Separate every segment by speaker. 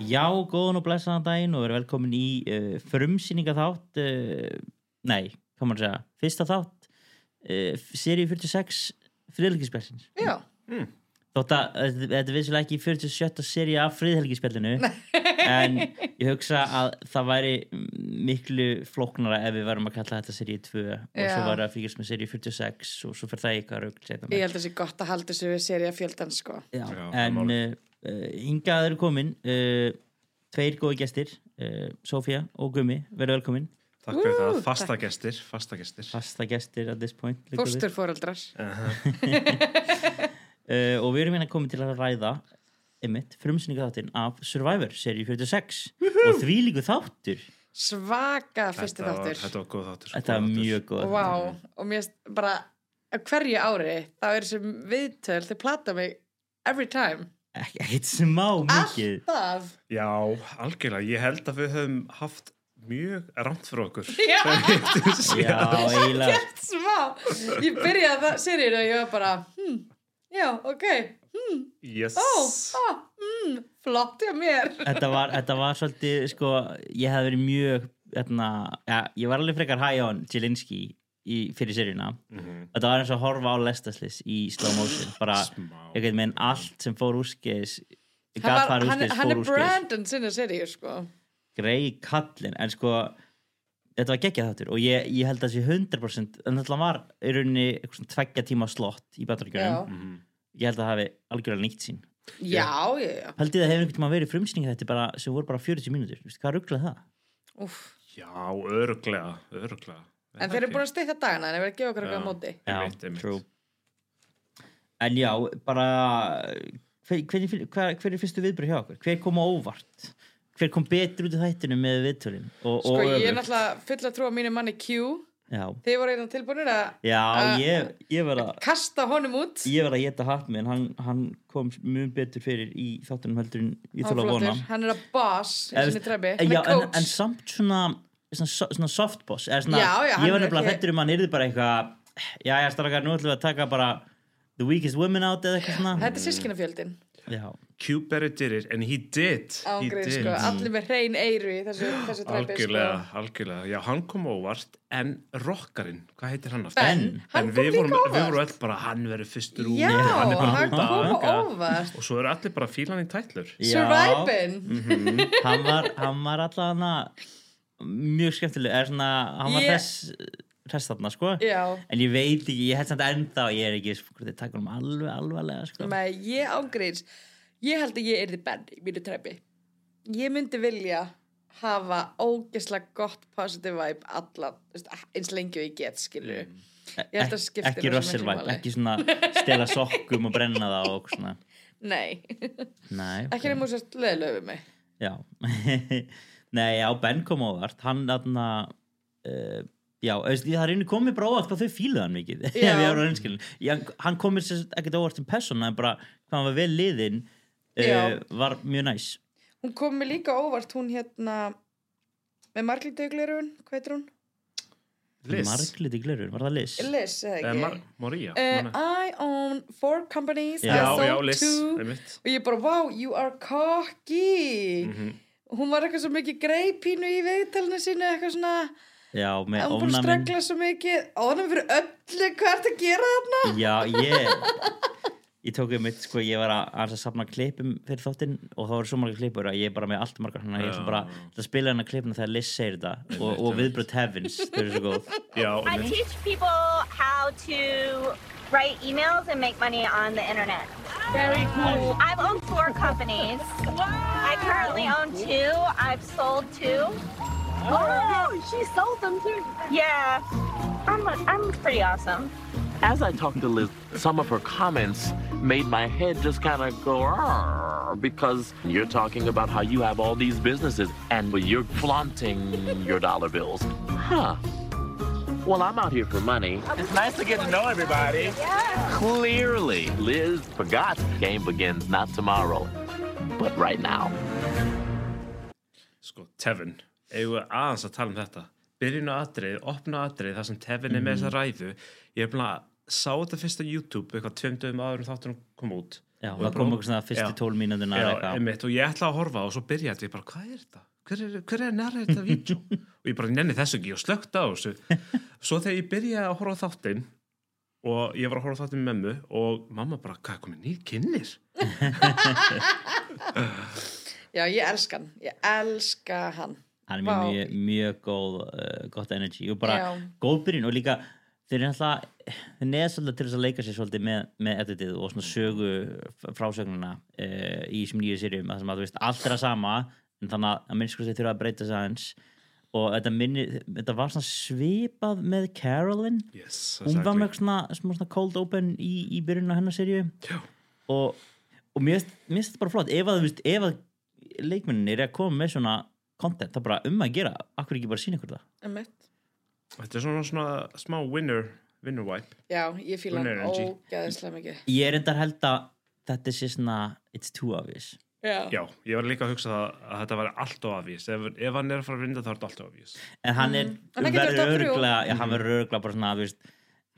Speaker 1: Já, góðan og blessaðan daginn og verið velkomin í uh, frumsýninga þátt uh, Nei, hvað maður að segja Fyrsta þátt uh, Serið 46 friðhelgisbjörnsins
Speaker 2: Já,
Speaker 1: Þótt að eh, þetta er vissulega ekki 47. serið af friðhelgisbjörninu En ég hugsa að það væri miklu flóknara ef við varum að kalla þetta serið 2 og svo
Speaker 2: Já.
Speaker 1: varum við að fylgjast með serið 46 og svo fyrir það í eitthvað rögl seinna meir.
Speaker 2: ég held að það sé gott að halda þessu við serið fjöldan sko.
Speaker 1: Já,
Speaker 3: Já, það er
Speaker 1: en uh,
Speaker 3: málið.
Speaker 1: uh, hingað eru komin uh, tveir góði gestir uh, Sofía og Gummi, verðu velkomin
Speaker 3: Takk fyrir
Speaker 2: Ú,
Speaker 3: það,
Speaker 2: takk.
Speaker 3: fasta gestir, fasta gestir.
Speaker 1: fasta gestir at this point liggur við.
Speaker 2: Fórstur fóreldrar.
Speaker 1: uh, og við erum hérna komin til að ræða einmitt, frumsynningaþáttin af Survivor seríu 46 og því líku þáttur
Speaker 2: Svaka fyrsti
Speaker 3: Þetta var-
Speaker 2: þáttur.
Speaker 3: Þetta var góð þáttur.
Speaker 1: þetta er
Speaker 3: góð þáttur.
Speaker 1: mjög góð
Speaker 2: Vá, og mér finnst bara á hverju ári þá er þessi viðtöl, þau plata mig every time.
Speaker 1: Ek, ekkert smá mikið
Speaker 2: Alltaf.
Speaker 3: Já, algjörlega, ég held að við höfum haft mjög rámt fyrir okkur.
Speaker 2: Já,
Speaker 1: já, eiginlega
Speaker 2: smá. Ég byrjaði það seriðinu og ég var bara, hm, já, ok,
Speaker 3: Yes.
Speaker 2: ó, ó, mm, flott hjá mér.
Speaker 1: þetta var, þetta var svolítið sko, ég hef verið mjög etna, ja, ég var alveg frekar high on Jelinski í, fyrir seríuna þetta var eins og að horfa á lestaslis í slow motion bara,
Speaker 3: Smá.
Speaker 1: einhvern veginn allt sem fór úrskis
Speaker 2: Hann,
Speaker 1: gaf
Speaker 2: var,
Speaker 1: fara
Speaker 2: hann,
Speaker 1: úrskis,
Speaker 2: hann
Speaker 1: fór
Speaker 2: er
Speaker 1: úrskis
Speaker 2: Brandon sinna seriðu sko.
Speaker 1: grei kallin, en sko þetta var geggjað þáttur og ég, ég held að þessi 100% en þetta var í rauninni eitthvað svona tveggja tíma slott í
Speaker 2: Já,
Speaker 3: mhm.
Speaker 1: bandaríkjörnum ég held að það hafi algjörlega nýtt sín
Speaker 2: já, já, já.
Speaker 1: held ég að það hefur einhvern tíma verið frumsýninga þetta bara, sem voru bara 40 mínútur, Veistu hvað rugglaði það?
Speaker 2: Úff.
Speaker 3: Já, öruglega, öruglega.
Speaker 2: En þeir eru búin að stýta dagana, þeir verður að gefa okkur eitthvað
Speaker 3: Já.
Speaker 2: á móti.
Speaker 3: Einmitt, einmitt.
Speaker 1: true. En já, bara hver, hver, hver, hver er fyrstu viðbröð hjá okkur? Hver kom á óvart? Hver kom betur út af þættinu með viðtölin? Og,
Speaker 2: Sko,
Speaker 1: og
Speaker 2: ég er
Speaker 1: öfugt?
Speaker 2: náttúrulega full að trúa mínu manni Q.
Speaker 1: Já,
Speaker 2: Þið voru eitthvað tilbúinir að
Speaker 1: já
Speaker 2: Uh,
Speaker 1: ég, ég var að
Speaker 2: kasta honum út.
Speaker 1: ég var að geta hatt mig en hann, hann kom mjög betur fyrir í þáttunum heldur en ég
Speaker 2: Hann
Speaker 1: þóla að
Speaker 2: flottur.
Speaker 1: vona
Speaker 2: Hann er að boss í
Speaker 1: En-
Speaker 2: sinni trefbi.
Speaker 1: en,
Speaker 2: Hann
Speaker 1: já,
Speaker 2: er
Speaker 1: en,
Speaker 2: coach.
Speaker 1: en samt svona svona, so- svona softboss eða svona,
Speaker 2: Já, já, hann
Speaker 1: ég var
Speaker 2: er
Speaker 1: nefnilega
Speaker 2: ekki-
Speaker 1: hættur um að hann yrði bara eitthvað já, já, starfakar, nú ætlum við að taka bara the weakest women out eða eitthvað svona
Speaker 2: Þetta er sískinafjöldin.
Speaker 1: já,
Speaker 3: Q-Berry did it, and he did. He
Speaker 2: Ángrið,
Speaker 3: did.
Speaker 2: sko. Allir með hrein eyru í þessu, þessu trefbi, sko.
Speaker 3: Algjörlega, algjörlega. Já, hann kom á óvart, en rockarinn, hvað heitir hann aftur?
Speaker 2: Ben,
Speaker 1: En-
Speaker 2: hann
Speaker 3: en
Speaker 2: kom
Speaker 3: við
Speaker 2: líka
Speaker 3: vorum, við vorum
Speaker 2: óvart.
Speaker 3: öll bara, hann verður fyrstur úr.
Speaker 2: Já,
Speaker 3: hann er bara
Speaker 2: hann
Speaker 3: út að
Speaker 2: kom
Speaker 3: aka.
Speaker 2: óvart.
Speaker 3: Og svo eru allir bara fílan í tætlur.
Speaker 1: Já. Mhm.
Speaker 2: Surviving.
Speaker 1: hann var, hann var allavega mjög skemmtileg er svona, hann var
Speaker 2: Ég-
Speaker 1: þess þess þarna sko
Speaker 2: Já.
Speaker 1: en ég veit ekki, ég held samt ennþá ég er ekki, sko, þetta takum alveg alvarlega sko.
Speaker 2: Nei, ég ángriðs Ég held að ég er þið benn í mínu trefni Ég myndi vilja hafa ógesla gott positive vibe alla, þú veist, eins lengi og ég get skilu Ég held að skipti
Speaker 1: ekki
Speaker 2: rosa miklu
Speaker 1: rössilvæp,
Speaker 2: máli.
Speaker 1: ekki svona stela sokkum og brenna það og svona
Speaker 2: Nei,
Speaker 1: Nei, ok.
Speaker 2: ekki nema þess að leðlega við mig
Speaker 1: já Nei, já, Ben kom óvart hann þarna uh, já, veist, það er einu komið bara óvart hvað þau fíluðu hann mikið ef
Speaker 2: Já.
Speaker 1: ég er á reynskilin. já, hann komið sér ekkert óvart sem persóna en bara hvað hann var vel liðinn uh,
Speaker 2: Já.
Speaker 1: var mjög næs
Speaker 2: Hún kom mér líka á óvart, hún hérna með marglítauglirun, hvað heitir hún?
Speaker 3: Liz.
Speaker 1: Marglit í glörur, var það Liz?
Speaker 2: Liz, eða
Speaker 3: Eh,
Speaker 2: ekki?
Speaker 3: Mar Maria.
Speaker 2: Uh,
Speaker 3: manna.
Speaker 2: I own four companies I
Speaker 3: já,
Speaker 2: sold
Speaker 3: já, Liz,
Speaker 2: two
Speaker 3: einmitt.
Speaker 2: og ég bara, wow, you are cocky
Speaker 3: Mhm.
Speaker 2: hún var eitthvað svo mikið greipínu í viðtalinu sínu eitthvað svona,
Speaker 3: Eh,
Speaker 1: Já, með
Speaker 2: hún búin að
Speaker 1: ónamin
Speaker 2: stregla svo mikið ónum fyrir öllu, hvað ertu að gera þarna
Speaker 1: Já, ég Ég tók um mitt, sko, ég var að, aðeins að safna klippum fyrir þáttinn og þá voru svo margar klippur að ég er bara með allt margar hann að ég ætla
Speaker 3: Já.
Speaker 1: bara að spila hennar klippuna þegar Liz segir þetta og, og viðbröð Tevins, þau eru svo góð
Speaker 3: Já,
Speaker 4: I
Speaker 3: einmitt.
Speaker 4: teach people how to write emails and make money on the internet. Very cool. I've owned four companies. I currently own two. I've sold two. Oh, she sold them too. Yeah. I'm, I'm pretty awesome.
Speaker 5: As I talked to Liz, some of her comments made my head just kind of go "Arr," because you're talking about how you have all these businesses and you're flaunting your dollar bills. Huh. Well, I'm out here for money. It's nice to get to know everybody.
Speaker 4: Yeah.
Speaker 5: Clearly, Liz forgot game begins not tomorrow, but right now.
Speaker 3: Sko, Tevin, eigum við aðeins að tala um þetta. Byrjun á atrið, opna atrið, þar sem Tevin
Speaker 1: Mhm.
Speaker 3: er með þessa ræðu. Ég er bara að sá þetta fyrst á YouTube, eitthvað tveim dögum áður en þáttunum kom út.
Speaker 1: Já, það kom okkur svona fyrstu
Speaker 3: Já.
Speaker 1: tól mínundina
Speaker 3: Já,
Speaker 1: eitthvað.
Speaker 3: einmitt, og ég ætla að horfa og svo byrjaði ég bara, hvað er þetta? Hver er, hver er nærið þetta vídeo? og ég bara nenni þessu ekki og slökkt á þessu. Svo þegar ég byrjaði að horfa á þáttinn og ég var að horfa á þáttinn með mömmu og mamma bara, hvað er komið nýr kynir?
Speaker 2: Já, ég elska hann. Ég elska hann.
Speaker 1: hann er mjög,
Speaker 2: Vá.
Speaker 1: mjög, mjög góð uh, gott energy og bara
Speaker 2: Já.
Speaker 1: góð byrjun og líka þeir eru alltaf neðast alltaf til þess að leika sér svolítið með, með editið og svona sögu frásögnuna uh, í þessum nýju sérjum að þú veist allt er að sama en þannig að- að minnskusti þurfa að breyta sér aðeins og þetta, minni, þetta var svona svipað með Carolyn
Speaker 3: Yes,
Speaker 1: hún var með svona, smá svona cold open í, í byrjun á hennar sérju og, og mér finnst- mér finnst þetta bara flott ef að, þú veist, ef að leikmennin er að koma með svona content, það er bara um að gera akkur ekki bara sína ykkur það
Speaker 2: Einmitt.
Speaker 3: Þetta er svona, svona smá winner, winner wipe.
Speaker 2: Já, ég fíla
Speaker 3: Hún
Speaker 2: hann
Speaker 3: er energy.
Speaker 2: ógæðislega mikið.
Speaker 1: ég er endar held að þetta sé svona it's too obvious
Speaker 2: Já.
Speaker 3: Já, ég var líka að hugsa það að þetta væri allt of afvís. Ef, ef hann er að fara að vinda þá er þetta allt of afvís.
Speaker 1: en hann er
Speaker 2: En það getur
Speaker 1: verður
Speaker 2: þetta þrjú.
Speaker 1: örgla já,
Speaker 3: Mhm.
Speaker 1: hann verður örgla bara svona þú veist,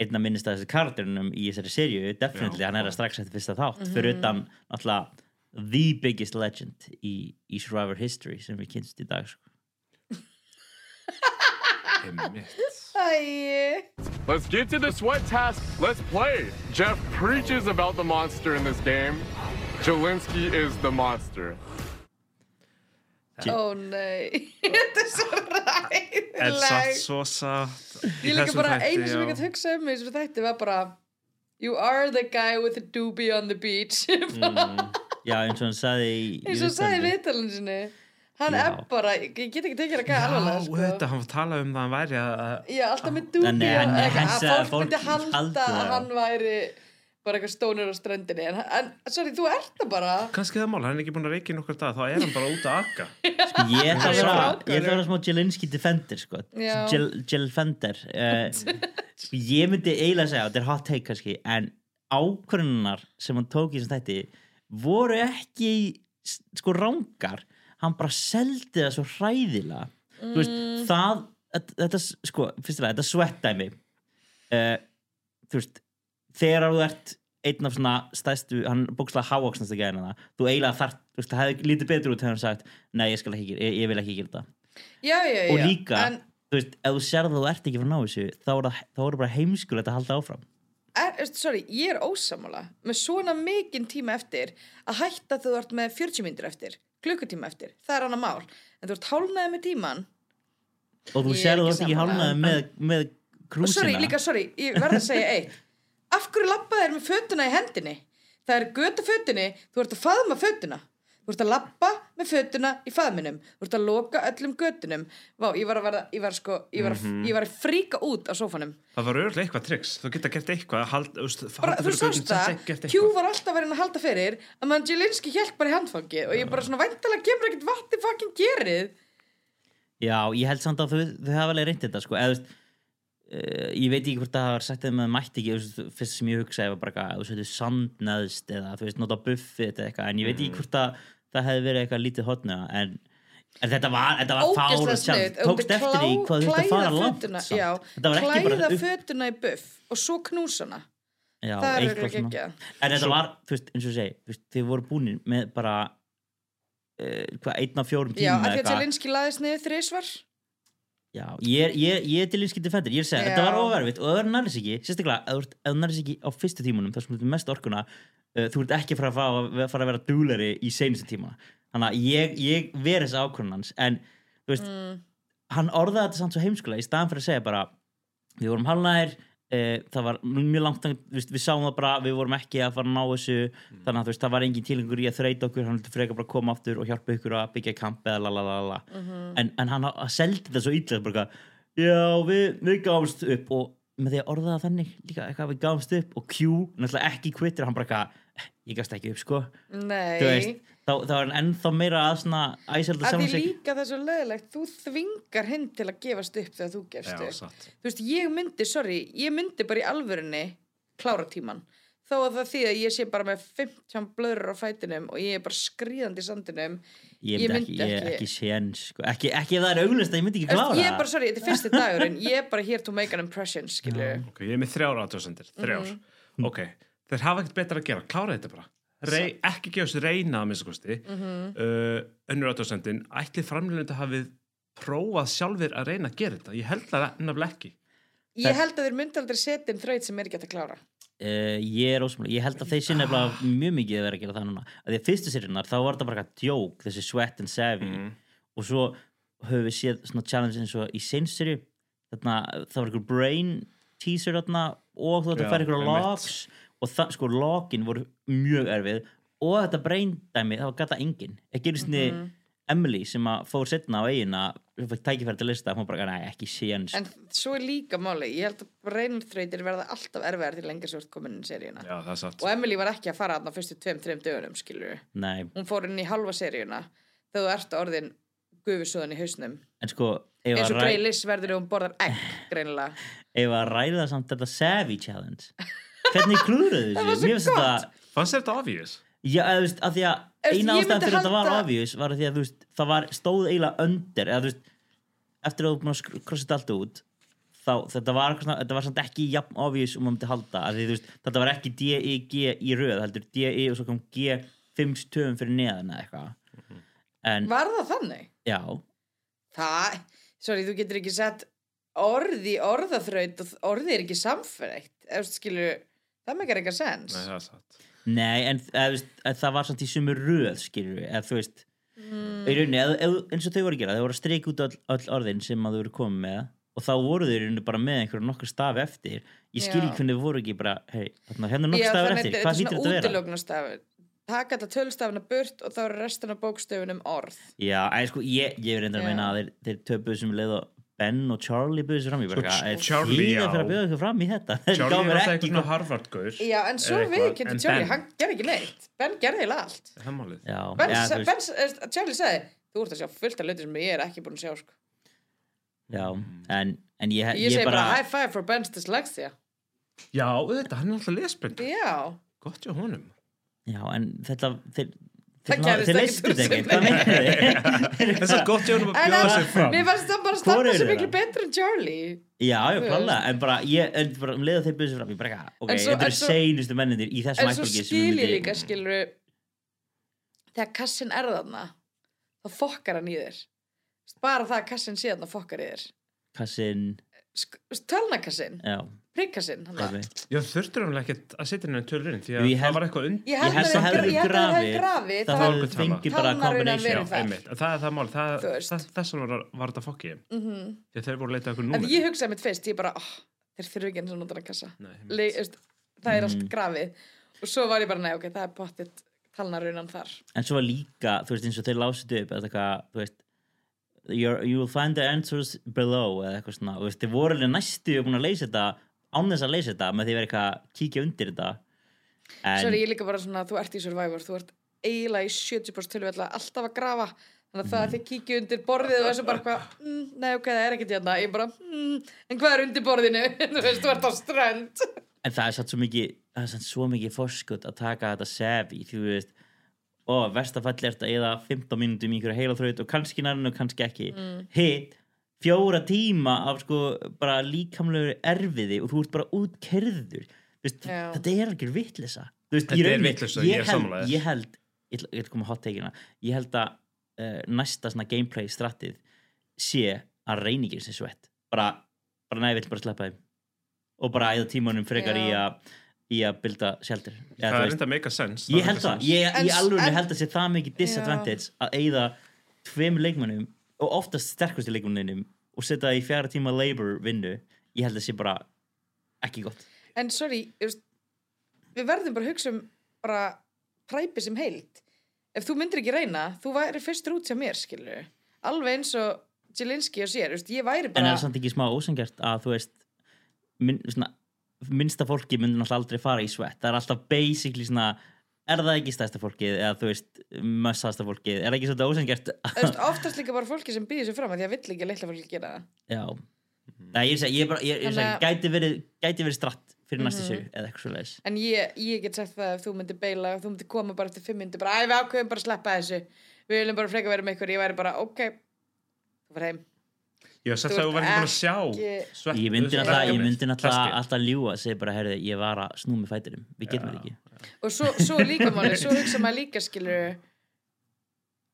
Speaker 1: einn að minnist að þessi kardunum í þessari serju definitely,
Speaker 3: Já.
Speaker 1: hann er að strax eftir fyrsta þátt
Speaker 2: Mhm.
Speaker 1: fyrir utan náttúrulega the biggest legend í, í Survivor history sem við kynst í dag sko.
Speaker 3: Einmitt.
Speaker 2: Æi.
Speaker 6: Let's get to the sweat task. Let's play. Jeff preaches about the monster in this game. Jelinski is the monster.
Speaker 2: Ó nei. Þetta er svo
Speaker 3: En satt
Speaker 2: ræðilegt.
Speaker 3: svo satt. í
Speaker 2: Ég líka
Speaker 3: þessum
Speaker 2: bara
Speaker 3: þætti,
Speaker 2: einu sem
Speaker 3: já.
Speaker 2: ég gæti hugsa um í þessum þætti var bara You are the guy with the doobie on the beach.
Speaker 1: Já, eins og hann sagði í, í
Speaker 2: eins og hann sagði í
Speaker 1: viðtalinu.
Speaker 2: viðtalinu sinni hann
Speaker 1: Já.
Speaker 2: er bara, ég ég get ekki tekið hann gæði
Speaker 3: Já,
Speaker 2: alveg
Speaker 3: sko. þetta, hann talaði um það að hann væri að... að-
Speaker 2: já, alltaf með dúbíu
Speaker 1: Nei, hann-
Speaker 2: eitthvað,
Speaker 1: hann sagði að
Speaker 2: að fólk
Speaker 1: fólk
Speaker 2: myndi halda
Speaker 1: halda
Speaker 2: að
Speaker 1: það.
Speaker 2: hann væri bara eitthvað stónur á ströndinni en, en sorry, þú ert það bara
Speaker 3: Kannski það er mál, hann er ekki búin að reykja í nokkur dag, þá er hann bara út að akka.
Speaker 1: Sko, Ég ætla að
Speaker 2: Já.
Speaker 1: vera,
Speaker 2: Strákur.
Speaker 1: ég ætla að vera smá Jelinski defender sko.
Speaker 2: Já.
Speaker 1: Jel- Jelfender uh, sko, Ég myndi eiginlega segja þetta er hot take kannski, en ákvörðunar sem hann tók í þessum þætti voru ekki sko rángar hann bara seldi það svo hræðilega mm. veist, það þetta- þetta, sko, fyrst af það, þetta svettdæmi uh, þú veist þegar þú ert einn af svona stæstu, hann bókslega hávaksnast að gæðina það, þú eiginlega þart, þú veist, það hefði lítið betur út hefur hann sagt, nei, ég skal ekki gera, ég, ég vil ekki gera þetta,
Speaker 2: já, já, já,
Speaker 1: og líka
Speaker 2: en,
Speaker 1: þú veist, ef þú sér að þú ert ekki frá ná þessu þá er, það, þá er bara heimskulegt að halda áfram
Speaker 2: er, veistu, sorry, ég er ósamála með svona mikinn tíma eftir að hætta þegar þú ert með 40 myndir eftir klukkutíma eftir, það er annað mál en þú ert hálnaðið með tíman
Speaker 1: og þú
Speaker 2: Ég er
Speaker 1: sér að þú
Speaker 2: ekki
Speaker 1: ert ekki
Speaker 2: sammála.
Speaker 1: hálnaði með, með
Speaker 2: og sorry,
Speaker 1: krúsina
Speaker 2: líka sorry, ég verð að segja eitt af hverju labba þeir með fötuna í hendinni það er göta fötunni þú ert að faðma fötuna þú ert að labba með fötuna í faðminum þú ert að loka öllum götunum Vá, ég var að verða, ég var sko ég var, mm ég var að fríka út á sófanum
Speaker 3: Það var örgulega eitthvað triks, þú geta gert eitthvað, hald, úst,
Speaker 2: bara, þú sást það, Q var alltaf verið að halda fyrir að mann Jelinski hjælt bara í handfangi og ég bara svona væntalega kemur ekkert vatni fucking gerið
Speaker 1: já, ég held samt að þau, þau hafa alveg reynt þetta sko, eða þú veist Uh, ég veit ekki hvort það var sagt að maður mætti ekki þú veist, fyrst sem ég hugsaði var bara eitthvað þú setur sand neðst eða þú veist nota buffið eða eitthvað en ég veit
Speaker 2: Mm.
Speaker 1: ekki hvort það, það hefði verið eitthvað lítið hotna en, en þetta var, þetta var
Speaker 2: ógeðslega
Speaker 1: fáránlegt
Speaker 2: sniðut
Speaker 1: sjálf tókst eftir í hvað þú veist að fara langt samt.
Speaker 2: já,
Speaker 1: þetta var ekki
Speaker 2: klæða
Speaker 1: bara upp
Speaker 2: fötuna í buff og svo knúsana
Speaker 1: Já,
Speaker 2: Það er
Speaker 1: eitthvað
Speaker 2: örugglega
Speaker 1: svona.
Speaker 2: geggjað.
Speaker 1: En þetta var, þú veist, eins og ég segi þú veist, Þið voru búinir með bara uh, hvað, einn af fjórum
Speaker 2: já,
Speaker 1: tíma
Speaker 2: að því að Jelinski laðist niður þrísvar
Speaker 1: Já, ég, ég, ég er til einskildi fættir, ég er að segja,
Speaker 2: Já.
Speaker 1: þetta var ofarvitt og ef það nærðis ekki, sérstaklega, ef þú ert- ef það nærðis ekki á fyrstu tímunum, þar sem þú ert með mest orkuna uh, þú ert ekki að fara að, fara, fara að vera dúlari í seinustu tíma þannig að ég, ég veri þess ákvörðun hans en, þú veist,
Speaker 2: Mm.
Speaker 1: hann orðaði þetta samt svo heimskulega í staðan fyrir að segja bara við vorum halvnæðir uh, það var mjög langt, þangað, þú veist, við sáum það bara við vorum ekki að fara að ná þessu þannig að þú veist, það var engin tilengur í að þreita okkur hann vildi frekar bara koma aftur og hjálpa ykkur að byggja kamp eða lalalala mm
Speaker 2: Mhm.
Speaker 1: en, en hann ha- seldi þetta svo illa bara, eitthvað, já, við, við gáumst upp og með því að orða það þannig líka eitthvað við gáumst upp og Q, náttúrulega ekki kvittir hann bara eitthvað, ég gafst ekki upp sko
Speaker 2: nei
Speaker 1: þú veist, þá, þá er hann ennþá meira að svona æselda
Speaker 2: að
Speaker 1: sjálfum
Speaker 2: því
Speaker 1: sig
Speaker 2: líka það er svo leðilegt þú þvingar hinn til að gefast upp þegar þú gefst
Speaker 3: Já,
Speaker 2: upp
Speaker 3: satt.
Speaker 2: þú veist, ég myndi, sorry, ég myndi bara í alvörinni klára tíman þó að það því að ég sé bara með 15 blöður á fætinum og ég er bara skríðandi í sandinum
Speaker 1: ég myndi ekki, ég, ekki séns sko. ekki, ekki ef það er auglust að ég myndi ekki
Speaker 2: Þú veist,
Speaker 1: klára
Speaker 2: ég er bara, sorry, þetta er fyrsti dagurinn ég er bara here to make an impression, skilju Mhm.
Speaker 3: Ok, ég er með þrjár aðtöðsendir, þrjár. Ok, þeir hafa ekkert betra að gera, klára þetta bara. rey, ekki gefast reyna að minnsta kosti
Speaker 2: Mhm.
Speaker 3: uh, önnur aðtöðsendin ætli framlýnandi hafið prófað sjálfur að reyna að gera þetta ég held það nefnilega ekki
Speaker 1: Það-
Speaker 2: Ég held að þeir myndi aldrei setja inn þraut sem er ekki hægt að klára.
Speaker 1: Uh, ég er ósumlega, ég held að þeir sinna ah. mjög mikið að vera að gera það núna að því að fyrstu sérionar þá var þetta bara eitthvað djók þessi sweat and savvy
Speaker 3: Mhm.
Speaker 1: og svo höfum við séð svona challenge eins og í seinstu serju þarna, það var einhver brain teaser þarna og þú ætti
Speaker 3: Já,
Speaker 1: að færa einhver
Speaker 3: einmitt.
Speaker 1: logs og það, sko login voru mjög erfið og þetta brain dæmi það var gata engin ekki einu sinni
Speaker 2: Mhm.
Speaker 1: Emily sem að fór setna á eigina sem fæk tækifæri til lista hún bara, nei ekki séns
Speaker 2: En svo er líka máli, ég held að reynarþrautir verða alltaf erfiðar til lengur svo ert komin inn í seríuna.
Speaker 3: já, það er satt
Speaker 2: Og Emily var ekki að fara þarna fyrstu tveim, tveim dögunum, skilur
Speaker 1: nei
Speaker 2: Hún fór inn í halva seríuna þegar þú ert orðin gufusúðan í hausnum.
Speaker 1: en sko ef
Speaker 2: Eins
Speaker 1: að
Speaker 2: og
Speaker 1: ræ-
Speaker 2: greilis verður ef hún borðar egg, greinilega.
Speaker 1: ef að ræða samt þetta Savvy Challenge hvernig klúruðu
Speaker 2: Það var
Speaker 1: þessu?
Speaker 2: svo
Speaker 1: Mér finnst þetta
Speaker 3: fannst þér þetta obvious?
Speaker 1: já, eða, þú veist, að því að
Speaker 2: Veist,
Speaker 1: eina
Speaker 2: ég
Speaker 1: ástæðan
Speaker 2: myndi
Speaker 1: fyrir þetta var
Speaker 2: halda-
Speaker 1: obvious var að því að þú veist, það var stóð eiginlega undir eða þú veist, eftir að þú búin að sk- krossa þetta allt út þá þetta var, eitthvað svona- þetta var samt ekki jafn obvious um að myndi halda að því, þú veist, þetta var ekki D-E-G í röð heldur D-E og svo kom G 5 stöfum fyrir neðan eða eitthvað
Speaker 2: Mm-hmm.
Speaker 1: en
Speaker 2: Var það þannig?
Speaker 1: já,
Speaker 2: Það, sorry, þú getur ekki sett orði, orðaþraut og orði er ekki samfrætt. Ef þú skilur, það megar eitthvað sens.
Speaker 3: Nei, það er satt
Speaker 1: nei en eða, þú veist, en það var samt í sumu röð skilur við, eða þú veist
Speaker 2: Mm.
Speaker 1: í rauninni, eð, eð, eins og þau voru að gera þau voru að streika út öll, öll orðin sem að þau voru komið með og þá voru þau í rauninni bara með einhverju nokkur stafi eftir ég skil
Speaker 2: Já.
Speaker 1: ekki hvernig þau voru ekki bara hey, þarna, hérna er nokkur stafi eftir, hvað hlýtur þetta að vera?
Speaker 2: útilóknastafur. Taka þetta tölstafina burt og þá er restin af bókstöfunum orð.
Speaker 1: Já, en sko, ég, ég er reyndar að
Speaker 2: Já.
Speaker 1: meina að þeir, þeir töpuðu sem leið og Ben og Charlie buðu sér fram í
Speaker 3: Sko,
Speaker 1: bara,
Speaker 3: Ch- Charlie,
Speaker 1: já
Speaker 3: já.
Speaker 1: fyrir að bjóða ykkur fram í þetta Þeir
Speaker 3: Charlie
Speaker 1: gáfu
Speaker 3: var
Speaker 1: mér
Speaker 3: alltaf
Speaker 1: ekki
Speaker 3: einhvern harfardgaur
Speaker 2: Já, en svo
Speaker 3: Eða eitthvað.
Speaker 2: við getur
Speaker 3: En
Speaker 2: Charlie,
Speaker 3: Ben-
Speaker 2: hann gerði ekki neitt. Ben gerði heila allt.
Speaker 3: Það er málið.
Speaker 1: Já,
Speaker 2: Ben,
Speaker 1: já,
Speaker 2: ja,
Speaker 1: þú veist,
Speaker 2: ben, eh, Charlie sagði, þú ert að sjá fullt af hluti sem ég er ekki búin að sjá, sko.
Speaker 1: já en, en ég,
Speaker 2: Ég, segi bara, high five for Ben's dyslexia.
Speaker 3: Já, auðvitað, hann er alltaf lesblind
Speaker 2: Já,
Speaker 3: Gott hjá honum
Speaker 1: Já, en þetta, þeir
Speaker 2: Það
Speaker 1: þeir-
Speaker 2: gerðist
Speaker 1: Þeir
Speaker 2: ekkert
Speaker 1: leystu
Speaker 2: úr
Speaker 1: þetta
Speaker 2: þessu.
Speaker 1: ekki, hvað meinar þið?
Speaker 3: Það er svo gott hjá honum að
Speaker 2: en
Speaker 3: bjóða
Speaker 2: að,
Speaker 3: sig fram
Speaker 2: mér fannst það bara að
Speaker 1: Hvor
Speaker 2: standa
Speaker 1: eru
Speaker 2: svo
Speaker 1: þeir
Speaker 2: miklu
Speaker 1: annars?
Speaker 2: betur en Charlie.
Speaker 1: Já, já,
Speaker 2: Þú
Speaker 1: klálega, en bara, ég, en bara um leið að þeir byrðu sér fram, ég bara eitthvað, ok,
Speaker 2: En svo-
Speaker 1: þetta
Speaker 2: en
Speaker 1: eru
Speaker 2: svo-
Speaker 1: seinustu mennindir í þessum
Speaker 2: en svo
Speaker 1: ættbólki sem
Speaker 2: skil
Speaker 1: myndi-
Speaker 2: ég líka skilur þegar kassin er þarna þá fokkar hann í þér bara það að kassin sé þarna fokkar í þér
Speaker 1: Kassin,
Speaker 2: Sk- tölnakassin,
Speaker 1: já,
Speaker 2: prikkassin hann það.
Speaker 1: dæmi.
Speaker 3: Já, þurftur hann ekki að setja henni tölurinn því
Speaker 1: Jú,
Speaker 3: að
Speaker 1: ég held-
Speaker 3: það var eitthvað und
Speaker 2: ég
Speaker 1: Ég
Speaker 2: held
Speaker 1: held að
Speaker 2: að
Speaker 1: hefðu
Speaker 2: ég held að það hefði
Speaker 1: grafið,
Speaker 2: grafið
Speaker 1: það
Speaker 2: þá
Speaker 1: hefðu
Speaker 3: hefði-
Speaker 1: fengið bara
Speaker 2: Talnar raunar
Speaker 1: combination.
Speaker 2: verið
Speaker 1: Já.
Speaker 2: það.
Speaker 3: einmitt, það er það mál það,
Speaker 2: Þú veist.
Speaker 3: það, þess vegna var, var þetta fokkið
Speaker 2: mm
Speaker 3: því að þeir voru að leita eitthvað
Speaker 2: ef
Speaker 3: númer
Speaker 2: ég hugsaði mitt fyrst ég bara, oh, þeir þurfi ekki eins og notar að kassa
Speaker 3: Nei, einmitt.
Speaker 2: Le, veist, það er allt grafið og svo var ég bara, nei ok, það er pottitt talnarunan þar
Speaker 1: En svo var líka, þú veist, eins og þeir lásitu upp, eða eitthvað, þú veist, you're- you will find the answers below, eða eitthvað svona, þú veist, þeir voru alveg næstu búin að leysa þetta, án þess að leysa þetta, með því að vera eitthvað að kíkja undir þetta. En,
Speaker 2: Sorry, ég er líka bara svona, þú ert í Survivor, þú ert eiginlega í 70% tilvægla alltaf að grafa þannig að það að þið kíkja undir borðið og þessu bara hvað, mm, nei ok, það er ekkert hérna ég bara, mm, en hvað er undir borðinu þú veist, þú ert á strönd
Speaker 1: en það er satt svo mikið það er satt svo mikið forskut að taka þetta sef í því þú veist ó, vestafalli ert að eða 15 mínútum í einhverju heila þraut og kannski nærinn og kannski ekki hitt, fjóra tíma af sko bara líkamlegu erfiði og þú ert bara útkerður Þú veist,
Speaker 2: Já.
Speaker 1: þetta er algjör vitlisa veist,
Speaker 3: Þetta
Speaker 1: í
Speaker 3: er
Speaker 1: rauninni,
Speaker 3: vitleysa, ég er
Speaker 1: ég held,
Speaker 3: sammála þér.
Speaker 1: ég held ég ætla- ég ætla að koma að hot takeina ég held að uh, næsta svona gameplay strattið sé að reyningir sem svett bara, bara nævill bara sleppa þeim og bara æða tímanum frekar
Speaker 2: Já.
Speaker 1: í að í að bylda shelter Eða,
Speaker 3: það
Speaker 1: þú
Speaker 3: er
Speaker 1: veist,
Speaker 3: enda make a sense
Speaker 1: ég held það, ég,
Speaker 2: En
Speaker 1: ég
Speaker 2: s-
Speaker 1: alveg
Speaker 2: en-
Speaker 1: held að sé það mikið disadvantage að eyða tveim leikmönnum og oftast sterkustu leikmönnum og setja það í fjara tíma labor vinnu ég held að sé bara ekki gott
Speaker 2: en sorry, þú veist, við verðum bara að hugsa um bara præpi sem heild ef þú myndir ekki reyna, þú væri fyrstur út sem mér, skilur alveg eins og Jelinski og sér, þú veist, ég væri
Speaker 1: en
Speaker 2: bara
Speaker 1: er samt ekki smá ósengjart að þú veist minn, svona, minnsta fólki myndi náttúrulega aldrei fara í svett það er alltaf basically svona er það ekki stærsta fólkið eða þú veist mössasta fólkið, er það ekki svona ósengjart
Speaker 2: þú veist, oftast líka bara fólki sem býður sér fram að því að vill ekki að litla fólki gera það
Speaker 1: Já Nei, ég er að segja, ég er bara, ég er að segja,
Speaker 2: Þannig að- Mhm.
Speaker 1: gæti verið gæti verið stratt fyrir næstu sér eða eitthvað svo leiðis
Speaker 2: En ég, ég get sagt það ef þú myndir beila og þú myndir koma bara eftir fimm myndir bara, æ, við ákveðum bara að sleppa þessu við viljum bara freka vera með ykkur, ég væri bara, ok þú fyrir heim,
Speaker 3: Ég var sett
Speaker 2: Þú
Speaker 3: að þú verður búin að sjá
Speaker 2: ekki-
Speaker 3: svett-
Speaker 1: Ég myndi alltaf, ég myndi alltaf,
Speaker 3: Plastið.
Speaker 1: alltaf ljúa segi bara, herri, ég var að snú með fætinum við getum þetta ekki
Speaker 2: og svo, svo líka máli, svo hugsa maður líka "Ah, skilur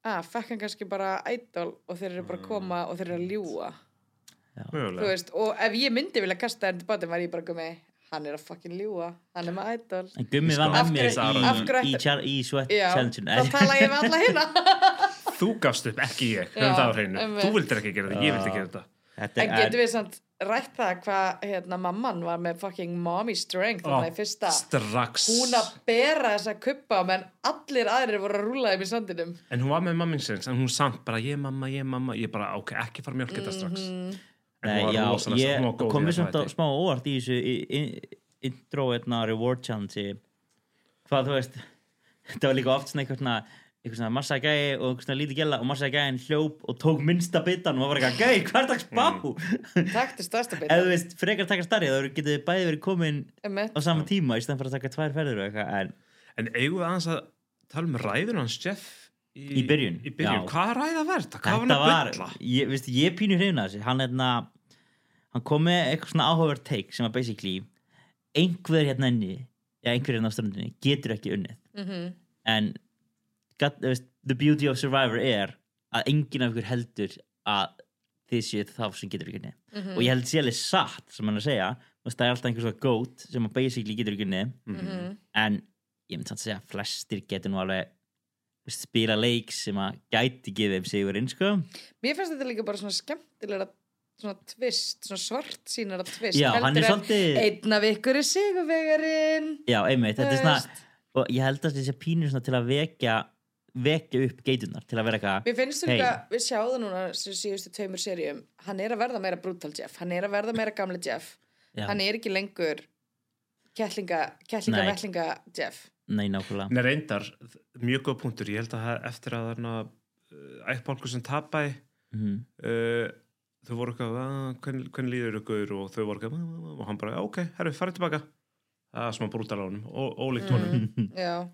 Speaker 2: að fekkan kannski bara idol og þeir eru bara að koma og þeir eru að ljúa Þú
Speaker 3: Mögulega.
Speaker 2: veist, og ef ég myndi vilja kasta henni til bátinn var ég bara komið, hann er að fucking ljúa hann er með idol
Speaker 1: En Gummi var
Speaker 2: Af
Speaker 1: með mér
Speaker 2: hverju- af
Speaker 1: í,
Speaker 2: hverju
Speaker 1: í,
Speaker 2: ætti-
Speaker 1: chal- í sweat
Speaker 2: Já, þá
Speaker 1: challenge-inu
Speaker 2: tala ég við alla hérna
Speaker 3: Þú gafst upp, ekki ég
Speaker 2: Já,
Speaker 3: höfum það á hreinu,
Speaker 2: einmitt.
Speaker 3: þú vildir ekki gera þetta, ég vildi
Speaker 1: Já.
Speaker 3: gera þetta
Speaker 1: Þetta
Speaker 2: En getum við samt rætt það hvað hérna, mamman var með fucking mommy strength þannig í fyrsta
Speaker 3: strax
Speaker 2: hún að bera þessa kuppa menn allir aðrir voru að rúla þeim í sandinum
Speaker 3: En hún var með mammin sinns, en hún samt bara ég mamma, ég mamma, ég bara ok, ekki fara mjölk þetta strax En
Speaker 1: Nei,
Speaker 3: hún var
Speaker 1: já,
Speaker 3: rosalega-
Speaker 1: ég
Speaker 3: hún var góð í
Speaker 1: komið
Speaker 3: þessu
Speaker 1: samt á
Speaker 3: þætti.
Speaker 1: smá óvart í þessu í- í- intro einna reward challenge hvað þú veist þetta var líka oft svona eitthvað svona eitthvað svona massa gæi og eitthvað svona lítið gæla og massa gæin hljóp og tók minnsta bitan og var bara eitthvað gæi, hvað er það að spá?
Speaker 3: Mm.
Speaker 2: takti stærsta
Speaker 1: Ef þú
Speaker 2: bita
Speaker 1: veist, frekar taka starri þá getur þið bæði verið komin á
Speaker 2: Einmitt.
Speaker 1: sama tíma í stæðan fyrir að taka tvær ferður og eitthvað en
Speaker 3: En eigum við aðeins að tala um ræður hans Jeff í,
Speaker 1: Í byrjun,
Speaker 3: í byrjun.
Speaker 1: já.
Speaker 3: Hvað ræða var þetta? Hvað
Speaker 1: þetta
Speaker 3: var hann
Speaker 1: var,
Speaker 3: að bylla?
Speaker 1: ég, veist, ég pínu hreina þessi hann, hérna, hann kom með eitthvað svona áhugavert take sem að basically einhver hérna inni eða einhver hérna á strandinni getur ekki unnið -hmm. en gat, veist, the beauty of Survivor er að enginn af ykkur heldur að þið séu þá sem getur ekki unnið og ég held sé alveg satt sem hann er að segja þú veist, það er alltaf einhver svona goat sem að basically getur ekki unnið en ég myndi samt að segja að flestir getur nú alveg þú veist, spila leik sem að gæti gefið þeim sigurinn sko
Speaker 2: mér finnst þetta líka bara svona skemmtilega svona tvist, svona svart sínara tvist
Speaker 1: Já, hann er
Speaker 2: heldur en
Speaker 1: svolítið-
Speaker 2: einn af ykkur er sigurvegarinn
Speaker 1: Já, einmitt, þetta er
Speaker 2: Þú
Speaker 1: svona og ég held að þessi pínur svona til að vekja vekja upp geitunar til að vera eitthvað
Speaker 2: Mér finnst
Speaker 1: Hey.
Speaker 2: þetta, við sjáum það núna sem síðustu tveimur serjum, hann er að verða meira brutal Jeff, hann er að verða meira gamli Jeff
Speaker 1: Já.
Speaker 2: hann er ekki lengur kettlinga, kettlinga,
Speaker 1: Nei.
Speaker 2: vellinga Jeff.
Speaker 1: Nei, nákvæmlega
Speaker 3: Nei, reyndar, mjög góð punktur ég held að það- eftir að þarna eh, ættbálkur sem tapæ
Speaker 1: Mhm.
Speaker 3: uh, þau voru eitthvað "Ah, hvernig, hvernig líður ykkur og þau voru eitthvað "Ah, ah, ah," og hann bara, "Já, ok, herru, farið tilbaka það er smá brútal á honum, ó- ólíkt honum
Speaker 1: Mm.
Speaker 2: Já.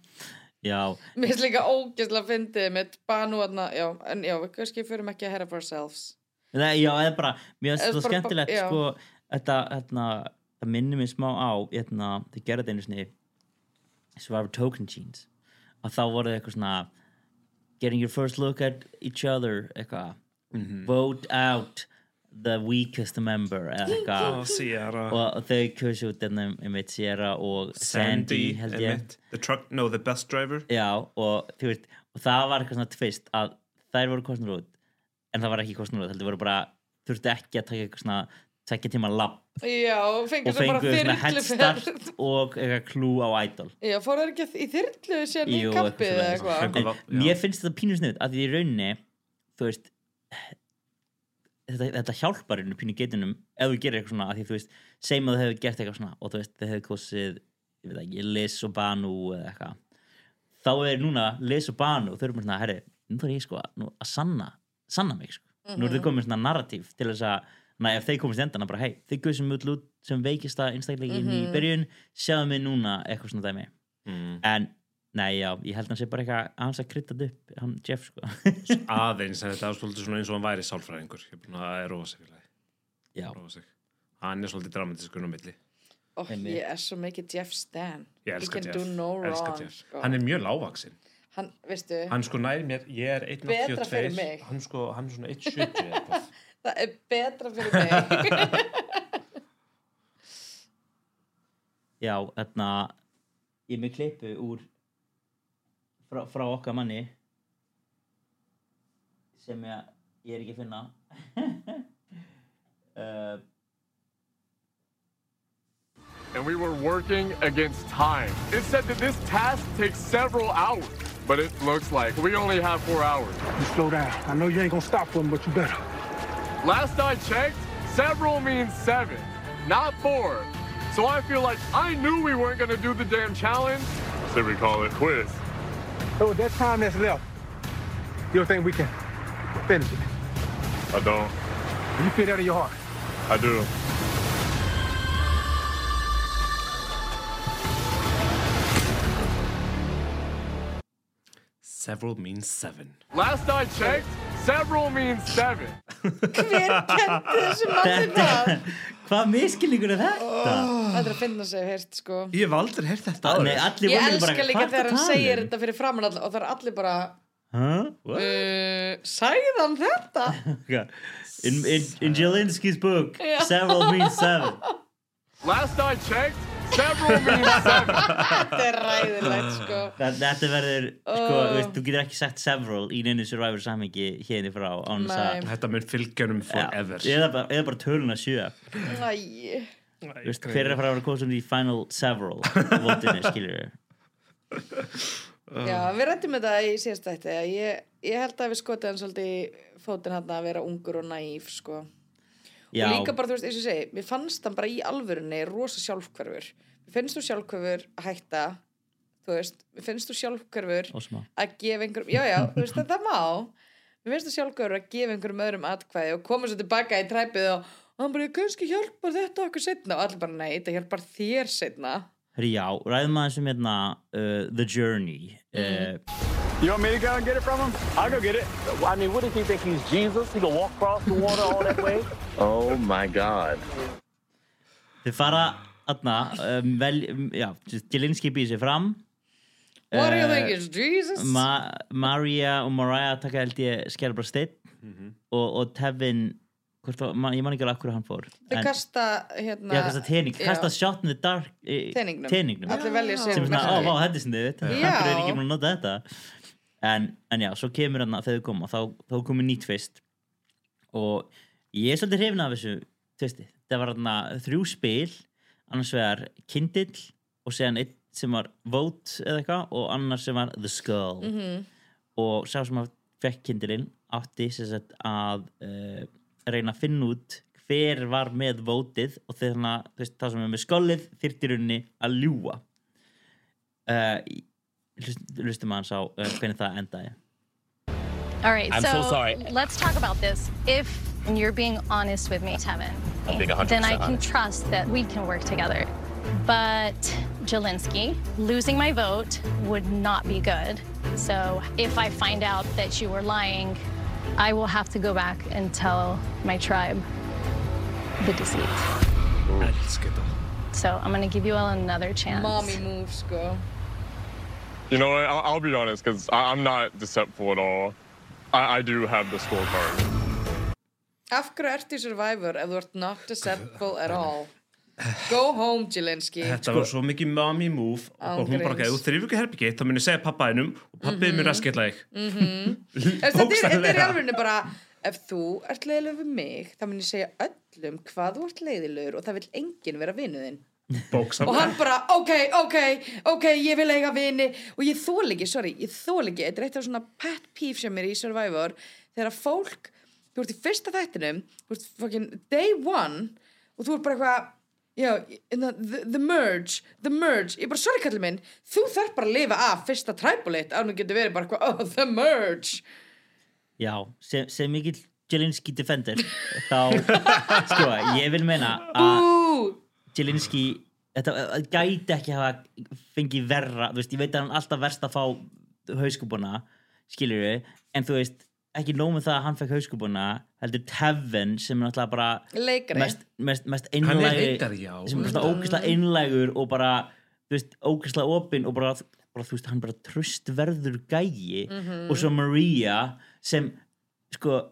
Speaker 1: Já,
Speaker 2: Mér finnst líka ógæslega fyndið mitt banu aðna, já, en já, við kannski förum ekki að herra for ourselves.
Speaker 1: Nei, já, eða bara, mér finnst
Speaker 2: Eða
Speaker 1: það
Speaker 2: bara-
Speaker 1: skemmtilegt
Speaker 2: já.
Speaker 1: sko, þetta, þetta, það minnir mér smá á hérna, þau gerði þetta einu sinni Survivor Token Jeans og þá voru þau eitthvað svona getting your first look at each other eitthvað, vote out the weakest member eða eitthvað
Speaker 3: og Sierra
Speaker 1: og og þau kjósi út ennum einmitt Sierra og Sandy,
Speaker 3: Sandy,
Speaker 1: held ég
Speaker 3: einmitt. the truck, no, the bus driver
Speaker 1: Já, og þú veist, og það var eitthvað svona tvist að þær voru kostnur út en það var ekki kostnur út, heldur voru bara þurftu ekki að taka eitthvað svona tekja tíma lapp
Speaker 2: Já, og fengur
Speaker 1: og
Speaker 2: svo bara
Speaker 1: fengu svona headstart
Speaker 2: þyrluferð.
Speaker 1: og eitthvað klú á Idol
Speaker 2: Já, fór það ekki í þyrlu sér í
Speaker 1: Jú,
Speaker 2: kampið
Speaker 1: eitthvað
Speaker 2: eða
Speaker 1: svoleiðis.
Speaker 2: eitthvað.
Speaker 3: Fengu-
Speaker 1: en
Speaker 3: Góða, já.
Speaker 1: mér finnst þetta pínu sniðut að því í rauninni þú veist þetta, þetta hjálpar einu pínu geitunum ef þú gerir eitthvað svona að því þú veist segjum að þau hefur gert eitthvað svona og þú veist þau hefur kosið ég veit ekki, Liz og Banu eða eitthvað þá er núna Liz og Banu þau eru bara svona, herri, nú þarf ég sko að- nú, að sanna, sanna mig sko nú eru þau komið svona narratív til þess að na, ef þeir komist endan að bara, hei, þau guðsum út lút sem veikist að einstaklingin í byrjun sjáðu mig núna eitthvað svona dæmi
Speaker 3: mm.
Speaker 1: en nei já, ég held hann sé bara eitthvað að hans að krytta þetta upp, hann Jeff sko
Speaker 3: aðeins, en þetta er svolítið svona eins og hann væri sálfræðingur ég er búin að rofa sig félagi,
Speaker 1: já,
Speaker 3: rofa sig hann er svolítið dramatiskur á milli
Speaker 2: Ó,
Speaker 1: Einmitt.
Speaker 2: Oh, ég er svo mikið Jeff Stan.
Speaker 3: ég
Speaker 2: He
Speaker 3: elska Jeff,
Speaker 2: can do no
Speaker 3: elska
Speaker 2: wrong.
Speaker 3: Jeff.
Speaker 2: sko.
Speaker 3: hann er mjög lágvaksin
Speaker 2: Hann, veistu,
Speaker 3: hann sko nær mér, ég er
Speaker 2: Betra fyrir
Speaker 3: 1.82
Speaker 2: mig.
Speaker 3: hann sko, hann er svona 1.70 eða eitthvað.
Speaker 2: það er betra fyrir mig.
Speaker 1: já, þarna ég er með klippu úr frá, frá okkar manni sem ég, ég er ekki að finna uh,
Speaker 6: and we were working against time. It said that this task takes several hours, but it looks like we only have four hours.
Speaker 7: You slow down. I know you ain't gonna stop for him, but you better.
Speaker 6: Last I checked, several means seven, not four. So I feel like I knew we weren't gonna do the damn challenge. So we call it quiz.
Speaker 7: So with that time that's left, you don't think we can finish it?
Speaker 6: I don't.
Speaker 7: You feel that in your heart.
Speaker 6: I do.
Speaker 3: several means seven
Speaker 6: Last I checked, several means seven,
Speaker 2: Hver kendi þessu manni það?
Speaker 1: Þetta, hvað miskilningur er þetta?
Speaker 2: Þetta er að finna sig heyrt sko
Speaker 3: Ég hef aldrei heyrt þetta
Speaker 1: Nei, allir
Speaker 2: Ég
Speaker 1: voru
Speaker 2: elska
Speaker 1: "Hvað
Speaker 2: líka
Speaker 1: ertu að
Speaker 2: þegar hann
Speaker 1: tala
Speaker 2: segir
Speaker 1: um?"
Speaker 2: þetta fyrir framann all, og það er allir bara
Speaker 1: Huh?
Speaker 2: uh, Sæði hann þetta?
Speaker 1: Okay. In, in, in Jelinski's book,
Speaker 2: Yeah.
Speaker 1: several means seven.
Speaker 6: Last I checked, several means seven.
Speaker 2: Þetta er ræðilegt sko
Speaker 1: Þa- Þetta verður, sko,
Speaker 2: Oh.
Speaker 1: þú veist, þú getur ekki sagt several í neinu survivor samhengi hérna frá án þess að...
Speaker 2: Nei.
Speaker 3: Þetta mun fylgjörum forever
Speaker 1: Já, eða, bara- eða bara töluna sjö.
Speaker 2: Æ,
Speaker 1: Þú veist, hver er að fara að vera kosum í final several votinu, skilur við?
Speaker 2: Já, við rættum þetta í síðast þætti að ég, ég held að við skotið hann svolítið í fótinn hann að vera ungur og naíf sko
Speaker 1: Já,
Speaker 2: og líka bara, þú veist, eins og ég segi, mér fannst hann bara í alvörunni rosa sjálfhverfur mér finnst þú sjálfhverfur að hætta þú veist, mér finnst þú sjálfhverfur
Speaker 1: og smá.
Speaker 2: að gefa einhverjum, já já, þú veist að það má mér finnst þú sjálfhverfur að gefa einhverjum öðrum atkvæði og koma svo tilbaka í træpið og og hann bara, kannski hjálpar þetta okkur setna og allir bara, nei, þetta hjálpar þér setna
Speaker 1: Herri, já, ræðum aðeins um hérna uh, The Journey.
Speaker 2: Mhm.
Speaker 1: Uh,
Speaker 6: You want me to go and get it from him? I'll go get it.
Speaker 5: I mean, what does he think? He's Jesus? He can walk across the water all that way? Oh my God.
Speaker 1: Þau fara, aðna, um, vel, um, já, Jelinski býr sér fram.
Speaker 2: What do you
Speaker 1: Eh,
Speaker 2: think is Jesus?
Speaker 1: Ma Maria og Mariah taka held ég skjæra bara steinn og, og Tevin hvort, var- man, ég man ekki alveg akkur hann fór
Speaker 2: Þau kasta hérna
Speaker 1: já, kasta tening,
Speaker 2: já,
Speaker 1: kasta shot in the dark e,
Speaker 2: teningnum.
Speaker 1: teningnum.
Speaker 2: Allir velja um sér
Speaker 1: sem er svona, "Oh,
Speaker 2: næsta
Speaker 1: ó,
Speaker 2: leik."
Speaker 1: vá, þetta er sniðið
Speaker 2: Já.
Speaker 1: það er ekki mér að nota þetta en, en já, svo kemur hann þegar þau koma þá, þá komið nýtt fyrst og ég er svolítið hrifin af þessu tvisti, það var hann þrjú spil annars vegar kindill og séðan einn sem var vote eða eitthvað og annar sem var the skull og sá sem að fekk kindilinn átti sem sagt að uh, reyna að finna út hver var með vótið og þeirna, veist, það sem er með skollið þyrfti í rauninni að ljúa uh, lustum aðeins á uh, hvernig það endaði
Speaker 8: All right,
Speaker 5: I'm so sorry.
Speaker 8: Let's talk about this. If you're being honest with me, Tevin,
Speaker 5: I'm being 100%
Speaker 8: then I can
Speaker 5: honest.
Speaker 8: trust that we can work together. But Jelinski, losing my vote would not be good. So if I find out that you were lying, I will have to go back and tell my tribe the deceit.
Speaker 3: Elsk þetta
Speaker 8: So I'm gonna give you all another chance.
Speaker 2: mommy move sko
Speaker 6: You know what? I'll, I'll be honest because I'm not deceptful at all. I, I do have the scorecard.
Speaker 2: Af hverju ertu í Survivor ef þú ert not deceptible at all? Go home, Sko, Jelinski.
Speaker 3: Þetta var svo mikið mommy move
Speaker 2: Án
Speaker 3: og hún bara,
Speaker 2: gríns.
Speaker 3: ef þú þrýfur ekki herbyggið þá mun ég segja pappaðinum og pappiðin mun raskilla þig
Speaker 2: Þetta Mhm. er- þetta er í
Speaker 3: bókstaflega.
Speaker 2: alvegni bara, ef þú ert leiðilegur við mig, þá mun ég segja öllum hvað þú ert leiðilegur og það vil enginn vera vinnu þinn. Og
Speaker 3: bóksamlega
Speaker 2: hann bara, ok, ok, ok, ég vil eiga vini og ég þól ekki, sorry, ég þól ekki, þetta er eitt af svona pet peeve sem er í Survivor þegar að fólk, þú ert í fyrsta þættinum, þú ert fucking day one og þú ert bara eitthvað, já, in the, the, the merge, the merge, ég bara, sorry kallið minn, þú þarf bara að lifa af fyrsta træbuleit ánum getur verið bara eitthvað, oh, the merge.
Speaker 1: já, sem, sem mikill Jelinski defender þá, sko, ég vil meina að
Speaker 2: Ú,
Speaker 1: Jelinski þetta eh, gæti ekki hafa fengið verra, þú veist, ég veit að hann er alltaf verst að fá hauskupuna skilur við, en þú veist ekki nóg með það að hann fekk hauskupuna heldur Tevin sem er náttúrulega bara
Speaker 2: leikari.
Speaker 1: mest, mest, mest
Speaker 3: Hann er
Speaker 1: einlægur
Speaker 3: leikari, já.
Speaker 1: sem er svona ógeðslega einlægur og bara, þú veist, ógeðslega opinn og bara, bara, þú veist, hann bara tröstverður gæi og svo Maria sem, sko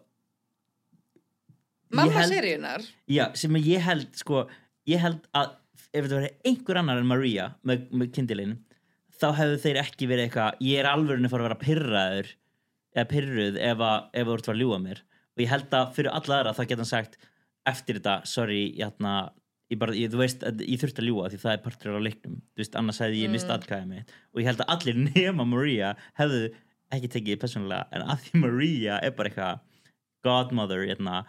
Speaker 1: ég
Speaker 2: Mamma
Speaker 1: held-
Speaker 2: seríunar.
Speaker 1: Já, sem ég held sko, ég held að ef þetta verið einhver annar en Maria með, með kindilinn, þá hefðu þeir ekki verið eitthvað, ég er alvörinu fara að vera pirraður eða pirruð ef, að, ef þú ert að ljúa mér og ég held að fyrir alla aðra þá geta hann sagt eftir þetta, sorry, ég hérna ég bara, ég, þú veist, að ég þurfti að ljúa því það er partur á leiknum, þú veist, annars hefði ég mist atkæðið mitt og ég held að allir nema Maria hefðu ekki tekið persónulega en að því Maria er bara eitthvað godmother, hérna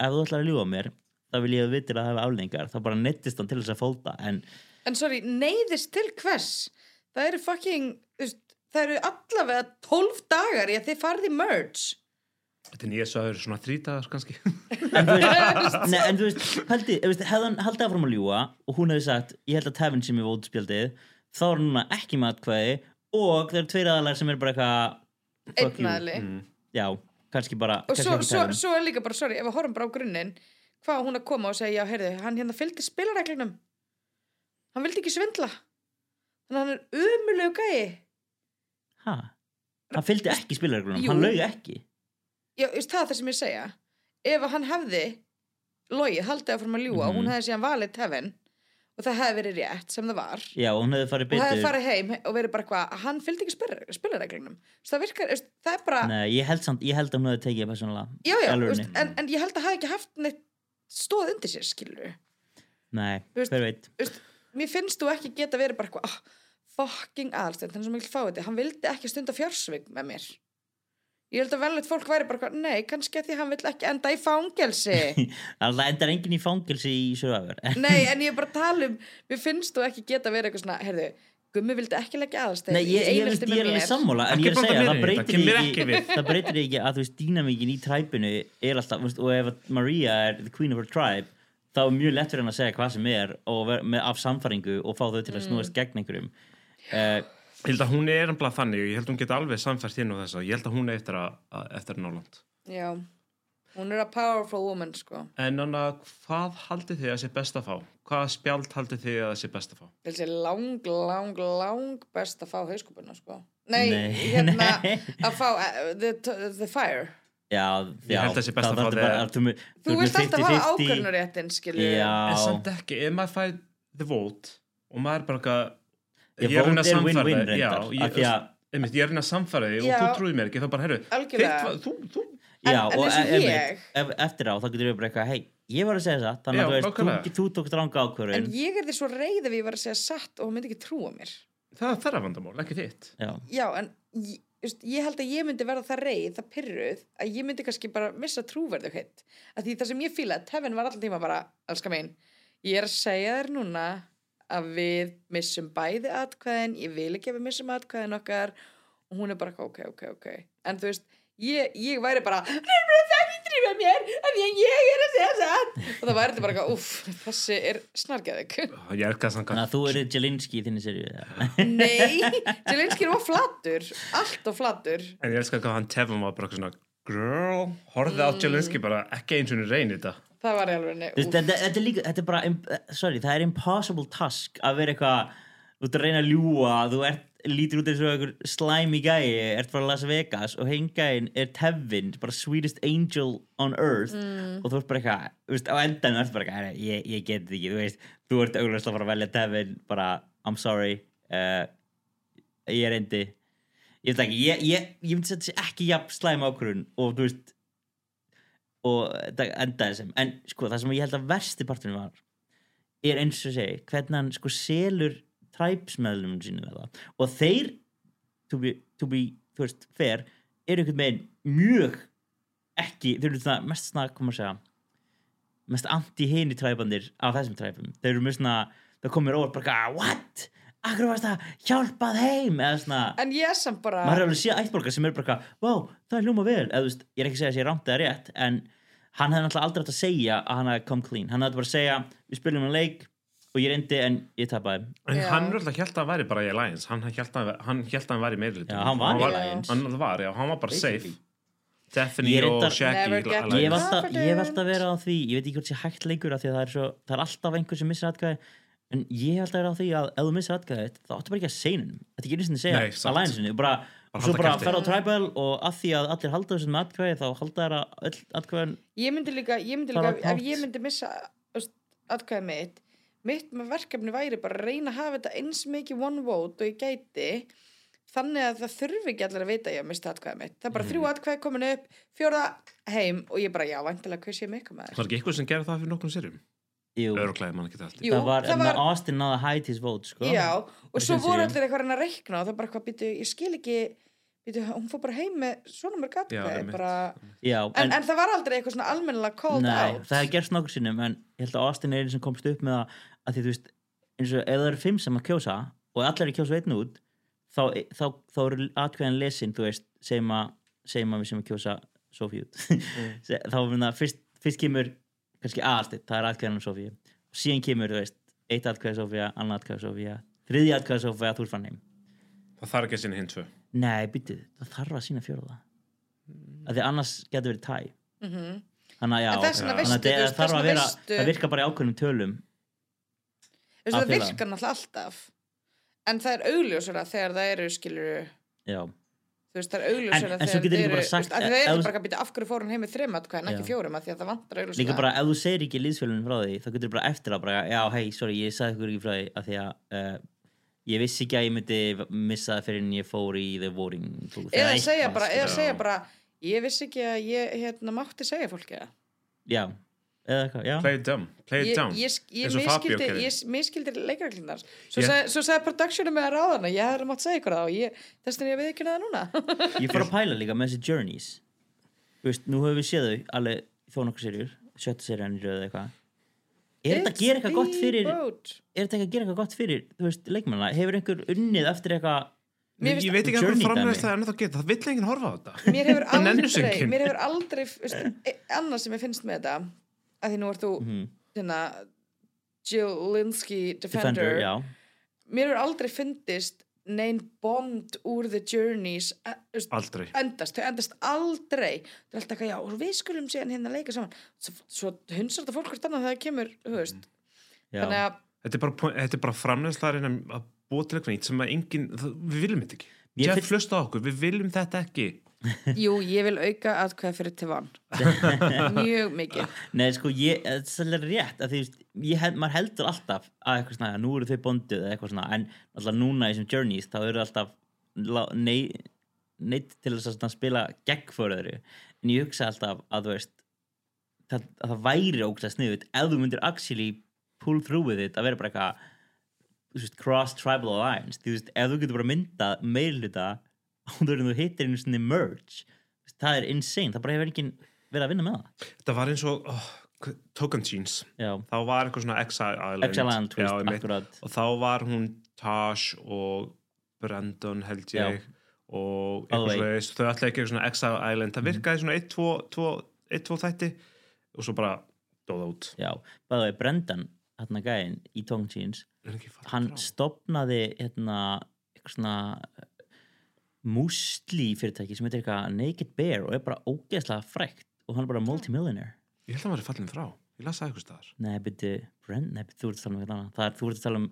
Speaker 1: ef þú ætlar að ljúa mér þá vil ég að þú vitir að það hefur aflengar þá bara nettist hann til þess að fólta en
Speaker 2: En sorry, neyðist til hvers? Það eru fucking, þú veist, það eru allavega 12 dagar í að þið farið í merge.
Speaker 3: Þetta er nýja sögur, svona þrítagar kannski
Speaker 1: en þú veist, nei, en þú veist haldi, þú veist, hefði hann haldið áfram að ljúa og hún hefði sagt, ég held að tefinn sem ég vóti spjaldið þá er hann núna ekki með atkvæði og það eru tveir aðalar sem er bara eitthvað fuck you. Mm.
Speaker 2: Einn aðli.
Speaker 1: já, kannski bara
Speaker 2: og
Speaker 1: kannski
Speaker 2: svo,
Speaker 1: ekki
Speaker 2: svo,
Speaker 1: tala um.
Speaker 2: svo er líka bara, sorry, ef við horfum bara á grunninn hvað á hún að koma og segja, já, heyrðu, hann hérna fylgdi spilareglunum hann vildi ekki svindla þannig að hann er umulegu gæi
Speaker 1: Ha? hann fylgdi ekki spilareglunum,
Speaker 2: Jú.
Speaker 1: hann laug ekki
Speaker 2: já, veist, það er það sem ég segja ef að hann hefði logið, haldið að fórum að ljúa
Speaker 1: Mhm.
Speaker 2: og hún hefði síðan valið tefin og það hefði verið rétt sem það var
Speaker 1: já, og hún hefði farið
Speaker 2: og hefði
Speaker 1: betur
Speaker 2: farið heim og verið bara eitthvað hann fylgdi ekki spil- spilareglunum Þú veist, það virkar, veist, það er bara
Speaker 1: Nei, ég held, samt, ég held að hún hefði tekið það persónulega
Speaker 2: já, já,
Speaker 1: Í alvörunni.
Speaker 2: veist, en, en ég held að hafa ekki haft neitt stóð undir sér, skilur
Speaker 1: Nei,
Speaker 2: Þú veist-
Speaker 1: hver veit
Speaker 2: veist, mér finnst þú ekki geta verið bara eitthvað, oh, fucking aðalstend hann er svo mikil fáið hann vildi ekki stunda fjársvig með mér ég held að velveit fólk væri bara eitthvað, nei, kannski að því hann vill ekki enda í fangelsi
Speaker 1: Það endar enginn í fangelsi í Survivor
Speaker 2: nei, en ég er bara að tala um mér finnst þú ekki geta verið eitthvað svona heyrðu, gummi vildi ekki leggja aðalstend
Speaker 1: Nei, ég, ég, ég, ég er alveg sammála en ég er að
Speaker 3: Ekki
Speaker 1: segja,
Speaker 3: blanda
Speaker 1: það
Speaker 3: mér í
Speaker 1: breytir
Speaker 3: þetta, kemur
Speaker 1: ekki,
Speaker 3: ekki við.
Speaker 1: það breytir ekki að þú veist dýnamíkin í træpinu er alltaf, þú veist, og ef að Maria er the queen of her tribe þá er mjög lett fyrir hann að segja hvað sem er og ver, með, af samfæringu og fá þau til að
Speaker 2: Mm.
Speaker 1: snúast gegn einhverjum uh,
Speaker 3: Ég held að hún er ennbla þannig og ég held að hún geta alveg samfært inn á þessa. Ég held að hún er eftir, að, að- eftir Norland.
Speaker 2: já, hún er a powerful woman sko,
Speaker 3: En Anna, hvað haldið þið að sé best að fá? Hvað spjald haldið þið að sé best að fá?
Speaker 2: þessi lang, lang, lang best að fá hauskupuna sko nei,
Speaker 1: Nei,
Speaker 2: hérna
Speaker 1: nei.
Speaker 2: að fá uh, the, the fire
Speaker 1: Já, já
Speaker 3: held að sé best að fá þig-
Speaker 1: þig
Speaker 2: Þú vilt alltaf hafa ákvörnuréttin, skilju.
Speaker 3: En
Speaker 1: Já,
Speaker 3: samt ekki, ef maður fær the vote og maður er bara eitthvað...
Speaker 1: Ég
Speaker 3: er að reyna
Speaker 1: vote
Speaker 3: að
Speaker 1: er
Speaker 3: sannfæra
Speaker 1: win-win
Speaker 3: þig.
Speaker 1: reyndar,
Speaker 3: Já,
Speaker 1: af því
Speaker 3: ég,
Speaker 1: að-
Speaker 3: einmitt, ég er að reyna að samfæra þig
Speaker 2: Já.
Speaker 3: og þú trúið mér ekki. Það er bara, heyrðu,
Speaker 2: Algjörlega.
Speaker 3: þitt var- þú, þú,
Speaker 1: já,
Speaker 2: en- en
Speaker 1: og
Speaker 2: eins og
Speaker 1: e-
Speaker 2: ég-
Speaker 1: einmitt, ef, eftir á þá getur við bara eitthvað hei, ég var að segja það þannig
Speaker 3: Já,
Speaker 1: að þú veist,
Speaker 3: nákvæmlega.
Speaker 1: þú, þú tók dranga
Speaker 2: En
Speaker 1: ákvörðun
Speaker 2: ég er því svo reið ef ég var að segja satt og hún myndi ekki trúa mér.
Speaker 3: það er þeirra vandamál, ekki þitt.
Speaker 1: Já,
Speaker 2: Já, en ég, just, ég held að ég myndi verða það reið, það pyrruð, að ég myndi kannski bara missa trúverðu hitt. Að því það sem ég fílaði, Tevin var alltaf tíma bara, elska mín, ég er að segja þér núna að við missum bæði atkvæðin, ég vil ekki að við missum atkvæðin okkar og hún er bara, ok, ok, ok. En þú veist, ég, ég væri bara, hann er bara það ekki trýfa mér, af því að ég er að segja satt. Og það væri þetta bara, eitthvað, úff, þessi er snargeðug.
Speaker 3: Ég er ekki
Speaker 1: þannig
Speaker 3: að sanga.
Speaker 1: að þú eru Jelinski í þinni serið
Speaker 2: Nei, Jelinski var flattur Allt og flattur
Speaker 3: En ég elskar hvað hann tefum var bara eitthvað svona Girl, horfið
Speaker 2: Mm.
Speaker 3: á Jelinski bara ekki eins og hún reynir þetta
Speaker 2: Það var í alveg
Speaker 1: Þú veist, þetta, þetta er líka, þetta er bara im- sorry, það er impossible task að vera eitthvað, þú ert að reyna að ljúa þú ert, lítur út eins og einhver slimy gæi, ert frá Las Vegas og hengæin er Tevin, bara sweetest angel on earth og þú ert bara eitthvað, þú veist, á endan ert bara eitthvað, "Herra, ég, ég get þetta ekki, þú veist þú ert auglast að fara að velja Tevin bara, I'm sorry uh, ég er endi ég veit ekki, ég, ég, ég myndi setja sér ekki jafn slæm ákvörðun og þú veist og þetta endaði sem en sko það sem ég held að versti parturinn var er eins og ég segi hvernig hann sko selur træpsmeðlum sínum eða og þeir to be, to be þú veist, fair eru einhvern veginn mjög ekki, þeir eru svona mest svona, koma að segja mest anti-hini træpandir af þessum træpum þeir eru mjög svona, það komir óvart bara eitthvað, what? Akkur varst að hjálpa þeim eða svona
Speaker 2: En ég er samt bara
Speaker 1: maður er alveg síðan ættborgar sem er bara eitthvað, vá, það er hljóma vel eða þú veist, ég er ekki að segja að ég rámt eða rétt en hann hefði náttúrulega aldrei átt að segja að hann hefði come clean, hann hefði bara að segja við spilum um leik og ég reyndi en ég tapaði
Speaker 3: En
Speaker 2: Já.
Speaker 3: hann er alltaf hjælt að hann væri bara í Alliance Hann hjælt að hann, hjælt að hann væri í meirlutum
Speaker 1: Já, hann var í Alliance.
Speaker 3: Hann var, já, hann var bara safe Stephanie
Speaker 1: Ég er
Speaker 3: og
Speaker 1: reyndar-
Speaker 3: Shaggy
Speaker 2: Never
Speaker 3: í
Speaker 2: get
Speaker 3: Alliance.
Speaker 1: ég hef
Speaker 2: var-
Speaker 1: alltaf, ég hef alltaf verið á því ég veit ekki hvort sé hægt lengur af því að það er, svo, það er alltaf einhver sem missir atkvæði en ég hef alltaf verið á því að ef þú missir atkvæði þá áttu bara ekki að segja hennum þetta er ekki einu sinni að segja
Speaker 3: Nei, satt.
Speaker 1: að lænsinu bara,
Speaker 3: Bara
Speaker 1: svo
Speaker 3: halda
Speaker 1: bara
Speaker 3: kjafti.
Speaker 1: ferð á tribal og að því að allir halda þessum atkvæði þá halda þeirra öll atkvæðin
Speaker 2: Ég myndi líka, ég myndi
Speaker 1: Bara
Speaker 2: líka ef
Speaker 1: hátt.
Speaker 2: ég myndi missa öst, atkvæði mitt mitt með verkefni væri bara að reyna að hafa þetta eins mikið one vote og ég gæti þannig að það þurfi ekki allir að vita að ég að mista atkvæði mitt það er bara
Speaker 1: Mhm.
Speaker 2: þrjú atkvæði komin upp, fjórða heim og ég bara, já, vantilega kaus ég mikka með
Speaker 3: Var ekki eitthvað sem gerði það fyrir nokkrum sérum?
Speaker 1: Jú,
Speaker 3: Örglæði mann ekki alltaf
Speaker 2: Jú,
Speaker 1: það var, það var Austin náða hide his vote sko.
Speaker 2: Já, og
Speaker 1: Það
Speaker 2: svo
Speaker 1: finnst
Speaker 2: voru
Speaker 1: ég.
Speaker 2: allir eitthvað að reyna að reikna og það er bara eitthvað, býtu, ég skil ekki býtu, hún fór bara heim með svona mörg atkvæði
Speaker 3: einmitt.
Speaker 2: bara...
Speaker 1: Já,
Speaker 2: en, en það var aldrei eitthvað svona almennilega called
Speaker 1: Nei,
Speaker 2: out
Speaker 1: það hefði gerst nokkur sinnum en ég held að Austin er einu sem komst upp með að, að því þú veist, eins og ef það eru fimm sem að kjósa og allir er að kjósa einn út þá, þá, þá eru atkvæðan lesin þú veist, segjum að segjum að við sem að kjósa Sofíu út
Speaker 2: Mm.
Speaker 1: Se- þá er það fyrst, fyrst kemur kannski aðalstitt, það er atkvæðan um Sofíu síðan kemur, þú veist, eitt atkvæði Sofía annar atkvæði Sofía, þriði atkvæði Sofía þú er fann heim.
Speaker 3: Það þarf ekki að sinna hinn tvö
Speaker 1: Nei, býttu, það þarf að sína fjórða að því annars getur verið tæ þannig að já
Speaker 2: Mhm. En þess vegna
Speaker 1: þannig að
Speaker 2: veistu,
Speaker 1: það-
Speaker 2: þú
Speaker 1: það þarf
Speaker 2: veist,
Speaker 1: að
Speaker 2: þess vegna
Speaker 1: vera
Speaker 2: veistu-
Speaker 1: það virka bara í ákveðnum tölum
Speaker 2: Þú veist,
Speaker 1: Að
Speaker 2: það
Speaker 1: fela.
Speaker 2: virkar náttúrulega alltaf en það er augljósara þegar það eru skiluru
Speaker 1: já,
Speaker 2: þú veist, það er augljósara
Speaker 1: En- en svo
Speaker 2: þegar
Speaker 1: getur
Speaker 2: það
Speaker 1: líka
Speaker 2: eru
Speaker 1: bara sagt- e-
Speaker 2: sagt, að það
Speaker 1: ef-
Speaker 2: er
Speaker 1: ef-
Speaker 2: bara að býta af hverju fór hún heim með þrema atkvæðan, ekki
Speaker 1: Já.
Speaker 2: fjórum að því að það vantar augljósara
Speaker 1: líka bara ef þú segir ekki liðsfjölunum frá því þá getur þú bara eftir að bara já hei, sorry, ég sagði ykkur ekki frá því að því að uh, ég vissi ekki að ég myndi missa það fyrir en ég fór í the voting booth
Speaker 2: eða
Speaker 1: eitthvað,
Speaker 2: segja bara, eða
Speaker 1: skilurðu.
Speaker 2: segja bara ég vissi ekki að ég hérna, mátti segja fólki það
Speaker 1: já, eða eitthvað, já
Speaker 3: Play it down, play it
Speaker 2: ég,
Speaker 3: down
Speaker 2: ég, ég,
Speaker 3: Eins og Fabio
Speaker 2: miskildi,
Speaker 3: gerði.
Speaker 2: ég miskildi leikreglunar svo,
Speaker 3: Ég-
Speaker 2: yeah. svo sagði productionum með að ráðana ég hefði mátt segja ykkur það og ég, þess vegna er ég við ekki það núna
Speaker 1: ég fór að pæla líka með þessi journeys þú veist, nú höfum við séð þau alveg þó nokkur serjur, sjötta serjan í röð eða eitthvað er þetta að gera eitthvað gott fyrir er
Speaker 2: boat.
Speaker 1: þetta að gera eitthvað gott fyrir, þú veist, leikmennina hefur einhver unnið eftir eitthvað
Speaker 3: Ég, ég veit ekki að hvað
Speaker 1: Journey
Speaker 3: framlegst
Speaker 1: dæmi.
Speaker 3: það er ennþá að geta, það vill enginn horfa á þetta
Speaker 2: mér hefur
Speaker 3: Það nennir sig
Speaker 2: aldrei,
Speaker 3: ekki.
Speaker 2: mér hefur aldrei veist, e- annað sem ég finnst með þetta að því nú ert þú
Speaker 1: Mhm.
Speaker 2: hérna, Jilinski Defender,
Speaker 1: Defender, já
Speaker 2: mér hefur aldrei fundist neinn bond úr The Journeys eh, veist,
Speaker 3: Aldrei
Speaker 2: endast, þau endast aldrei þau er alltaf eitthvað, já, og við skulum síðan hérna leika saman svo, svo hunsar þetta fólk hvort annað þegar það kemur, þú veist þannig
Speaker 1: Já.
Speaker 2: að,
Speaker 3: Þetta er bara, point- þetta er bara framlegst það er að búa til eitthvað nýtt sem að enginn, það- við viljum þetta ekki
Speaker 1: Ég
Speaker 3: Jeff
Speaker 1: finn-
Speaker 3: hlusta á okkur, við viljum þetta ekki
Speaker 2: jú, ég vil auka að hvað fyrir Tivan mjög mikið,
Speaker 1: Nei, sko, ég, það er rétt að því, þú veist, ég, held- maður heldur alltaf að eitthvað svona, að nú eru þau bondið eða eitthvað svona, en alltaf núna í þessum journeys þá eru alltaf lá- nei- neitt til þess að svona spila gegn fyrir þeirri, en ég hugsa alltaf að þú veist, það, að það væri ógst að sniðut ef þú myndir actually pull through with it, að vera bara eitthvað þú veist, cross tribal alliance því, þú veist, ef þú getur bara myndað meirluta áður en þú hittir einu svona merge, þú veist, það er insane það bara hefur enginn verið að vinna með það
Speaker 3: Þetta var eins og oh, Token Jeans
Speaker 1: Já.
Speaker 3: þá var eitthvað svona Exile
Speaker 1: Exile-Island twist,
Speaker 3: Já, einmitt.
Speaker 1: akkurat.
Speaker 3: og þá var hún Tash og Brandon held ég og
Speaker 1: All the
Speaker 3: eitthvað
Speaker 1: way.
Speaker 3: svona, þau ætlaði ekki svona Exile Island
Speaker 1: Mhm.
Speaker 3: það virkaði svona 1-2 þætti og svo bara dóða út
Speaker 1: Já, bæðið við Brendan hérna gæðin í Tongue Jeans
Speaker 3: Er hann ekki farinn
Speaker 1: hann
Speaker 3: frá?
Speaker 1: stopnaði hérna eitthvað svona eh, músli fyrirtæki sem heitir eitthvað Naked Bear og er bara ógeðslega frækt og hann er bara multimillionaire
Speaker 3: ég held að hann var fallin frá, ég lasa eitthvað staðar
Speaker 1: Nei, byrju, Brent, nei, byrju, þú ert að tala um eitthvað annað það er, þú ert að tala um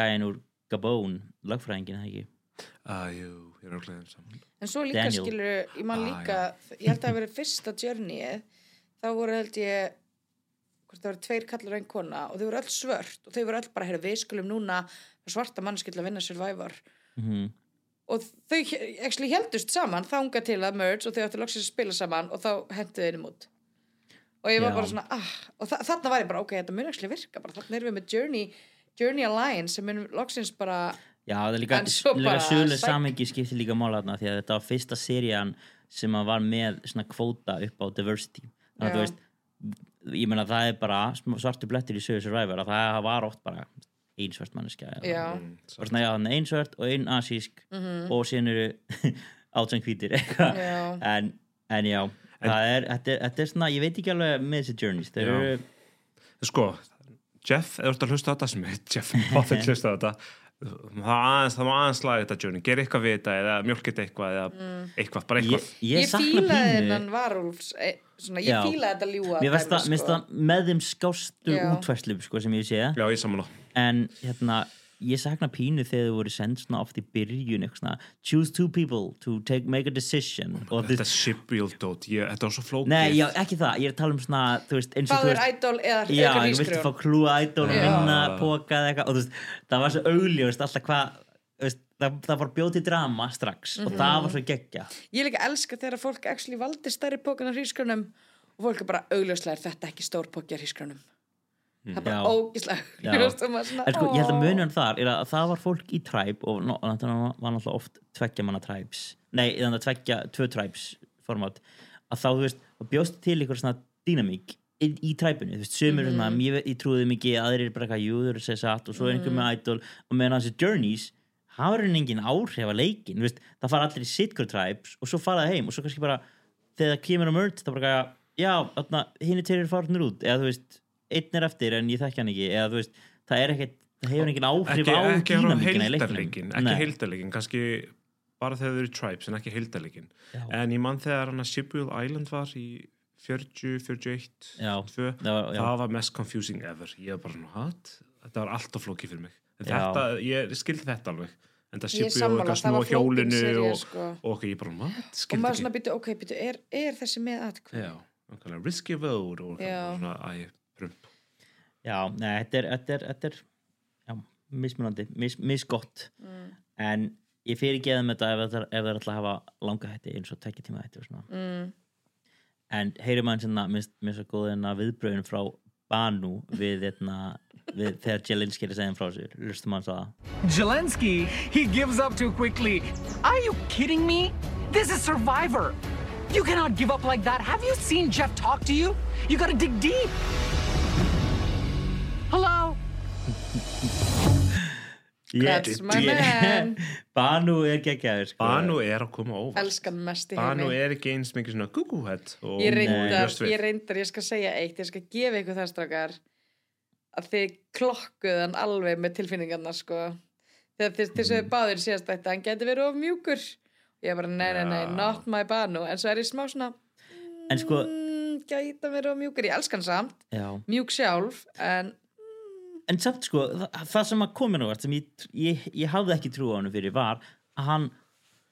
Speaker 1: gæðin úr Gabón, lagfræðingin, það ekki
Speaker 3: aðjú, ég er okkur leðin saman
Speaker 2: en svo líka
Speaker 1: Daniel.
Speaker 2: skilur ég man
Speaker 3: Ah,
Speaker 2: líka, ég held að það hafi verið fyrsta journeyið, þá voru held ég hvort það voru tveir kallar og ein kona og þau voru öll svört og þau voru öll bara, heyrðu, við skulum núna fá svarta mannskill að vinna survivor
Speaker 1: Mhm.
Speaker 2: og þau he- actually heldust saman þanga til að merge og þau áttu loksins að spila saman og þá hentu þau einum út og ég var
Speaker 1: Já.
Speaker 2: bara svona ah, og þa þarna var ég bara, ok, þetta mun actually virka bara, þarna erum við með Journey, Journey Alliance sem mun loksins bara
Speaker 1: Já, það er líka,
Speaker 2: En svo
Speaker 1: líka
Speaker 2: bara-
Speaker 1: söguleg
Speaker 2: Sæk.
Speaker 1: samengi skiptir líka mála þarna því að þetta var fyrsta serían sem að var með svona kvóta upp á diversity þannig að
Speaker 2: Já.
Speaker 1: þú veist, ég meina það er bara sm- svartur blettur í sögur survivor að það var oft bara ein svört manneskja eða-
Speaker 2: já, Mhm.
Speaker 1: bara svona, já, þannig ein svört og ein asísk og síðan eru átján hvítir
Speaker 2: Já.
Speaker 1: en, en já það er, þetta, er, þetta er svona, ég veit ekki alveg með þessi journeys, þeir
Speaker 3: Já.
Speaker 1: eru
Speaker 3: sko, Jeff, ef þú ert að hlusta á þetta sem heit Jeff
Speaker 1: Mhm.
Speaker 3: Moffat hlusta á þetta það má aðeins, það má aðeins laga þetta Johnny, gera eitthvað við þetta eða mjölkið eitthvað eða eitthvað, bara
Speaker 1: ég,
Speaker 3: eitthvað
Speaker 1: ég,
Speaker 2: ég,
Speaker 1: sakna
Speaker 2: fílaði
Speaker 1: pínu-
Speaker 2: þennan varúlfs e, svona, ég
Speaker 1: Já.
Speaker 2: fílaði þetta ljúa
Speaker 1: Mér finnst
Speaker 2: dæmi,
Speaker 1: það, mér finnst það með þeim skástu
Speaker 2: sko. Já.
Speaker 1: útfærslum sko, sem ég sé
Speaker 3: já, ég saman á
Speaker 1: en hérna ég sakna pínu þegar þau voru send svona oft í byrjun eitthvað svona choose two people to take, make a decision og
Speaker 3: þetta
Speaker 1: þú
Speaker 3: shipwheel dot, ég, þetta var svo flókið
Speaker 1: Nei, já, ekki það, ég er að tala um svona, þú veist, eins og þú
Speaker 2: Báður
Speaker 1: veist
Speaker 2: idol eða
Speaker 1: Já,
Speaker 2: eitthvað
Speaker 1: ég viltu fá
Speaker 2: nýskrifun
Speaker 1: klúa ædól og
Speaker 2: Já.
Speaker 1: minna póka eða eitthvað og þú veist, það var svo augljóðist alltaf hvað þú veist, það, það var bjóti drama strax
Speaker 2: Mhm.
Speaker 1: og það var svo geggja
Speaker 2: Ég líka elska þegar fólk actually valdi stærri pókan á hrískrunum og fólk er bara augljóslega er þetta ekki stór póki á hrískrunum Það er
Speaker 1: Mm, Já.
Speaker 2: bara ógislega augljóst og maður svona,
Speaker 1: en sko, ég held að
Speaker 2: "Ó."
Speaker 1: munum þar er að það var fólk í træb og ná- náttúrulega var náttúrulega oft tveggja manna træbs nei, þannig að tveggja, tvö træbs format, að þá, þú veist, þá bjóst til ykkur svona dýnamík í, í træbunni, þú veist, sömur mm -hmm. svona ég, ég trúði mikið, aðrir er bara eitthvað, jú, þau eru að segja satt og svo er einhver með idol og meðan þessi journeys, hafa hann engin áhrif að leikin, þú veist, það fara allir í sitkur træbs og svo fara það heim og svo kannski bara þegar það kemur á mörd, það bara eitthvað, já, þarna, hinn er teirir farnir út eða þú veist, einn er eftir en ég þekki hann ekki eða þú veist, það er ekkert það hefur engin áhrif
Speaker 3: ekki,
Speaker 1: á
Speaker 3: ekki á
Speaker 1: dýnamíkina í leiknum
Speaker 3: heildarleikin ekki
Speaker 1: Nei.
Speaker 3: heildarleikin, kannski bara þegar þau eru tribes en ekki heildarleikin en ég mann þegar hann að Shibuel Island var í 40, 41
Speaker 1: Já.
Speaker 3: 2,
Speaker 1: Það var- já.
Speaker 3: það var mest confusing ever ég var bara svona, what? Þetta var alltaf flókið fyrir mig En
Speaker 1: Já.
Speaker 3: þetta, ég skildi þetta alveg en það
Speaker 2: Ég er
Speaker 3: Shibuel
Speaker 2: sammála,
Speaker 3: og
Speaker 2: það
Speaker 3: snúa
Speaker 2: var flókin
Speaker 3: hjólinu
Speaker 2: sería,
Speaker 3: og,
Speaker 2: sko.
Speaker 3: og ok, ég bara, what?
Speaker 2: og
Speaker 3: Skildi
Speaker 2: maður svona býtu, ok, býtu, er, er þessi með atkvæm?
Speaker 3: Já, okkarlega, risky road og
Speaker 2: Já.
Speaker 3: svona, æ, prump
Speaker 1: Já, nei, þetta er, þetta er, þetta er já, mismunandi, mis, misgott en ég fyrir geðum þetta ef það er alltaf að hafa langa hætti eins og tekja tíma hætti og svona mm. en heyri maður sinna minnst mér svo góð en að viðbröðin frá Banu við, etna, við þegar Jelinski er að segja þeim frá sér lustum hans að
Speaker 9: Zelensky, he gives up too quickly. Are you kidding me? This is Survivor. You cannot give up like that. Have you seen Jeff talk to you? You gotta dig deep. Hello?
Speaker 2: That's my man.
Speaker 1: Banu er geggjaður sko.
Speaker 3: Banu er að koma óvart
Speaker 2: Elskan mest í
Speaker 3: Banu
Speaker 2: heimi.
Speaker 3: er ekki eins mikið svona gugguhett og
Speaker 2: Ég reyndar,
Speaker 3: bjóst við.
Speaker 2: ég reyndar, ég skal segja eitt, ég skal gefa ykkur það strákar að þið klokkuðu hann alveg með tilfinningarna, sko. Þegar þið, þið
Speaker 1: Mm.
Speaker 2: sögðu báðir síðast þetta, hann geti verið of mjúkur. Ég bara, nei, nei, nei,
Speaker 3: Já.
Speaker 2: not my banu. En svo er ég smá svona,
Speaker 1: en sko,
Speaker 2: mm, gæta verið of mjúkur. Ég elskan samt,
Speaker 1: já
Speaker 2: mjúk sjálf, en
Speaker 1: en samt sko, það, það sem að komin ávart sem ég, ég, ég hafði ekki trú á hann fyrir var að hann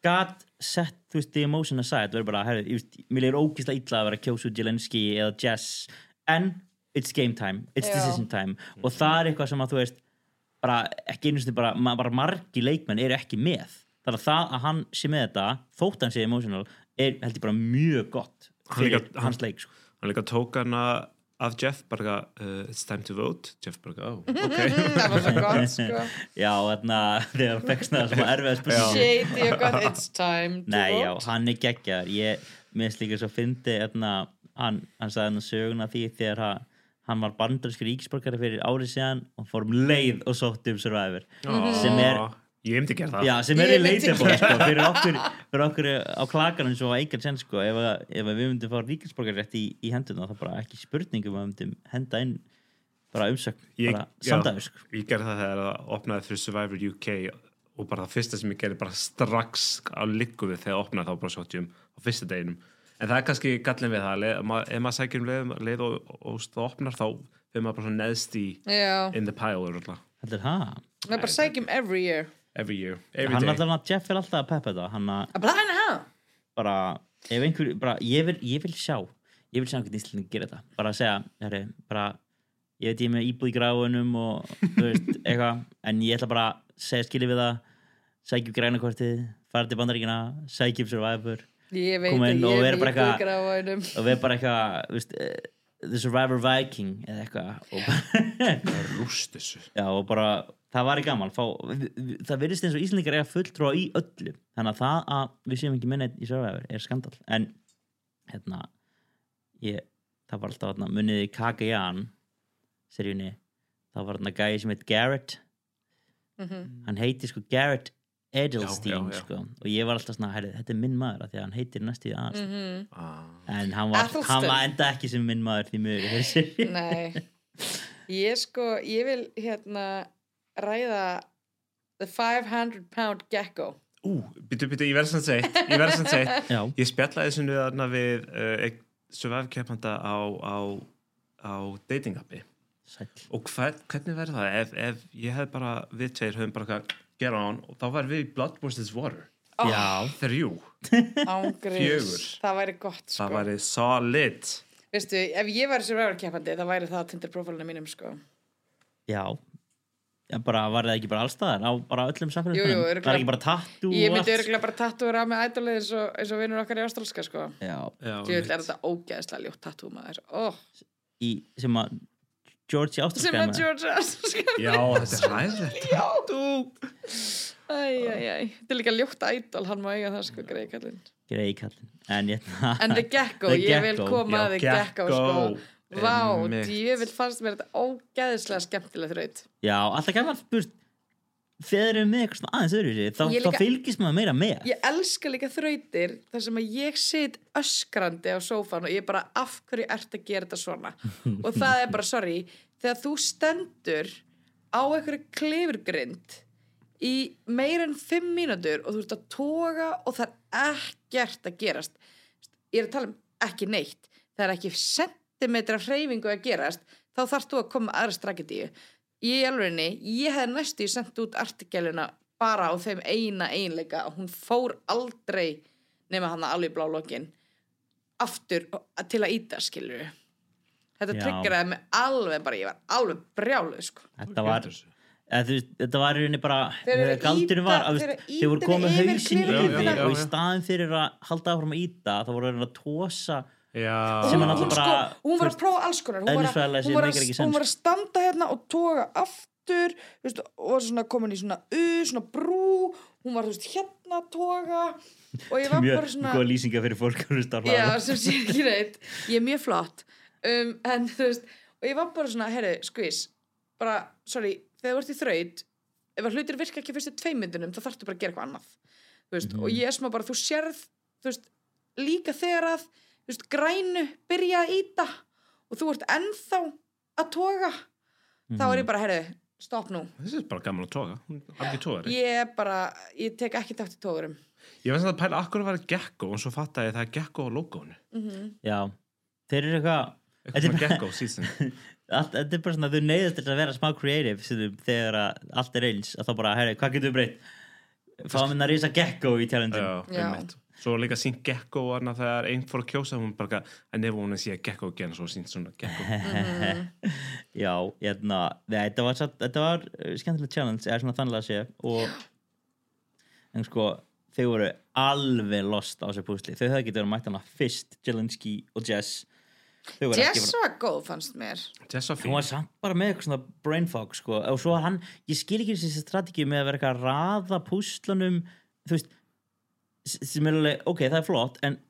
Speaker 1: gat sett, þú veist, the emotion aside verið bara, herri, ég veist, mér er ógislega illa að vera að kjósu Jelenski eða Jess en it's game time, it's
Speaker 2: Já.
Speaker 1: decision time og það er eitthvað sem að þú veist bara, ekki einu sinni bara, ma bara margi leikmenn eru ekki með þannig að það að hann sé með þetta, þótt hann sé emotional er, held ég bara, mjög gott
Speaker 3: Hann
Speaker 1: fyrir
Speaker 3: líka-
Speaker 1: hans leik sko.
Speaker 3: hann líka tók hana af Jeff bara uh, it's time to vote Jeff bara, oh, ok
Speaker 2: það var svo gott, sko.
Speaker 1: já, þarna, þegar feksna það sem að erfiða spurning
Speaker 2: Shady og gott, it's time to
Speaker 1: Nei, já,
Speaker 2: vote.
Speaker 1: hann er geggjar ég minnst líka svo fyndi hérna, hann, hann sagði hann söguna af því þegar hann, hann var bandarískur ríkisborgari fyrir árið síðan og fór um leið og sótti um Survivor sem er,
Speaker 3: ég hefndi gert það
Speaker 1: já, sem er í
Speaker 2: Ég myndi
Speaker 1: leitjabóð sko, fyrir, okkur, fyrir okkur á klakanum sem var eigan sen sko, ef, að- ef að við myndum fá ríkisborgari rétt í, í henduna þá bara ekki spurningum að við myndum henda inn bara umsögn,
Speaker 3: ég,
Speaker 1: bara samdægur sko.
Speaker 3: ég gerði það þegar það opnaði fyrir Survivor UK og bara það fyrsta sem ég gerði bara strax á likkuðu þegar það opnaði þá bara sjóttjum á fyrsta deginum en það er kannski gallin við það leið, ma- ef maður sækir um leið, leið og, og, og það opnar þá fyrir maður bara svona neðst í
Speaker 2: Já,
Speaker 3: in the pile örugglega.
Speaker 1: Þetta er það
Speaker 2: það er bara sækjum every year.
Speaker 3: every year, every
Speaker 1: Hann
Speaker 3: day
Speaker 1: alltaf að Jeff er alltaf að peppa þetta hann að
Speaker 2: Að blæna hann.
Speaker 1: bara, ef einhver, bara ég, vil, ég vil sjá ég vil sjá hvernig Íslandingi gera þetta bara að segja, herri, bara ég veit ég er með íbúð í gráunum og þú veist, eitthvað, en ég ætla bara að segja skilið við það, sækjum grænakortið fara til bandaríkina, sækjum Survivor
Speaker 2: Ég veit
Speaker 1: Koma
Speaker 2: að
Speaker 1: inn og
Speaker 2: ég
Speaker 1: vera
Speaker 2: er
Speaker 1: bara
Speaker 2: mjúkur
Speaker 1: eitthvað-
Speaker 2: á einum.
Speaker 1: og við bara eitthvað, þú veist eh, The Survivor Viking eða eitthvað og bara,
Speaker 3: rúst þessu
Speaker 1: já, og bara það var í gaman, fá, það virðist eins og Íslandingar eiga fulltrúa í öllu þannig að það að við séum ekki minni í Survivor er skandal, en hérna ég, það var alltaf hérna, muniði Kakajan seríunni, það var hérna gæði sem heit Garrett hann heiti sko Garrett Edelstein
Speaker 3: Já, já, já.
Speaker 1: Sko, og ég var alltaf svona, herri, þetta er minn maður af því að hann heitir næstu í aðeins
Speaker 3: ah.
Speaker 1: en hann var,
Speaker 2: Adelstein.
Speaker 1: hann var enda ekki sem minn maður því mjög í þessi seríu.
Speaker 2: Nei, ég sko, ég vil hérna ræða The 500 Pound Gecko.
Speaker 3: Ú, býtu, býtu, ég verði sann seitt, ég verði sann seitt.
Speaker 1: já,
Speaker 3: Ég spjallaði þessu nöðarna við uh, einn survive-keppanda á, á, á dating-appi
Speaker 1: sæll
Speaker 3: og hver, hvernig verður það ef, ef ég hef bara, við tveir höfum bara eitthvað, get on og þá verður við í Blood vs. Water.
Speaker 1: já,
Speaker 3: Þrjú.
Speaker 2: Ángriðs.
Speaker 3: Fjögur.
Speaker 2: Oh, Það væri gott, sko.
Speaker 3: Það væri solid.
Speaker 2: Veistu, ef ég væri survivor keppandi, það væri það á Tinder profilinu mínum, sko.
Speaker 1: já En bara var það ekki bara allstaðar á bara öllum samfélagsmiðlum?
Speaker 2: Jú, jú,
Speaker 1: var
Speaker 2: örugglega.
Speaker 1: ekki bara tattoo
Speaker 2: Ég
Speaker 1: og
Speaker 2: myndi
Speaker 1: allt?
Speaker 2: örgulega bara tattúra á mig ædolið eins og, eins og vinnur okkar í ástralska, sko.
Speaker 1: já,
Speaker 3: Já,
Speaker 2: Ég vil er
Speaker 3: mitt.
Speaker 2: þetta ógeðslega ljótt tattú maður. Ó,
Speaker 1: í, sem að George
Speaker 2: sem
Speaker 1: Ástralska
Speaker 2: að George sko. ástralska.
Speaker 3: Já, þetta er ræðilegt. Já. Þú.
Speaker 2: Æj, æj, æj. Þetta er líka ljótt ædol, hann má eiga það, sko, greið kallinn.
Speaker 1: greið kallin en, hérna,
Speaker 2: En The Gecko,
Speaker 1: The
Speaker 2: ég vil
Speaker 1: Gecko,
Speaker 2: koma
Speaker 3: já,
Speaker 2: að The Gecko,
Speaker 3: Gecko,
Speaker 2: sko Vá,
Speaker 3: einmitt.
Speaker 2: djöfitt fannst mér þetta ógæðislega skemmtilega þraut
Speaker 1: já, alltaf kannan spurt þegar erum með eitthvað svona aðeins öðru þá,
Speaker 2: Ég líka-
Speaker 1: þá fylgist maður meira með
Speaker 2: Ég elska líka þrautir þar sem að ég sit öskrandi á sófan og ég bara, af hverju ert að gera þetta svona? og það er bara, sorry þegar þú stendur á einhverju klifurgrind í meir en fimm mínútur og þú ert að toga og það er ekkert að gerast ég er að tala um ekki neitt það er ekki sentimetra hreyfingu að gerast þá þarfst þú að koma með aðra strategíu ég alveginni, ég hef næstu sendt út artikelina bara á þeim eina einleika og hún fór aldrei nema hann alveg í blá lokin aftur til að íta skilur þetta
Speaker 1: Já.
Speaker 2: tryggeraði mig alveg bara, ég var alveg brjáluð sko.
Speaker 1: Þetta var eða, þú, veist, þetta var í rauninni bara
Speaker 2: Þeir eru að
Speaker 1: galdurinn var
Speaker 2: ýta-
Speaker 1: að, þú
Speaker 2: þeir
Speaker 1: veist,
Speaker 2: eru að
Speaker 1: þeir voru
Speaker 2: ýta
Speaker 1: komið
Speaker 2: henni yfir
Speaker 1: hausinn
Speaker 2: hverfið.
Speaker 1: yfir
Speaker 3: Já, já,
Speaker 1: og í
Speaker 3: já.
Speaker 1: staðin fyrir að halda áfram að íta þá voru þeir að tósa
Speaker 3: Já.
Speaker 1: Sem
Speaker 2: hún,
Speaker 1: hann alltaf
Speaker 2: hún, sko,
Speaker 1: bara-
Speaker 2: hún var
Speaker 1: þú
Speaker 2: að prófa alls konar hún var, að,
Speaker 1: eðlisfræðilega
Speaker 2: hún,
Speaker 1: séð
Speaker 2: var
Speaker 1: meikar
Speaker 2: að,
Speaker 1: ekki sens.
Speaker 2: hún var að standa hérna og toga aftur þú veist, og var svona komin í svona u, svona brú hún var þú veist, hérna að toga og ég var
Speaker 1: mjög
Speaker 2: bara svona
Speaker 1: góða lýsinga fyrir fólk að hlusta á
Speaker 2: já,
Speaker 1: hlaðvarp.
Speaker 2: sem sé ekki neitt ég er mjög flott um, en þú veist, og ég var bara svona herri, skvís, bara, sorry þegar þú ert í þraut ef að hlutir virka ekki fyrstu tveimyndunum, þá þarftu bara að gera eitthvað annað þú veist, og ég er smá bara, þú sérð þú veist, líka þegar að þú veist, grænu byrja að íta og þú ert ennþá að toga þá er ég bara, herri, stopp nú
Speaker 3: Þessi er bara gaman að toga. Hún er alveg togari.
Speaker 2: ég er bara, ég tek ekki takt í tógurum
Speaker 3: Ég veist að pæla akkur að vera gekko og svo fatta ég að það er gekko á logoinu.
Speaker 1: já, þeir eru eitthvað
Speaker 3: Eitthvað
Speaker 1: Þetta er
Speaker 3: svona
Speaker 1: bara-
Speaker 3: gekko season.
Speaker 1: allt, þetta er bara svona, þau neyðast til að vera smá creative stundum, þegar að allt er eins að þá bara, herri, hvað getum við breytt fáum við að risa gecko í challenge
Speaker 3: Já,
Speaker 2: Já.
Speaker 3: einmitt. Svo líka sínt gekko og annað þegar einn fór að kjósa hún bara eitthvað, að nefn hún að sé gekko again svo sínt svona gekko.
Speaker 1: já, hérna, nei, þetta var, satt- þetta var uh, skemmtileg challenge, eða svona þannlega sé og en sko, þau voru alveg lost á þessu púsli, þau hefðu getið verið mætt hana fyrst, Jelinski og Jess Þau voru ekki
Speaker 2: Jess var góð, fannst mér
Speaker 3: Jessa
Speaker 1: hún
Speaker 3: fín.
Speaker 1: var samt bara með eitthvað svona brain fog sko. og svo var hann, ég skil ekki þessi strategið með að vera eitthvað að raða púslanum þú veist s- sem er alveg, ok, það er flott en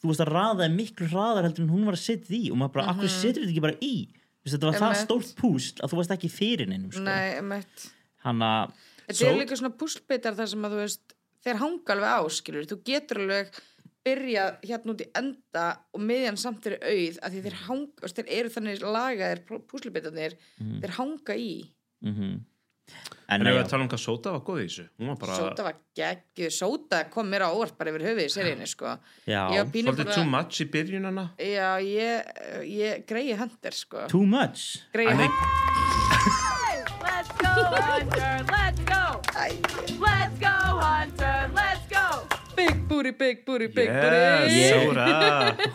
Speaker 1: þú veist að raða er miklu raðar heldur en hún var að setja því og maður bara, akkur setur þetta ekki bara í Þú veist, þetta var það
Speaker 2: Mhm. Einmitt.
Speaker 1: stórt púsl að þú varst ekki fyrir neinum sko.
Speaker 2: nei, meitt
Speaker 1: hann að,
Speaker 2: Þetta
Speaker 3: Svo-
Speaker 2: eru líka svona púslbitar þar sem að þú veist þeir hanga alveg á, skilur, þú getur alveg byrjað hérna út í enda og miðjan samt eru auð að því
Speaker 1: Mm.
Speaker 2: þeir hanga, þú veist, þeir eru þannig lagaðir púslbitarnir,
Speaker 1: Mm.
Speaker 2: þeir hanga í
Speaker 1: mhm. en,
Speaker 3: En
Speaker 1: nei,
Speaker 3: ef við
Speaker 1: já,
Speaker 3: tala um hvað Sota var góð í þessu. Hún var bara
Speaker 2: Sóta var geggjuð, sóta kom mér á óvart bara yfir höfuð í seríunni, sko
Speaker 1: já,
Speaker 2: Ég var pínu
Speaker 3: svolítið
Speaker 2: bara-
Speaker 3: too much í byrjunana.
Speaker 2: Já, ég, ég greiði hendir, sko
Speaker 1: too much
Speaker 2: Greiði
Speaker 3: Hann er-
Speaker 2: hendir
Speaker 4: Let's go, Hunter. Let's go. Let's go, Hunter. Let's go.
Speaker 2: Big booty, big booty, big
Speaker 3: Yes,
Speaker 2: booty
Speaker 3: Sora.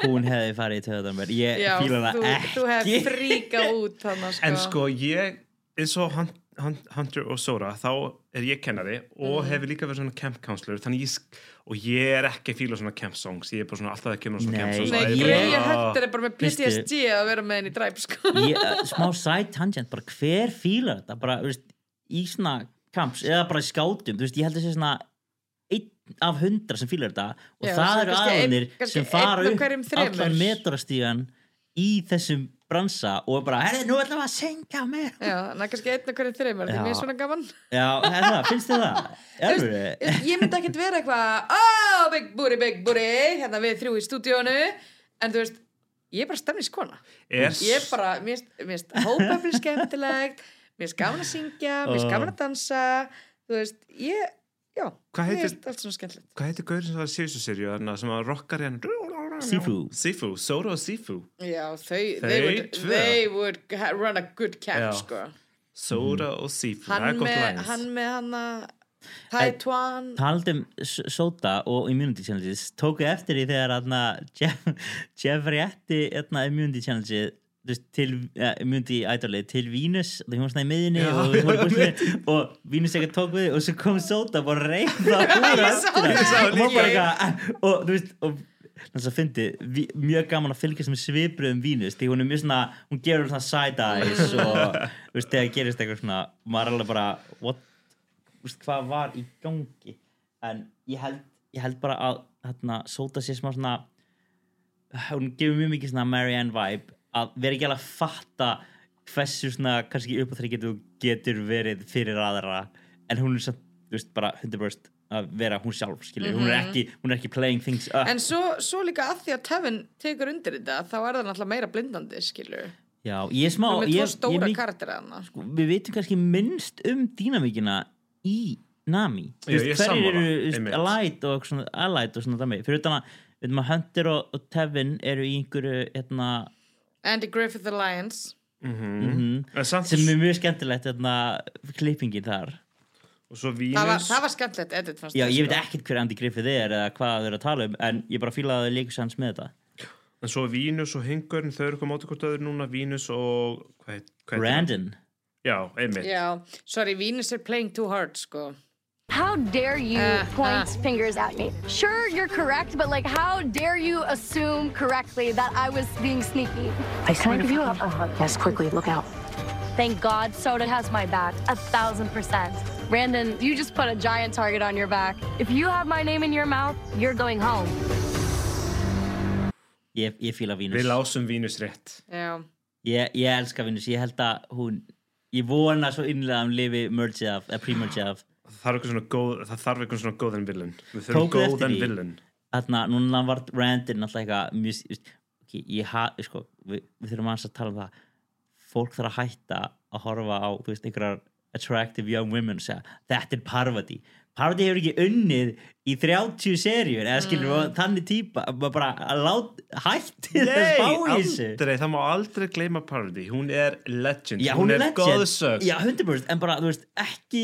Speaker 1: hún hefði farið í töðan mér ég
Speaker 2: Já,
Speaker 1: fíla
Speaker 2: þú,
Speaker 1: það ekki
Speaker 2: þú hef fríkað út þannig, sko
Speaker 3: En sko ég, eins og Hun- Hun- Hunter og Sora, þá er ég kennari
Speaker 2: Mm.
Speaker 3: og hefur líka verið svona camp counselor þannig ég, sk- og ég er ekki að fíla svona camp songs, ég er bara svona alltaf að kemur svona
Speaker 1: Nei.
Speaker 3: camp songs
Speaker 2: Nei,
Speaker 3: og
Speaker 1: ég-
Speaker 2: greiði
Speaker 3: bara,
Speaker 2: hendir er bara með
Speaker 1: Veistu-
Speaker 2: PTSD að vera með henni í dræp, sko
Speaker 1: ég, uh, smá side tangent, bara hver fílar þetta bara, þú veist, í svona kamps, eða bara í skátum, þú veist, ég held að sé svona einn af hundra sem fílar þetta og
Speaker 2: Já,
Speaker 1: það
Speaker 2: svo
Speaker 1: eru
Speaker 2: kannski
Speaker 1: aðlunir
Speaker 2: einn- kannski
Speaker 1: sem fara
Speaker 2: einn af
Speaker 1: upp
Speaker 2: hverjum þremur.
Speaker 1: allan metrastígan í þessum bransa og bara, herri, nú ætlum við að senka mér
Speaker 2: Já, en það er kannski einn og hverju þreymur, því
Speaker 1: Já.
Speaker 2: mér er svona gaman.
Speaker 1: Já, er það, finnst þið það?
Speaker 2: Þú
Speaker 1: Erfur
Speaker 2: veist, Ég myndi ekkert vera eitthvað, oh, big booty, big booty, hérna við þrjú í stúdíónu, en þú veist, ég er bara stemniskona.
Speaker 3: er,
Speaker 2: Ég er bara, mér finnst- mér finnst hópafli skemmtilegt, mér finnst gaman að syngja, mér finnst gaman að dansa, þú veist, ég, já, mér
Speaker 3: Hvað heitir-
Speaker 2: finnst allt svona skemmtilegt.
Speaker 3: hvað heitir gaurinn sem var í síðustu serju þarna sem að rockar hérna
Speaker 1: Sifu.
Speaker 3: Sifu, Sora og Sifu
Speaker 2: Já, þau,
Speaker 3: Þau
Speaker 2: they would,
Speaker 3: tvö.
Speaker 2: they would ha- run a good camp,
Speaker 3: Já.
Speaker 2: sko.
Speaker 3: Sora
Speaker 1: Mhm.
Speaker 3: og Sifu, það
Speaker 2: Hann
Speaker 3: er gott
Speaker 2: með,
Speaker 3: læns
Speaker 2: hann með hana, Taitwan,
Speaker 1: Taldum um Sota og Immunity Challenges tóku eftir því þegar aðna, Jeff, Jeff rétti aðna, Immunity Challenges þú veist, til, ja, Immunity Idolið til Vínus og það kom svona í miðinni
Speaker 3: Já,
Speaker 1: og, og,
Speaker 3: já,
Speaker 1: og, og Vínus ekkert tók við því og svo kom Sota bara reynd á húra
Speaker 2: Ég sá það
Speaker 1: og, maður bara
Speaker 2: ekki.
Speaker 1: eitthvað, "Ah," og þú veist og þannig að fyndi, mjög gaman að fylgja sem svipriðum Vínus, því hún er mjög svona hún gerur svona side eyes og þú veist, þegar gerist eitthvað svona maður er alveg bara, what úst, hvað var í gangi en ég held, ég held bara að hérna, Sota sé smá svona hún gefur mjög mikið svona Marianne vibe að vera ekki alveg að fatta hversu svona kannski upp á þeirri getur, getur verið fyrir aðra en hún er samt, þú veist, bara 100% að vera hún sjálf, skilur, hún, er ekki, hún er ekki playing things up
Speaker 2: Mhm. En svo, svo líka að því að Tevin tekur undir þetta, þá er það náttúrulega meira blindandi, skilur.
Speaker 1: Já, ég er smá
Speaker 2: Ó, með
Speaker 1: ég,
Speaker 2: tvo
Speaker 1: ég,
Speaker 2: stóra
Speaker 1: mik-
Speaker 2: karaktera hana.
Speaker 1: við veitum kannski minnst um dýnamíkina í Nami
Speaker 3: Já, ég er
Speaker 1: hverjir
Speaker 3: sammála,
Speaker 1: eru þú veist,
Speaker 3: einmitt.
Speaker 1: Allied og svona, Allied og svona dæmi fyrir utan að veitum að Hunter og, og Tevin eru í einhverju hérna,
Speaker 2: Andy Griffith Alliance
Speaker 3: En samt,
Speaker 1: sem er mjög skemmtilegt hérna, klippingin þar
Speaker 3: og svo
Speaker 2: það var,
Speaker 3: Vínus
Speaker 2: það var skemmtilegt edit fannst
Speaker 1: Já,
Speaker 2: mér,
Speaker 1: ég
Speaker 2: sko.
Speaker 1: veit ekkert hver Andy Griffith er eða hvað þau eru að tala um en ég bara fílaði að þau líka sanns með þetta
Speaker 3: en svo Vínus og Hingurinn, þau eru komið át hvort öðru núna Vínus og hvað heit- hvað heitir hann?
Speaker 1: Brandon
Speaker 3: Já, einmitt
Speaker 2: Já, sorry, Venus er playing too hard sko
Speaker 8: How dare you point fingers at me? Sure, you're correct, but like, how dare you assume correctly that I was being sneaky?
Speaker 10: I swear to you up. Yes, quickly, look out.
Speaker 8: Thank God Soda has my back, a thousand percent. Brandon, you just put a giant target on your back. If you have my name in your mouth, you're going home.
Speaker 1: Ég, ég fíla Vínus
Speaker 3: Við lásum Vínus rétt
Speaker 2: Já,
Speaker 1: ég, ég elska Vínus, ég held að hún ég vona svo innlega að hún lifi merge af, eða pre-merge af
Speaker 3: Það þarf eitthvað svona, góð, það þarf eitthvað svona góðan villain Við þurfum
Speaker 1: Tókuð eftir
Speaker 3: góðan
Speaker 1: því?
Speaker 3: villain
Speaker 1: þarna, núna var Brandon alltaf eitthvað mjög, þú veist, ok, ég ha, sko, við, við þurfum aðeins að tala um það fólk þarf að hætta að horfa á þú veist, einhverjar attractive young women og segja, þetta er Parvati Parvati hefur ekki unnið í 30 serjur, eða skilur mm. þannig típa, bara- bara að lát, hætti þess
Speaker 3: Nei,
Speaker 1: bá í þessu
Speaker 3: aldrei, það má aldrei gleyma Parody Hún er legend,
Speaker 1: Já, hún er legend
Speaker 3: goðsögn.
Speaker 1: Já, 100% en bara, þú veist, ekki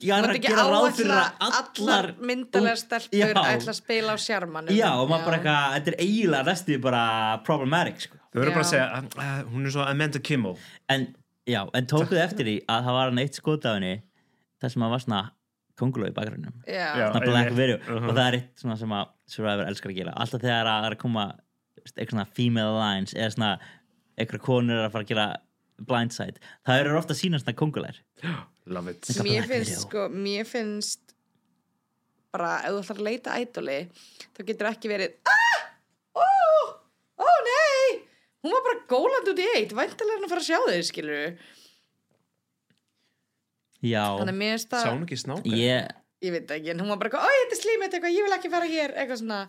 Speaker 1: ég
Speaker 2: þú
Speaker 1: er
Speaker 2: mátt
Speaker 1: að
Speaker 2: ekki
Speaker 1: gera ráð fyrir
Speaker 2: áætla
Speaker 1: að
Speaker 2: allar
Speaker 1: allar
Speaker 2: myndalega
Speaker 1: Já.
Speaker 2: stelpur ætla að spila á sjarmanum
Speaker 1: Já, og maður bara eitthvað, þetta er eiginlega næstu því bara problematic, sko
Speaker 3: Þau verður bara að
Speaker 2: Já.
Speaker 3: segja, uh, uh, hún er svo Amanda Kimmel
Speaker 1: en, já, en tókuðu eftir því að það var hann eitt skot af henni þar sem hann var svona konguló í bakgrunum
Speaker 2: Já,
Speaker 1: svona black
Speaker 3: einmitt.
Speaker 1: video
Speaker 3: Mhm.
Speaker 1: og það er eitt svona sem að Survivor elskar að gera alltaf þegar að það er að koma veist, eitthvað svona female lines eða svona eitthvað konur er að fara að gera blindside það eru ofta að sína svona kongular
Speaker 3: Love it
Speaker 1: black
Speaker 2: mér finnst
Speaker 1: video.
Speaker 2: sko, mér finnst bara, ef þú ætlar að leita ædoli þá getur ekki verið aah, ó, ó nei hún var bara góland út í eitt væntalega hann að fara að sjá þau, skilur
Speaker 1: já,
Speaker 2: þannig að mér finnst
Speaker 3: Sá
Speaker 2: það,
Speaker 3: hún ekki snáka?
Speaker 1: ég
Speaker 2: ég veit ekki en hún var bara, eitthvað, ó, þetta er slímið, eitthvað, ég vil ekki fara hér eitthvað svona,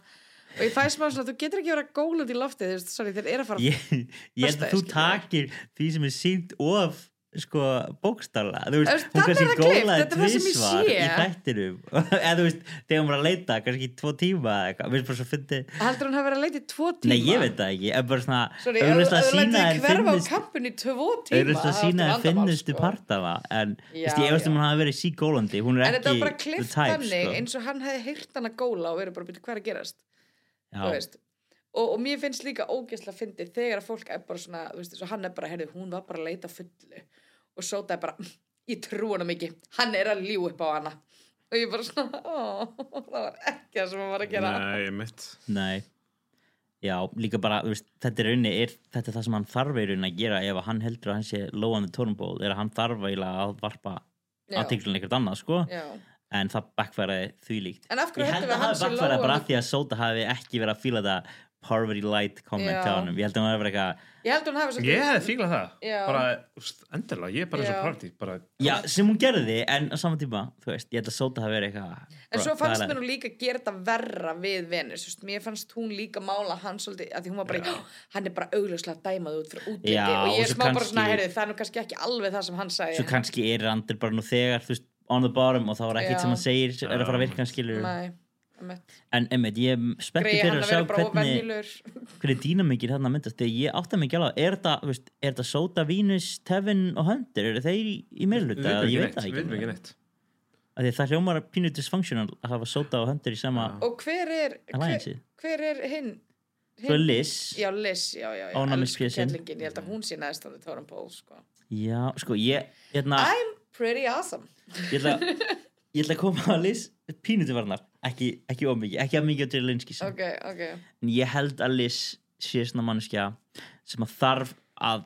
Speaker 2: og ég fæ smá svona þú getur ekki verið að góland í loftið, þú veist, sorry, þeir eru að fara
Speaker 1: ég, ég held að
Speaker 2: Föstudaginn,
Speaker 1: þú
Speaker 2: skilurðu.
Speaker 1: takir því sem er sínt of sko bókstala þú
Speaker 2: Þú
Speaker 1: veist,
Speaker 2: veist,
Speaker 1: hún
Speaker 2: þarna
Speaker 1: kannski
Speaker 2: er það klippt,
Speaker 1: gólaði
Speaker 2: þetta er það sem ég
Speaker 1: tvísvar
Speaker 2: sé.
Speaker 1: í þættinum eða þú veist, þegar hún var að leita kannski í tvo tíma eða eitthvað, við erum bara svo fyndið
Speaker 2: heldur hún hafa verið að leita í tvo tíma
Speaker 1: nei, ég veit það ekki, en bara svona
Speaker 2: Sorry, ef ef
Speaker 1: auðvitað að
Speaker 2: þú
Speaker 1: sína
Speaker 2: lætur þig
Speaker 1: þér
Speaker 2: hverfa á
Speaker 1: finnist-
Speaker 2: kampun í tvö tíma
Speaker 1: auðvitað að
Speaker 2: það er
Speaker 1: sína
Speaker 2: alltaf
Speaker 1: þér
Speaker 2: vandamál,
Speaker 1: finnustu
Speaker 2: sko.
Speaker 1: partana en, þú veist,
Speaker 2: Já,
Speaker 1: ég veist
Speaker 2: já.
Speaker 1: um hún hafi verið síkólandi hún er
Speaker 2: En þetta
Speaker 1: ekki
Speaker 2: var bara
Speaker 1: the type,
Speaker 2: klift þannig
Speaker 1: sko.
Speaker 2: eins og hann hefði heyrt hann að góla og verið bara að byrja hvað er að gerast þú
Speaker 1: Já.
Speaker 2: veist. og, og mér finnst líka ógeðslega fyndið þegar að fólk er bara svona þú veist, eins og hann er bara, heyrðu, hún var bara að leita að fullu og sóta er bara, ég trú hann ekki hann er að ljú upp á hana og ég bara svona, ó, það var ekki það sem hann var að gera
Speaker 3: Nei, mitt
Speaker 1: Nei Já, líka bara, þú veist, þetta er raunni er, þetta er það sem hann þarf í rauninni að gera ef að hann heldur að hann sé low on the totem pole er að hann þarf eiginlega að varpa
Speaker 2: Já.
Speaker 1: aðteklun eitthvað annað, sko
Speaker 2: Já.
Speaker 1: en það backfæraði því líkt
Speaker 2: En af hverju
Speaker 1: Ég held
Speaker 2: heldum við
Speaker 1: að
Speaker 2: hann
Speaker 1: hafi
Speaker 2: sé low
Speaker 1: backfæraði
Speaker 2: on
Speaker 1: bara
Speaker 2: the-
Speaker 1: af því að Sota hafi ekki verið að fíla þetta poverty light comment
Speaker 2: Já.
Speaker 1: á honum ég held að hann hafi verið eitthvað,
Speaker 2: ég held að hún hafi
Speaker 3: Ég hefði fílað það
Speaker 2: Já.
Speaker 3: Bara, úst, endilega, ég er bara eins og
Speaker 2: Já.
Speaker 3: Parody bara,
Speaker 1: já, sem hún gerði en á sama tíma, þú veist, ég held að Sota hafi verið eitthvað
Speaker 2: En
Speaker 1: bro,
Speaker 2: svo fannst
Speaker 1: það er-
Speaker 2: mér hún líka gera þetta verra við Venus, þú veist, mér fannst hún líka mála hann svolítið, að því hún var bara, "Já, hann er bara augljóslega dæmað út fyrir útliti
Speaker 1: Já,
Speaker 2: og ég
Speaker 1: og
Speaker 2: er
Speaker 1: svo
Speaker 2: smá bara
Speaker 1: kannski-
Speaker 2: svona, heyrðu, það er nú kannski ekki alveg það sem hann sagði.
Speaker 1: svo kannski er Randir bara nú þegar, þú veist, on the bottom og þá er
Speaker 2: Já.
Speaker 1: ekkert sem hann segir, er að fara að virka hann skilur
Speaker 2: Nei, einmitt.
Speaker 1: en einmitt, ég er spenntur
Speaker 2: Grey, hann
Speaker 1: fyrir að
Speaker 2: að
Speaker 1: sjá
Speaker 2: vera bara
Speaker 1: hvernig
Speaker 2: ofennilur.
Speaker 1: hvernig dýnamikir þarna myndast þegar ég átta mig ekki alveg á, er þetta, þú veist, er þetta Sota, Venus, Tevin og Hunter eru þeir í, í
Speaker 3: Við
Speaker 1: meirluta,
Speaker 3: vitum
Speaker 1: ég
Speaker 3: ekki
Speaker 1: veit
Speaker 3: neitt,
Speaker 1: það
Speaker 3: við vitum
Speaker 1: ekki
Speaker 3: ekki
Speaker 1: alveg.
Speaker 3: neitt Ah.
Speaker 1: Af því að það hljómar pínu dysfunctional að hafa Sota og Hunter í sama
Speaker 2: Og hver er, hver,
Speaker 1: Alliance-ið.
Speaker 2: hver er hinn?
Speaker 1: svo
Speaker 2: Hinn-
Speaker 1: Liz, já.
Speaker 2: Já, Liz, já, já, já.
Speaker 1: Ónæmis
Speaker 2: elsku
Speaker 1: Pésin.
Speaker 2: kellingin, Ég held að hún sé næst á því Tóran Pól, sko.
Speaker 1: sko ég hérna,
Speaker 2: I'm pretty awesome.
Speaker 1: ég ætla ég ætla að koma að Liz pínu til varnar, ekki, ekki of mikið ekki að mikið til Linskis
Speaker 2: Ok, ok.
Speaker 1: en ég held að Liz sé svona mannskja sem að þarf að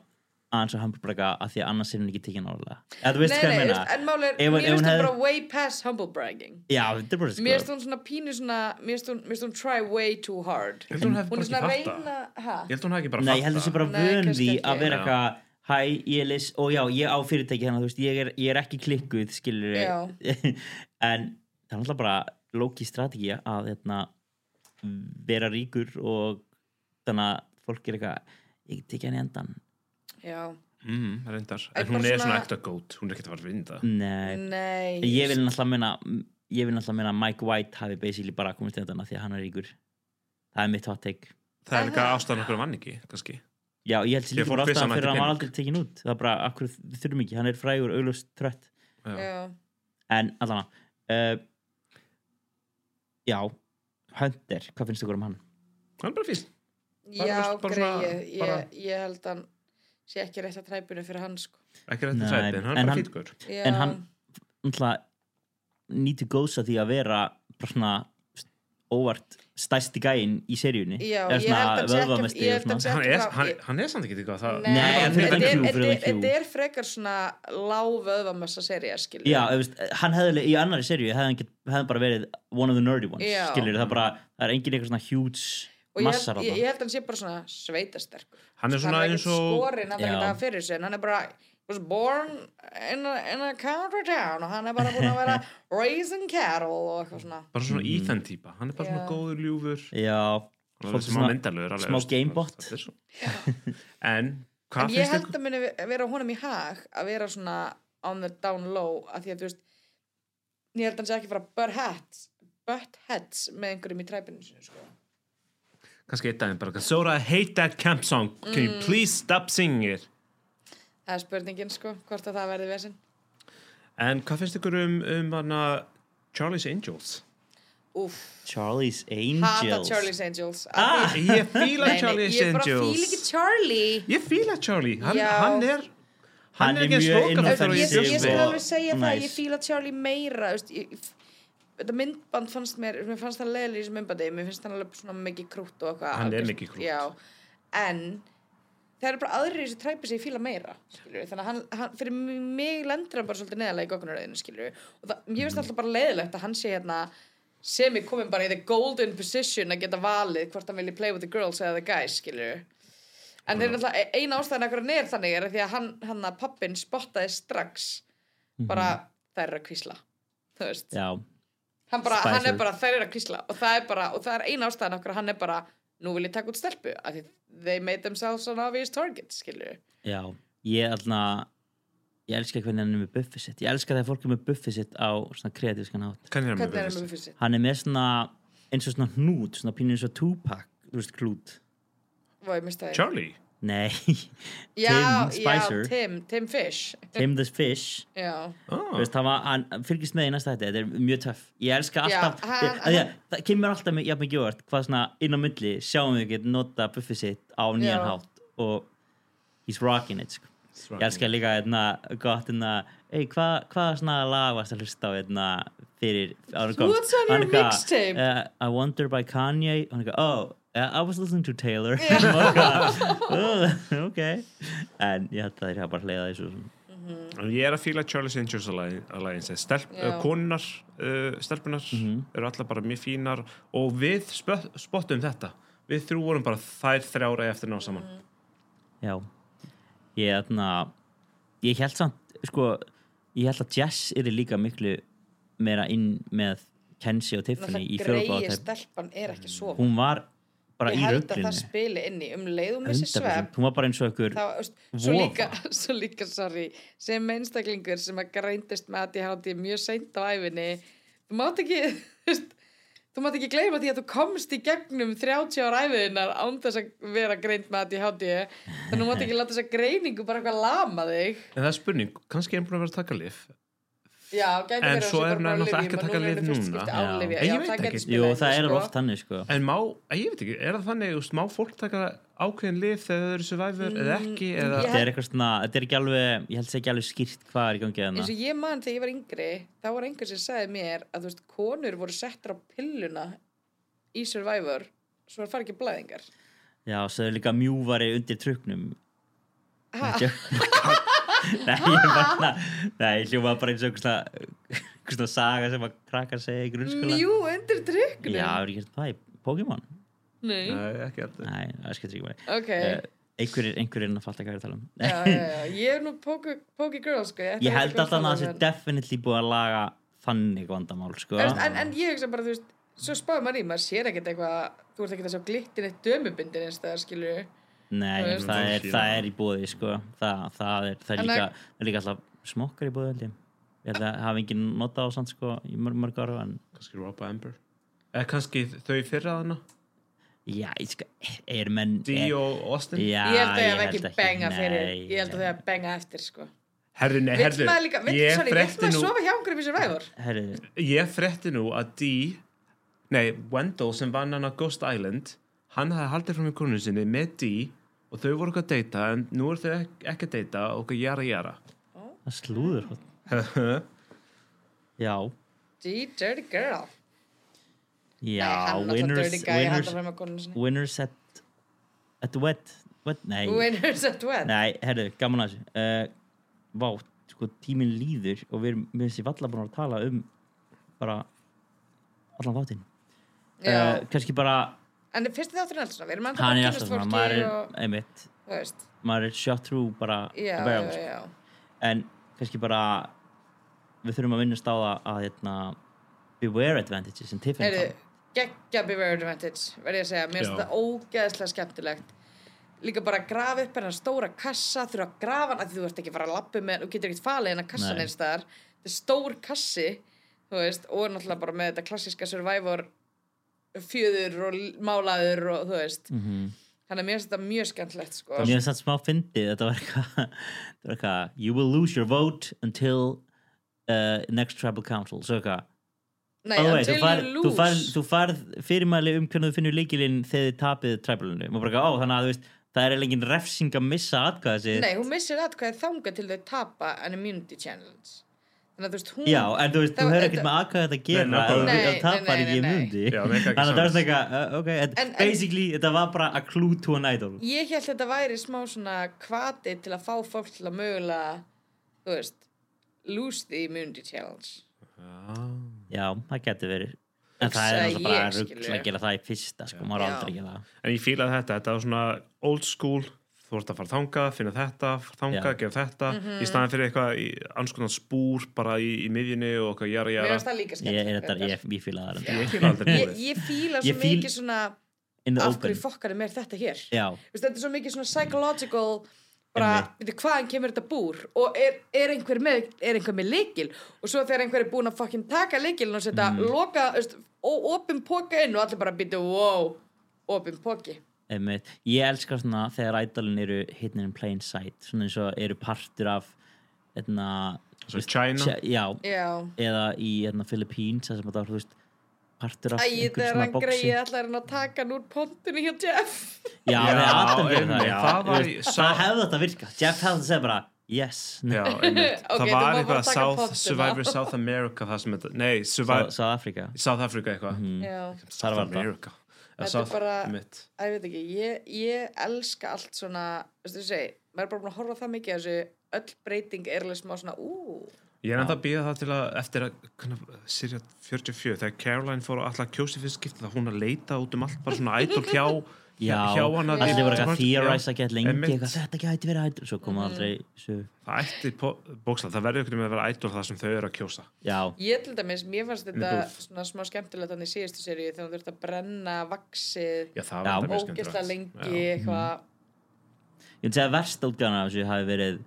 Speaker 1: aðeins að hambúrbraka að því að annars er hún ekki tekið nálega eða þú veist
Speaker 2: Nei,
Speaker 1: hvað ég
Speaker 2: nei, þú
Speaker 1: meina
Speaker 2: veist, en máli er,
Speaker 1: Ef
Speaker 2: mér
Speaker 1: hún- ef
Speaker 2: finnst
Speaker 1: hún
Speaker 2: það
Speaker 1: hefði-
Speaker 2: bara way past humble bragging.
Speaker 1: já, þetta er bara sko
Speaker 2: Mér finnst hún svona pínu svona, mér finnst hún, mér finnst hún try way too hard.
Speaker 3: Ég held hún hafi
Speaker 2: Hún
Speaker 3: bara
Speaker 2: er svona að
Speaker 3: ekki fatta
Speaker 2: reyna, hæ?
Speaker 3: Ég held hún hafi ekki bara
Speaker 1: Nei, ég held
Speaker 3: fattað.
Speaker 1: þessi bara
Speaker 2: Nei,
Speaker 1: vön
Speaker 2: kannski
Speaker 1: því
Speaker 2: ekki.
Speaker 1: að vera
Speaker 3: Já.
Speaker 1: eitthvað Hæ, ég er Liz og já, ég á fyrirtæki þannig að þú veist, ég er, ég er ekki klikkuð skilur
Speaker 2: Já.
Speaker 1: en það er alltaf bara lóki strategía að hérna, vera ríkur og þannig að fólk er eitthvað ég tek hann í endan
Speaker 2: Já,
Speaker 3: mm, reyndar.
Speaker 2: Ég
Speaker 3: En hún
Speaker 2: bara
Speaker 3: er svona
Speaker 2: svona-
Speaker 3: ekta gót, hún er ekkert að fara að vinda.
Speaker 1: Mm. Nei,
Speaker 2: Nei
Speaker 1: ég vil náttúrulega minna ég vil náttúrulega minna að Mike White hafi basically bara komist þetta því að hann er ríkur það er mitt hot take
Speaker 3: Það er líka ástæðan okkur vann ekki, kannski.
Speaker 1: já, ég held sér
Speaker 3: Ég
Speaker 1: líka
Speaker 3: fór
Speaker 1: bara
Speaker 3: fyrst
Speaker 1: ástæðan
Speaker 3: hann
Speaker 1: fyrir
Speaker 3: ætti
Speaker 1: að hann var
Speaker 3: pening.
Speaker 1: aldrei tekin út það er bara, akkur þurfum ekki, hann er frægur auglust trött,
Speaker 3: Já.
Speaker 2: Já.
Speaker 1: en allana uh, já Hunter, hvað finnst ykkur um hann?
Speaker 3: Hann er bara fín.
Speaker 2: Já,
Speaker 3: bara svona-
Speaker 2: greið,
Speaker 3: bara-
Speaker 2: ég, ég held hann sé ekki rétt að træpunum fyrir hann sko.
Speaker 3: Ekki rétt að
Speaker 1: Nei,
Speaker 3: træti, en hann
Speaker 1: en
Speaker 3: er bara
Speaker 1: hann-
Speaker 3: fín gaur.
Speaker 2: Já,
Speaker 1: en hann náttúrulega nýtu góðs að því að vera bara svona óvart stærsti gæinn í seríunni
Speaker 2: Já,
Speaker 1: Eða
Speaker 2: ég held að hann sé ekki-
Speaker 1: vöðvamesti og
Speaker 2: ég held
Speaker 1: svona.
Speaker 2: að hann sé-
Speaker 3: Hann
Speaker 2: Ekki
Speaker 3: er,
Speaker 2: bara-
Speaker 3: hann,
Speaker 2: ég-
Speaker 3: hann er samt ekki eitthvað. það-
Speaker 2: Nei,
Speaker 1: Nei,
Speaker 3: hann
Speaker 1: hann er
Speaker 3: er
Speaker 2: þetta
Speaker 1: fyrir IQ,
Speaker 2: er-
Speaker 3: bara fín.
Speaker 1: fyrir
Speaker 2: þetta er-
Speaker 1: IQ.
Speaker 2: þetta er frekar svona lág vöðvamassa serja skilur
Speaker 1: Já, þú veist, hann hefði í annari serju hefði hann get, hefði bara verið one of the nerdy ones
Speaker 2: Já.
Speaker 1: skilur, það er bara, það er engin eitthvað svona
Speaker 2: og
Speaker 1: huge
Speaker 2: ég
Speaker 1: massar
Speaker 2: held,
Speaker 1: á
Speaker 2: ég, ég
Speaker 1: það
Speaker 2: held hann sé bara svona sveitasterkur
Speaker 3: Hann er svona eins og...
Speaker 2: skorinn að það
Speaker 1: Já.
Speaker 2: geta að fyrir sig en hann er bara he was born in a, in a country town og hann er bara búin að vera raising cattle og eitthvað svona
Speaker 3: Bara svona
Speaker 1: Mm.
Speaker 3: Ethan típa, hann er bara svona
Speaker 2: Já.
Speaker 3: góður ljúfur
Speaker 1: Já,
Speaker 3: Hann er
Speaker 1: Svolítið
Speaker 3: smá
Speaker 1: svona-
Speaker 3: myndalögur alveg,
Speaker 1: smá
Speaker 3: veist,
Speaker 1: gamebot.
Speaker 3: það er svona. En
Speaker 2: en
Speaker 3: hvað
Speaker 2: ég
Speaker 3: finnst sko-
Speaker 2: held
Speaker 3: ykkur?
Speaker 2: að muni vera honum í hag að vera svona on the down low að því að þú veist ég held að hann sé ekki fara butt heads butt heads með einhverjum í træpinu sinu sko.
Speaker 3: Kannski eitt daginn bara eitthvað, Sora, I hate that camp song Can
Speaker 2: Mm.
Speaker 3: you please stop singing it?
Speaker 2: það er spurningin sko hvort að það verði vesinn
Speaker 3: En hvað finnst ykkur um, um hana Charlie's Angels?
Speaker 2: Úf,
Speaker 1: Charlie's
Speaker 2: hata
Speaker 1: Angels
Speaker 2: Charlie's Angels
Speaker 1: Ah,
Speaker 3: Ég
Speaker 2: Nei,
Speaker 3: fíla
Speaker 2: nei,
Speaker 3: Charlie's
Speaker 2: ég bara fíl ekki
Speaker 3: Angels
Speaker 2: Charlie
Speaker 3: Ég fíla Charlie, hann,
Speaker 2: Já.
Speaker 3: hann er
Speaker 1: Hann
Speaker 3: Hann er
Speaker 1: er
Speaker 3: ekki eins
Speaker 1: mjög
Speaker 3: lokaður
Speaker 2: ég,
Speaker 1: inoffensive
Speaker 2: ég, ég skal
Speaker 1: og-
Speaker 2: alveg segja það, ég
Speaker 1: nice.
Speaker 2: fíla Charlie meira veist, ég, þetta myndband fannst mér mér fannst það leiðilega í þessu myndbandi mér finnst hann alveg svona mikið krútt og eitthvað
Speaker 3: Hann er
Speaker 2: algjört-
Speaker 3: mikið krútt.
Speaker 2: já, en það eru bara aðrir í þessu træpi sem ég fíla meira skilur, þannig að hann, hann, fyrir mig lendur hann bara svolítið neðalega í goggunaröðinu skilur og það, ég finnst alltaf bara leiðilegt að hann sé hérna sem ég komin bara í the golden position að geta valið hvort hann vilji play with the girls eða the guys skilur En þeir náttúrulega, e- eina ástæðan akkur hann er þannig er því að hann, hann að pappin spottaði strax bara þær eru að kvísla þú veist,
Speaker 1: Mhm. Já,
Speaker 2: hann, bara, hann er
Speaker 1: Spicer.
Speaker 2: bara þær eru að kvísla og það er bara, og það er eina ástæðan akkur hann er bara, nú vil ég taka út stelpu af því they made themselves an obvious target skilju,
Speaker 1: já, ég allna ég elska hvernig hann er með buffið sitt ég elska þegar fólk er með buffið sitt á svona kreatískan hátt
Speaker 3: Hvernig er hann
Speaker 2: hvernig er
Speaker 3: með
Speaker 2: hann
Speaker 3: þessu?
Speaker 2: með fyrst
Speaker 1: hann er með svona eins og svona hnút, svona pínu eins og Tupac þú veist, klút
Speaker 2: Vá, ég mistaði
Speaker 3: Charlie?
Speaker 1: Nei,
Speaker 2: já,
Speaker 1: Tim
Speaker 2: já,
Speaker 1: Spicer.
Speaker 2: Tim, Tim Fish
Speaker 1: Tim the Fish
Speaker 2: já,
Speaker 1: Þú
Speaker 3: Ah,
Speaker 1: veist, hann, var, hann fylgist með í næsta þetta, þetta er mjög töff ég elska
Speaker 2: Já,
Speaker 1: alltaf,
Speaker 2: hann-
Speaker 1: ég, að ég, það kemur alltaf mjög, jafn mikið óvart hvað svona inn á milli sjáum við getur nota buffið sitt á nýjan
Speaker 2: Já.
Speaker 1: hátt og he's rocking it sko. ég elska líka hérna, gott hérna, ei, hvað hva svona lag varst að hlusta á hérna fyrir ára komst
Speaker 2: What's on
Speaker 1: Hann
Speaker 2: your
Speaker 1: eitthvað,
Speaker 2: mixtape?
Speaker 1: eh, I Wonder by Kanye hann eitthvað, oh, eh, I was listening to Taylor yeah. ok "Oh, en ég hætti að þeir hafa bara hleyða þessu svona.
Speaker 3: Ég er að fíla Charlie's Angels Alli- Alliance stelp,
Speaker 2: Já.
Speaker 3: uh, konunar, uh, stelpunar
Speaker 1: Mhm.
Speaker 3: eru allar bara mjög fínar og við spö- spottum þetta við þrjú vorum bara þær þrjára eftir ná saman
Speaker 2: Mm.
Speaker 1: Já, ég þarna ég held samt, sko ég held að Jess eru líka miklu meira inn með Kenzie og Tiffany í
Speaker 2: náttúrulega greið
Speaker 1: fjölubáðatæp
Speaker 2: stelpan er ekki svo
Speaker 1: hún var bara
Speaker 2: ég
Speaker 1: í
Speaker 2: held að það
Speaker 1: rögglinu
Speaker 2: spili inn í um leið og missi svefn
Speaker 1: 100%. hún var bara eins og ykkur
Speaker 2: þá, veist, svo
Speaker 1: Vofa.
Speaker 2: líka, svo líka sorry, sem einstaklingur sem að greindist með ADHD mjög seint á æfinni þú mátt ekki þú veist, þú mátt ekki gleyma því að þú komst í gegnum 30 ára æfiðinnar án þess að vera greind með ADHD þannig þú mátt ekki láta þessa greiningu bara eitthvað lama þig
Speaker 3: en það er spurning, kannski er hún búin að vera að taka lif
Speaker 2: já, gæti
Speaker 3: En
Speaker 2: verið að
Speaker 3: svo
Speaker 2: sé
Speaker 3: er
Speaker 2: bara
Speaker 3: hún
Speaker 2: bara á lyfjum og núna er
Speaker 3: náttúrulega ekki að taka lyf
Speaker 2: hún fyrst
Speaker 3: núna.
Speaker 2: skipt á
Speaker 1: Já.
Speaker 2: lyfjum.
Speaker 3: En ég
Speaker 2: Já,
Speaker 3: veit
Speaker 2: það
Speaker 3: ekki.
Speaker 2: gæti spilað
Speaker 1: jú
Speaker 2: inn í,
Speaker 1: það er
Speaker 2: sko.
Speaker 1: oft þannig sko
Speaker 3: en má, að ég veit ekki, er það þannig þú veist, má fólk taka ákveðin lif þegar þau eru survivor eða ekki
Speaker 2: Mm,
Speaker 3: eða,
Speaker 2: ég-
Speaker 1: þetta er eitthvað svona, þetta er ekki alveg ég held að segja ekki alveg skýrt hvað er í gangi
Speaker 2: eins
Speaker 1: þarna
Speaker 2: og ég man þegar ég var yngri þá var einhver sem sagði mér að þú veist, konur voru settar á pilluna í Survivor svo það fari ekki blæðingar
Speaker 1: já, svo er líka mjúvari undir truknum
Speaker 2: ha,
Speaker 1: Nei, ég bara Nei, ég hljóma bara eins og einhver svona- einhver svona saga sem að krakkar segja í grunnskóla
Speaker 2: mjú undir
Speaker 1: Já,
Speaker 2: drykkunum
Speaker 1: hefur ekki gert það í Pokémon?
Speaker 2: Nei.
Speaker 3: Nei, ekki alltaf
Speaker 1: Nei, það skiptir ekki verið.
Speaker 2: ok
Speaker 1: Okay. Einhverjir einhverjir en að fatta hvað ég er að tala um.
Speaker 2: já, já, já. ég er nú Poke Poke Girl sko.
Speaker 1: ég
Speaker 2: ætla ekki
Speaker 1: held alltaf að það sé
Speaker 2: en-
Speaker 1: definitely búið að laga þannig vandamál, sko.
Speaker 2: Þú veist, en, en ég hugsa bara þú veist svo spáði maður í, maður sér ekkert eitthvað þú ert ekkert að sjá glittin eitt dömubindin eins það skilur
Speaker 1: Nei,
Speaker 2: Þú veist.
Speaker 1: það er, það er í bóði sko. það, það, er, það, er
Speaker 2: En
Speaker 1: líka,
Speaker 2: það-
Speaker 1: það er líka alltaf smokkar í bóði held ég Ég held að hafa enginn nota á samt sko, í mörg, mörg ára en
Speaker 3: kannski Robba Amber eða kannski þau fyrra þarna
Speaker 1: já, ég sko, er menn
Speaker 3: Dee
Speaker 1: er,
Speaker 3: og Austin
Speaker 1: já,
Speaker 2: ég held að ég hef ekki benga
Speaker 1: nei,
Speaker 2: fyrir ég held að það er benga eftir sko
Speaker 3: herru, nei,
Speaker 2: vill
Speaker 3: herru
Speaker 2: maður líka, vill,
Speaker 3: Eh, ég
Speaker 2: sorry, vill
Speaker 3: frétti
Speaker 2: maður
Speaker 3: nú-
Speaker 2: sofa hjá einhverjum í Survivor
Speaker 1: Herri,
Speaker 3: Ég frétti nú að Dee, nei, Wendell sem vann hann á Ghost Island, hann hafði haldið fram í konu sinni með Dee og þau voru ekki að deyta, en nú eru þau ek- ekki að deyta og okkur jara jara.
Speaker 1: það er slúður hótt. Já,
Speaker 2: D Dirty Girl
Speaker 1: já,
Speaker 2: Nei, hann alltaf
Speaker 1: winners,
Speaker 2: dirty guy
Speaker 1: winners,
Speaker 2: handa fram að konu sinni
Speaker 1: winners at, at wet, wet, nei,
Speaker 2: Winners at wet
Speaker 1: nei, herru, gaman að þessu. Uh, vá, sko, tíminn líður og við erum, mér finnst ég valla búin að tala um bara allan þáttinn.
Speaker 2: Já.
Speaker 1: Uh, kannski bara,
Speaker 2: en fyrst þátturinn er alltaf svona, við erum alltaf
Speaker 1: hann er
Speaker 2: að
Speaker 1: alltaf
Speaker 2: kynast
Speaker 1: svona,
Speaker 2: fólki
Speaker 1: maður er,
Speaker 2: og,
Speaker 1: einmitt,
Speaker 2: þú veist,
Speaker 1: maður er shot through bara,
Speaker 2: já,
Speaker 1: the
Speaker 2: já,
Speaker 1: barrel, sko.
Speaker 2: já
Speaker 1: en kannski bara við þurfum að vinnast á það að hérna, beware advantages sem Tiffany
Speaker 2: Heyrðu,
Speaker 1: kom.
Speaker 2: geggja Beware Advantage verði ég að segja, mér finnst
Speaker 3: Já.
Speaker 2: þetta ógeðslega skemmtilegt líka bara að grafa upp hennar stóra kassa þurfa að grafa hann, af því þú ert ekki að fara að lappu með þú getur ekkert falið hennar kassan
Speaker 1: Nei.
Speaker 2: eins þar þetta er stór kassi þú veist, og náttúrulega bara með þetta klassiska survivor fjöður og l- málaður og þú veist þannig að mér finnst þetta mjög skemmtilegt sko.
Speaker 1: Mér finnst Mhm. þetta smá fyndið, þetta var eitthvað þetta var eitthvað, you will lose your vote until uh, next tribal council, svo eitthvað
Speaker 2: Nei,
Speaker 1: By the way,
Speaker 2: until
Speaker 1: þú færð-
Speaker 2: you
Speaker 1: þú
Speaker 2: lose
Speaker 1: færð þú færð fyrirmæli um hvernig þú finnur líkilinn þegar þið tapið tribalinu, maður bara eitthvað, ó, þannig að þú veist það er eiginlega engin refsing að missa atkvæða sér
Speaker 2: Nei, hún missir atkvæði þanga til þau tapa an immunity challenge þannig að þú veist, hún
Speaker 1: Já, en þú veist, þú
Speaker 2: Það-
Speaker 1: hefur
Speaker 2: þetta-
Speaker 1: ekkert með aðkvæða þetta að
Speaker 3: Nei,
Speaker 1: gera
Speaker 3: nákvæmlega.
Speaker 1: ef
Speaker 2: Nei,
Speaker 1: þú
Speaker 2: nei,
Speaker 1: tapar
Speaker 2: nei,
Speaker 1: ekki í
Speaker 2: nei, nei.
Speaker 1: mundi
Speaker 3: Já, það er ekki
Speaker 1: Þannig að það er
Speaker 3: sens.
Speaker 1: svona eitthvað, uh, ok, en
Speaker 2: En- en-
Speaker 1: basically þetta var bara a clue to an idol
Speaker 2: Ég held þetta væri smá svona kvati til að fá fólk til að mögulega, þú veist, lose the immunity challenge.
Speaker 1: Já, það getur verið En það er
Speaker 2: Hugsaði
Speaker 1: náttúrulega bara
Speaker 2: ég,
Speaker 1: rugg
Speaker 2: skilurðu.
Speaker 1: að gera það í fyrsta, sko, maður á
Speaker 2: Já.
Speaker 1: aldrei að gera það
Speaker 3: En ég fílaði þetta, þetta var svona old school, þú ert að fara þangað, finna þetta, fara þangað,
Speaker 1: Já.
Speaker 3: gera þetta,
Speaker 2: Mhm.
Speaker 3: í staðan fyrir eitthvað í anskotan spúr bara í, í miðjunni og okkar jara
Speaker 2: Mér
Speaker 3: jara.
Speaker 2: finnst það
Speaker 1: Ég,
Speaker 2: líka
Speaker 1: er
Speaker 2: skemmtilegt.
Speaker 1: þetta, ég, ég fíla það
Speaker 3: Ég fíla aldrei
Speaker 2: ég,
Speaker 3: búið.
Speaker 2: ég fíla svo
Speaker 1: Ég fíl-
Speaker 2: mikið svona,
Speaker 1: In the
Speaker 2: af
Speaker 1: open
Speaker 2: hverju fokkar er mér þetta hér?
Speaker 1: Já,
Speaker 2: Þú veist, Þetta er svo mikið svona psychological, bara, veitu, hvaðan kemur þetta búr? Og er, er, einhver með, er einhver með leikil? Og svo þegar einhver er búin að fokkin taka leikilin og setja mm. loka, þú veist, og opin póka inn og allir bara býtu, wow, opin póki.
Speaker 1: einmitt Ég elska svona þegar idolin eru hidden in plain sight Svona eins og eru partur af Hérna
Speaker 3: Svo China,
Speaker 1: sé- Já,
Speaker 2: Já.
Speaker 1: eða í hérna, Philippines þar sem þetta var, þú veist partur af
Speaker 2: Æ,
Speaker 1: einhverjum
Speaker 2: þegar
Speaker 1: svona
Speaker 2: hann
Speaker 1: boxi
Speaker 2: greið allar hann að taka hann úr pontunni hjá Jeff
Speaker 1: Já, það er Adam gerði
Speaker 3: einmitt,
Speaker 1: það, já.
Speaker 3: það var
Speaker 1: Þú
Speaker 3: í-
Speaker 1: veist,
Speaker 3: sá-
Speaker 1: það hefði þetta virkað. Jeff hefði þetta bara, yes,
Speaker 3: Já, einmitt.
Speaker 2: Ok, þú
Speaker 3: það var
Speaker 2: má bara
Speaker 3: eitthvað
Speaker 2: taka
Speaker 3: South,
Speaker 2: pottina.
Speaker 3: Survivor South America það sem þetta, nei,
Speaker 1: Sá-
Speaker 3: Survivor,
Speaker 1: South Africa.
Speaker 3: South Africa eitthvað
Speaker 2: Já,
Speaker 1: Þar var þetta.
Speaker 3: America Eða
Speaker 2: Þetta er
Speaker 3: South
Speaker 2: bara-
Speaker 3: mitt.
Speaker 2: Æ, ég veit ekki, ég, ég elska allt svona, veistu þú segi, maður er bara búin að horfa á það mikið að þessu öll breyting er alveg smá svona, ú,
Speaker 3: Ég er enda að býða það til að eftir að hvernig, Sirja 44, þegar Caroline fór alltaf að kjósi fyrir skipti það hún að leita út um allt bara svona idol hjá
Speaker 1: Já,
Speaker 3: hjá hana
Speaker 1: allir
Speaker 3: í-
Speaker 1: voru eitthvað að
Speaker 3: Já,
Speaker 1: theorize að geta lengi,
Speaker 3: einmitt.
Speaker 1: eitthvað, þetta gæti verið hættur, svo koma aldrei, svo,
Speaker 3: Það ætti bókslega, það verður ykkur með að vera idol það sem þau eru að kjósa
Speaker 1: já,
Speaker 2: ég til dæmis, mér fannst þetta
Speaker 3: Inni búð.
Speaker 2: svona smá skemmtilegt hann í síðustu seríu þegar hún þurfti að brenna vaksið
Speaker 3: Já,
Speaker 1: Já.
Speaker 3: það var þetta mjög
Speaker 2: ógeðslega
Speaker 3: skemmtilegt. Mm-hmm.
Speaker 2: lengi, eitthvað,
Speaker 1: ég myndi segja að versta útgáðan af þessu hafi verið,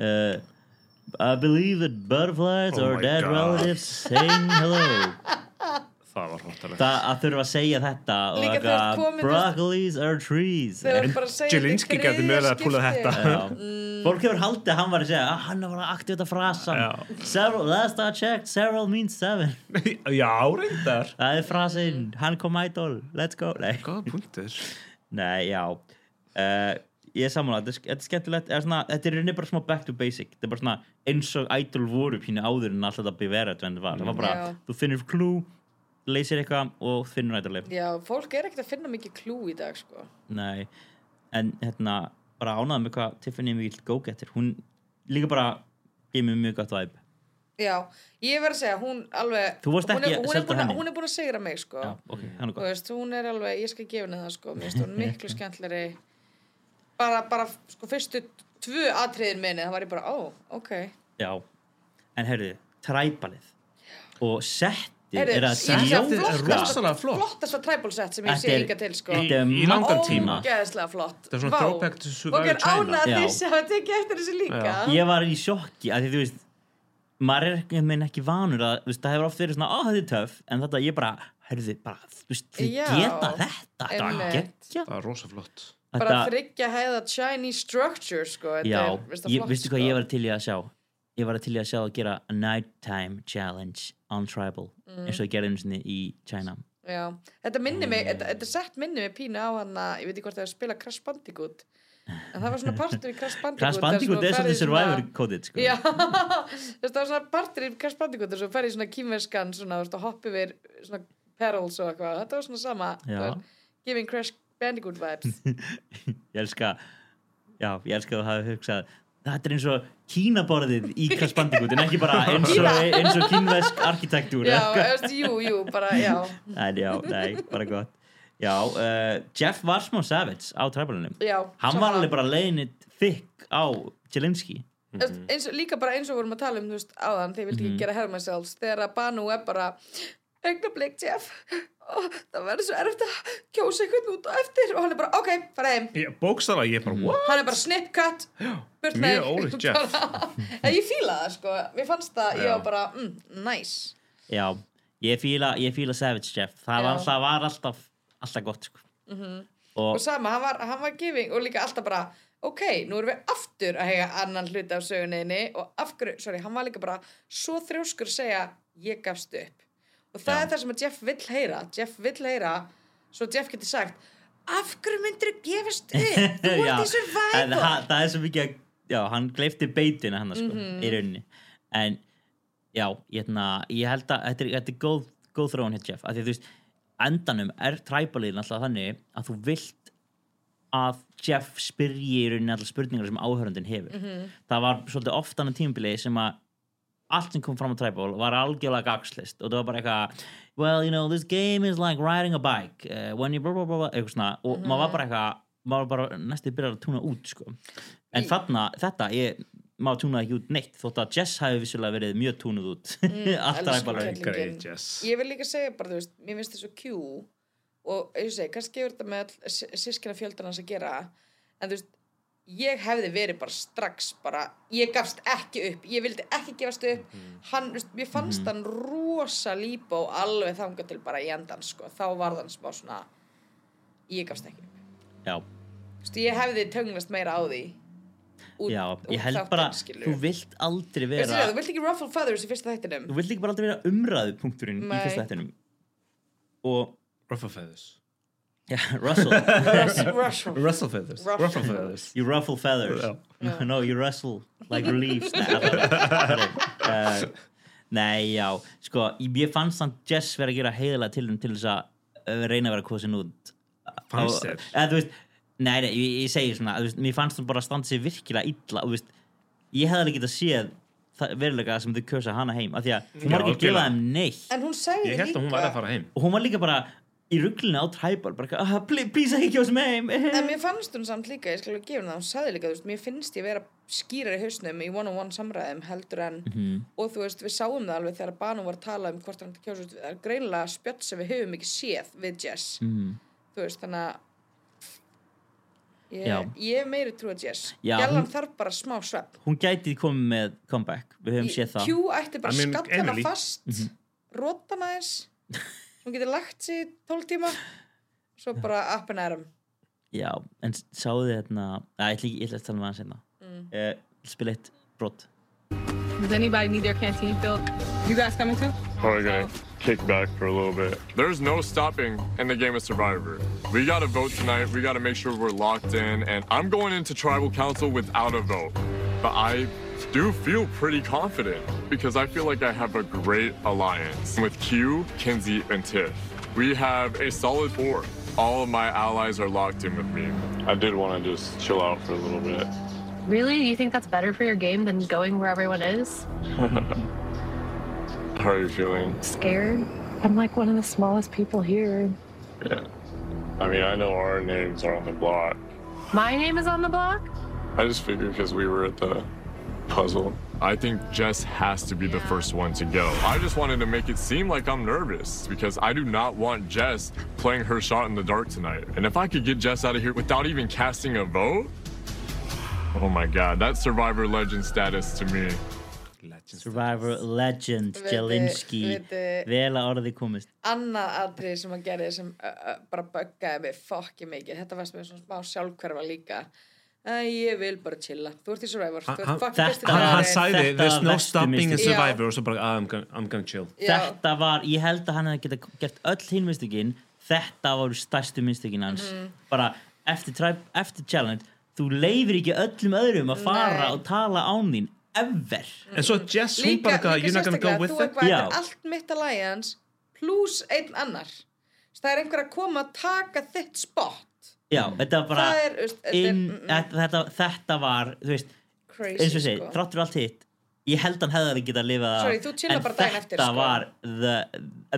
Speaker 1: uh, I believe that butterflies
Speaker 3: Oh
Speaker 1: or
Speaker 3: my
Speaker 1: dead
Speaker 3: God.
Speaker 1: relatives saying hello.
Speaker 3: Já, það var hróttalegt
Speaker 1: Það að þurfa að segja þetta og
Speaker 2: Líka þú ert
Speaker 1: eitthvað,
Speaker 2: komin, þú-
Speaker 1: broccolis are trees.
Speaker 2: þegar Mm. hún bara að segja
Speaker 3: Jelinski gæti mögulega að púla þetta
Speaker 1: Já. Fólk hefur haldið að hann var að segja að hann var að aktivita frasan several, last I checked, several means seven
Speaker 3: Já, reyndar
Speaker 1: það er frasin, hann kom idol let's go, nei,
Speaker 3: Góða punktur
Speaker 1: nei já uh, ég er sammála, þetta er- þetta er skemmtilegt eða svona, þetta er rauninni bara smá back to basic þetta er bara svona eins og idol voru pínu áður en alltaf þetta bevera þetta var, það var bara
Speaker 2: Já.
Speaker 1: þú finnir klú, leysir eitthvað og finnur idolið,
Speaker 2: Já, fólk er ekkert að finna mikið klú í dag, sko.
Speaker 1: nei en hérna, bara ánaðum með hvað Tiffany Mill go-getter, hún líka bara gefið mér mjög gott vibe
Speaker 2: Já, ég verð að segja, hún alveg
Speaker 1: Þú varst
Speaker 2: hún
Speaker 1: ekki
Speaker 2: er,
Speaker 1: að
Speaker 2: hún, er
Speaker 1: selda
Speaker 2: búin að,
Speaker 1: henni.
Speaker 2: hún er búin að sigra mig sko
Speaker 1: já, ok, hann er
Speaker 2: Þú
Speaker 1: gott
Speaker 2: veist, hún er alveg, ég skal gefa henni það sko Mér finnst hún miklu skemmtleri bara, bara sko fyrstu tvö atriðin minni, það var ég bara, ó, ok
Speaker 1: Já, en heyrðu, træbalið og sett er, er að
Speaker 2: Ég sé
Speaker 1: sýna
Speaker 3: Þetta er
Speaker 2: flottasta-
Speaker 3: rosalega flott.
Speaker 2: Flottasta tribal set sem ég
Speaker 1: Þetta
Speaker 2: sé
Speaker 1: er-
Speaker 2: líka til sko
Speaker 1: þetta er
Speaker 3: Í langan tíma.
Speaker 2: Ógeðslega flott
Speaker 3: Þetta er svona
Speaker 2: Vá.
Speaker 3: throwback to Survivor
Speaker 2: Og ég er
Speaker 3: China.
Speaker 2: ánægð að
Speaker 1: Já.
Speaker 2: þið sem hafa tekið eftir þessu líka
Speaker 1: ég var í sjokki að því þú veist maður er einhvern veginn ekki vanur að þú veist, það hefur oft verið svona, á þetta er töff en þetta ég bara, herðu bara þú veist, þið
Speaker 2: Já,
Speaker 1: geta þetta þetta var
Speaker 2: einmitt.
Speaker 1: geggja
Speaker 3: Það er rosa flott.
Speaker 2: Bara
Speaker 1: Þetta-
Speaker 2: þryggja hæða Chinese structure sko Þetta
Speaker 1: já,
Speaker 2: er, veist það
Speaker 1: ég,
Speaker 2: flott,
Speaker 1: veistu hvað
Speaker 2: sko.
Speaker 1: ég var til í að sjá ég var til í að sjá að gera a nighttime challenge on tribal eins og
Speaker 2: Mm.
Speaker 1: ég gerði einu sinni í China
Speaker 2: Já, þetta minni mig, þetta, þetta sett minni mig pínu á hann að, ég veit ekki hvort það er að spila Crash Bandicoot en það var svona partur í Crash Bandicoot
Speaker 1: Crash Bandicoot
Speaker 2: þar
Speaker 1: er
Speaker 2: sem
Speaker 1: svolítið
Speaker 2: þú ferð í
Speaker 1: survivor coded sko.
Speaker 2: Já, þú veist, það var svona partur í Crash Bandicoot og svo fer í svona kýmverskan svona, þú veist, og hoppi við svona perils og eitthvað, þetta var svona sama þú
Speaker 1: Já.
Speaker 2: veist, giving Crash Bandicoot vibes
Speaker 1: ég elska já, ég elska að þú hafi hugsað þetta er eins og kínaborðið í Crash Bandicoot en ekki bara eins og, eins og kínvesk arkitektúr
Speaker 2: Já,
Speaker 1: eða
Speaker 2: þú
Speaker 1: eitthvað.
Speaker 2: veist, jú, jú, bara, já
Speaker 1: en já, nei, bara gott já, uh, Jeff var smá savage á træbalunum
Speaker 2: Já,
Speaker 1: hann
Speaker 2: sammála.
Speaker 1: var alveg bara leiðinit þykk á Jelinski
Speaker 2: Þú veist, eins og, líka bara eins og vorum að tala um þú veist, áðan, þeir
Speaker 1: Mhm.
Speaker 2: vildi ekki gera herma sjálfs þegar að Banu er bara augnablik Jeff og það verður svo erfitt að kjósa einhvern út og eftir og hann er bara ok, fara heim
Speaker 3: Bókstala, ég er bara, what?
Speaker 2: hann er bara snip cut burt með
Speaker 3: Mjög
Speaker 2: þig.
Speaker 3: ólíkt Jeff.
Speaker 2: Bara- en ég fíla það sko, mér fannst það ég
Speaker 3: Já.
Speaker 2: var bara, mm, nice
Speaker 1: já, ég fíla, ég fíla savage Jeff það var,
Speaker 2: Já.
Speaker 1: það var alltaf, alltaf gott sko. og
Speaker 2: og sama, hann var, hann var giving og líka alltaf bara ok, nú erum við aftur að hega annan hluti af söguninni og af hverju, sorry, hann var líka bara svo þrjóskur að segja, ég gafst upp og það
Speaker 1: Já.
Speaker 2: er það sem að Jeff vill heyra Jeff vill heyra, svo Jeff getur sagt af hverju myndir þú gefast upp þú
Speaker 1: Já,
Speaker 2: ert í
Speaker 1: en
Speaker 2: survivor
Speaker 1: það, það er svo mikið að, já, hann gleifti beitina hann sko,
Speaker 2: Mhm.
Speaker 1: í rauninni en já, ég, hérna, ég held að þetta er, þetta er góð, góð þróun hér Jeff, af því að þú veist endanum er træbalíðin alltaf þannig að þú vilt að Jeff spyrji í rauninni allar spurningar sem áhörundin hefur
Speaker 2: Mhm.
Speaker 1: það var svolítið oft annan tímabili sem að allt sem kom fram á Tribal var algjörlega gagslist og það var bara eitthvað well, you know, this game is like riding a bike uh, when you blah blah blah, blah eitthvað svona og
Speaker 2: Mhm.
Speaker 1: maður var bara eitthvað maður var bara næstu byrjar að túna út sko. en þarna, þetta ég, maður túnaði ekki út neitt þótt að Jess hafi vissulega verið mjög túnuð út
Speaker 2: Mm,
Speaker 1: allt
Speaker 2: elsku
Speaker 1: Tribal
Speaker 2: kallinn.
Speaker 3: Great, yes.
Speaker 2: ég vil líka segja bara, þú veist, mér finnst þetta svo kjú og eins og ég segi, kannski hefur þetta með sískina fjöldan hans að gera en þú veist, ég hefði verið bara strax bara, ég gafst ekki upp ég vildi ekki gefast upp hann, þú veist, mér fannst hann rosa lípa og alveg þangað til bara í endan sko. þá var hann smá svona ég gafst ekki upp,
Speaker 1: já,
Speaker 2: þú veist, ég hefði tönglast meira á því út,
Speaker 1: já,
Speaker 2: út
Speaker 1: ég held
Speaker 2: þáttinn,
Speaker 1: bara
Speaker 2: skilurðu.
Speaker 1: þú vilt aldrei
Speaker 2: Þú veist, þú
Speaker 1: vera
Speaker 2: vilt ekki ruffle feathers í fyrsta þættinum
Speaker 1: þú vilt líka bara aldrei vera umræðupunkturinn í
Speaker 2: Nei.
Speaker 1: fyrsta þettinum og
Speaker 3: Ruffle feathers.
Speaker 1: já, Russell,
Speaker 2: Ruffle- ruffle
Speaker 3: Ruffle feathers.
Speaker 2: Ruffle
Speaker 3: Ruffle feathers.
Speaker 1: you ruffle feathers
Speaker 3: Já.
Speaker 1: no, no, you rustle like leaves Nei, allavega. Eh, Nei, já, sko, ég fannst samt Jess vera að gera heiðilega tilum til þess að eh, reyna að vera kosin út.
Speaker 3: Fannst
Speaker 1: Og-
Speaker 3: þér?
Speaker 1: Eða, þú veist, nei, nei, ég, ég segi svona, þú veist, mér fannst hún bara að standa sér virkilega illa, og þú veist, ég hefði alveg getað séð það verulega sem þau kjósa hana heim, af því að hún var
Speaker 3: Já,
Speaker 1: ekki að gefa
Speaker 3: algjörlega.
Speaker 1: þeim neitt.
Speaker 2: en hún sagði
Speaker 3: Ég held að hún væri að fara heim.
Speaker 1: Og hún var líka bara í ruglunni á træbal, bara, eitthvað, ah, please, please ekki kjósa mig heim.
Speaker 2: En mér fannst hún samt líka, ég skal alveg gefa hún það, hún sagði líka, þú veist, mér finnst ég vera skýrar í hausnum í one-on-one samræðum heldur en,
Speaker 1: Mhm.
Speaker 2: og þú veist, við sáum það alveg þegar Banu var að tala um hvort hann ætti að kjósa, þú veist, það er greinlega spjött sem við höfum ekki séð við Jess,
Speaker 1: Mm.
Speaker 2: þú veist, þannig að
Speaker 1: Já.
Speaker 2: ég, ég hef meiri trú að Jess,
Speaker 1: Já,
Speaker 2: gælan
Speaker 1: hún-
Speaker 2: þarf bara smá svepp,
Speaker 1: Hún gæti komið með comeback, við höfum séð það. Mhm.
Speaker 2: Q ætti bara
Speaker 3: I
Speaker 2: að
Speaker 3: mean,
Speaker 2: skalla hana
Speaker 3: Emily.
Speaker 2: fast, mm -hmm. rota hana eins, hún getur lagt sér í 12 tíma, svo bara up and at 'em.
Speaker 1: Já, en sáðu þið hérna Æ, ég ætla ekki, ég ætla að tala með hann senna mm. Spila eitt brot
Speaker 10: Does anybody need their canteen filled? You guys coming too?
Speaker 6: Probably gonna kick back for a little bit. There's no stopping in the game of Survivor. We gotta vote tonight. We gotta make sure we're locked in. And I'm going into tribal council without a vote. But I do feel pretty confident because I feel like I have a great alliance with Q, Kinsey, and Tiff. We have a solid four. All of my allies are locked in with me. I did want to just chill out for a little bit.
Speaker 8: Really? You think that's better for your game than going where everyone is?
Speaker 6: How are you feeling?
Speaker 8: Scared? I'm like one of the smallest people here.
Speaker 6: Yeah. I mean, I know our names are on the block.
Speaker 8: My name is on the block?
Speaker 6: I just figured because we were at the puzzle. I think Jess has to be the first one to go. I just wanted to make it seem like I'm nervous because I do not want Jess playing her shot in the dark tonight. And if I could get Jess out of here without even casting a vote, oh my God, that's survivor legend status to me.
Speaker 1: Survivor Legend,
Speaker 2: Viti,
Speaker 1: Jelinski
Speaker 2: viti.
Speaker 1: Vel að orðið komist
Speaker 2: annað atrið sem hann gerði sem uh, uh, bara böggaði mig fokki mikið þetta varst með svona smá sjálfhverfa líka Æ, ég vil bara chilla þú ert í Survivor, þú
Speaker 3: Hann-
Speaker 2: ert fokki besti
Speaker 1: Þetta-
Speaker 3: Hann,
Speaker 1: er-
Speaker 3: hann
Speaker 2: maðurinn.
Speaker 3: sagði,
Speaker 1: þetta
Speaker 3: there's no
Speaker 1: verstu
Speaker 3: stopping a
Speaker 1: mistök.
Speaker 3: survivor og svo bara, "Ah, I'm gonna, I'm gonna chill
Speaker 2: Já.
Speaker 1: Þetta var, ég held að hann hefði geta gert öll hinn mistökin Þetta voru stærstu mistökin hans
Speaker 2: Mhm.
Speaker 1: Bara eftir, tribe, eftir challenge Þú leifir ekki öllum öðrum að fara
Speaker 2: Nei. Mm.
Speaker 1: og tala án þín Ever
Speaker 3: En svo Jess, hún
Speaker 2: líka,
Speaker 3: bara, eitthvað,
Speaker 2: líka
Speaker 3: you're not gonna go
Speaker 2: sérstaklega
Speaker 3: with
Speaker 2: þú
Speaker 3: it
Speaker 2: er bara
Speaker 1: Já.
Speaker 2: þetta er allt mitt alliance pluss einn annar Þess, það er einhver að koma að taka þitt spot
Speaker 1: Já, þetta var bara
Speaker 2: Það er, veist, þetta er-
Speaker 1: inn,
Speaker 2: mm, mm.
Speaker 1: þetta, þetta, þetta var, þú veist
Speaker 2: crazy
Speaker 1: eins og segir,
Speaker 2: sko.
Speaker 1: þráttur allt hitt Ég held hann hefði getað lifað af,
Speaker 2: Sorry, þú chillar
Speaker 1: en
Speaker 2: bara daginn eftir,
Speaker 1: Þetta
Speaker 2: sko.
Speaker 1: var the,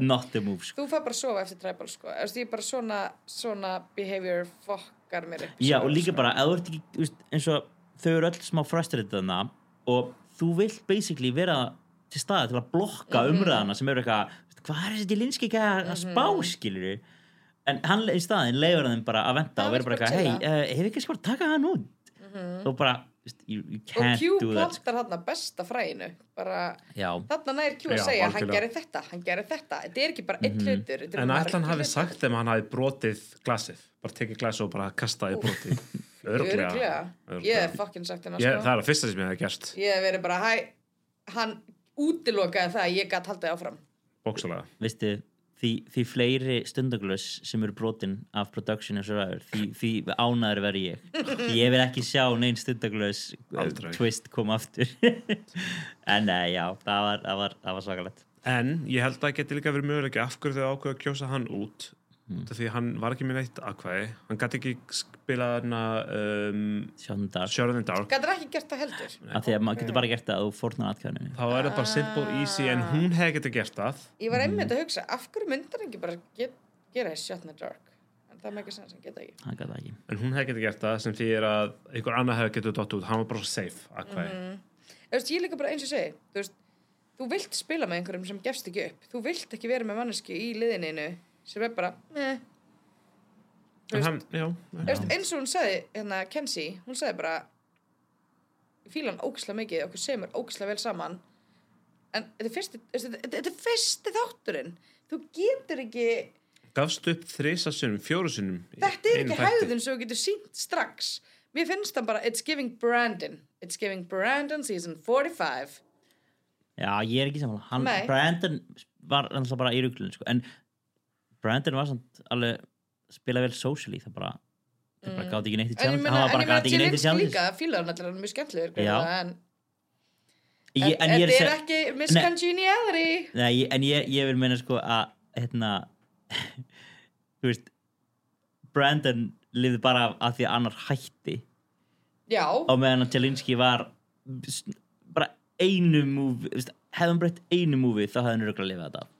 Speaker 1: not the move sko.
Speaker 2: þú fær bara að sofa eftir tribal sko. Þess, ég er bara svona, svona behavior fokkar mér upp
Speaker 1: Já,
Speaker 2: sko,
Speaker 1: og líka
Speaker 2: sko.
Speaker 1: bara, ef þú ert ekki, þú veist, eins og þau eru öll smá frustrated þarna og þú vilt basically vera til staða til að blokka
Speaker 2: Mhm.
Speaker 1: umræðana sem eru eitthvað, þú veist, hvað er þetta linski ekki að mm spá,
Speaker 2: Mhm.
Speaker 1: skilur en hann í staðin leifur þeim bara að venta
Speaker 2: Hann
Speaker 1: og vera bara
Speaker 2: vill bara
Speaker 1: eitthvað, hei,
Speaker 2: chilla." Mhm.
Speaker 1: uh, hefur ekki skor að taka hann út og bara, þú veist, you, you
Speaker 2: og
Speaker 1: can't
Speaker 2: Q
Speaker 1: do that sko.
Speaker 2: plantar hann að besta fræinu bara,
Speaker 1: Já,
Speaker 2: þarna nær Q að
Speaker 3: Já,
Speaker 2: segja hann
Speaker 3: algjörlega. Mhm.
Speaker 2: gerir þetta, hann gerir þetta þetta er ekki bara einn hlutur þetta eru
Speaker 3: En ætla hann
Speaker 2: margir
Speaker 3: hafi
Speaker 2: hlutir.
Speaker 3: sagt þeim að hann hafi brotið glasið bara tekið glasið og bara kastaði brotið
Speaker 2: Örugglega.
Speaker 3: Örglega
Speaker 2: ég hef fokkin sagt hann
Speaker 3: Ég, það er að fyrsta sem ég hef gert,
Speaker 2: ég hef verið bara, hæ hann útilokaði það að ég gæti haldið áfram
Speaker 3: bóksalega.
Speaker 1: veistu því, því fleiri stundaglöss sem eru brotin af production og survivor því, því ánæður verði ég því ég vil ekki sjá neinn stundaglöss uh,
Speaker 3: Aldrei.
Speaker 1: twist koma aftur en nei, já, það var, það var, það var svakalegt
Speaker 3: En ég held að það geti líka verið möguleiki af hverju þau ákveðu að kjósa hann út.
Speaker 1: Hmm.
Speaker 3: Mm. Því hann var ekki með neitt aðkvæði. Hann gæti ekki spilað hann um,
Speaker 1: sjóðum dag,
Speaker 3: Sharon and Dark.
Speaker 2: gæti ekki gert það heldur
Speaker 1: af því að maður getur bara gert það að þú fórnar atkvæðinu
Speaker 3: Þá er það bara simple easy en hún hefði getið gert það.
Speaker 2: ég var einmitt að hugsa, af hverju myndar ekki bara get, gera shot in the dark en það er með ekki sens, hann geta ekki
Speaker 1: hann gæti það ekki
Speaker 3: En hún hefði getið gert það sem því er að einhver annar hefði getið dott út. Hann var bara svo safe aðkvæði.
Speaker 2: Mhm. Þú veist, ég er líka bara eins og segi þú, veist, þú vilt spila með einhverjum sem gefst ekki upp þú vilt ekki vera með mannesku í liðininu sem er bara meh. Þú
Speaker 3: En
Speaker 2: veist,
Speaker 3: hann, já.
Speaker 2: þú veist, eins og hún sagði hérna Kenzie, hún sagði bara ég fíla hann ógislega mikið okkur semur ógislega vel saman en þetta er fyrsti, þú veist, þetta- þetta þetta er fyrsti þátturinn þú getur ekki
Speaker 3: Gafst upp þrisa sinnum, fjóru sinnum. í
Speaker 2: þetta er
Speaker 3: einum
Speaker 2: ekki
Speaker 3: þætti.
Speaker 2: hæðin sem þú getur sínt strax mér finnst það bara, it's giving Brandon it's giving Brandon season 45
Speaker 1: já, ég er ekki samanlega hann,
Speaker 2: Nei.
Speaker 1: Brandon var alltaf bara í ruglun sko. en Brandon var samt alveg spila vel socially það bara, það bara gátt ekki neitt í
Speaker 2: Mm. En ég
Speaker 1: challenge
Speaker 2: meina,
Speaker 1: hann var
Speaker 2: en ég
Speaker 1: bara
Speaker 2: meina
Speaker 1: gátt ekki neitt í
Speaker 2: Jelinski
Speaker 1: challenge
Speaker 2: líka, fílar hann allir hann er mjög skemmtilegur
Speaker 1: Já.
Speaker 2: greinilega, en, en,
Speaker 1: Ég-
Speaker 2: en
Speaker 1: ég
Speaker 2: þetta
Speaker 1: að
Speaker 2: er
Speaker 1: segja-
Speaker 2: ekki Miss
Speaker 1: Nei.
Speaker 2: Congeniality
Speaker 1: Nei, ég- en ég, ég vil meina sko að hérna þú veist Brandon lifði bara af, af því að annar hætti
Speaker 2: Já,
Speaker 1: á meðan að Jelinski var s- bara einu múfi hefðan breytt einu múfi þá hefði hann röglega lifað þetta af.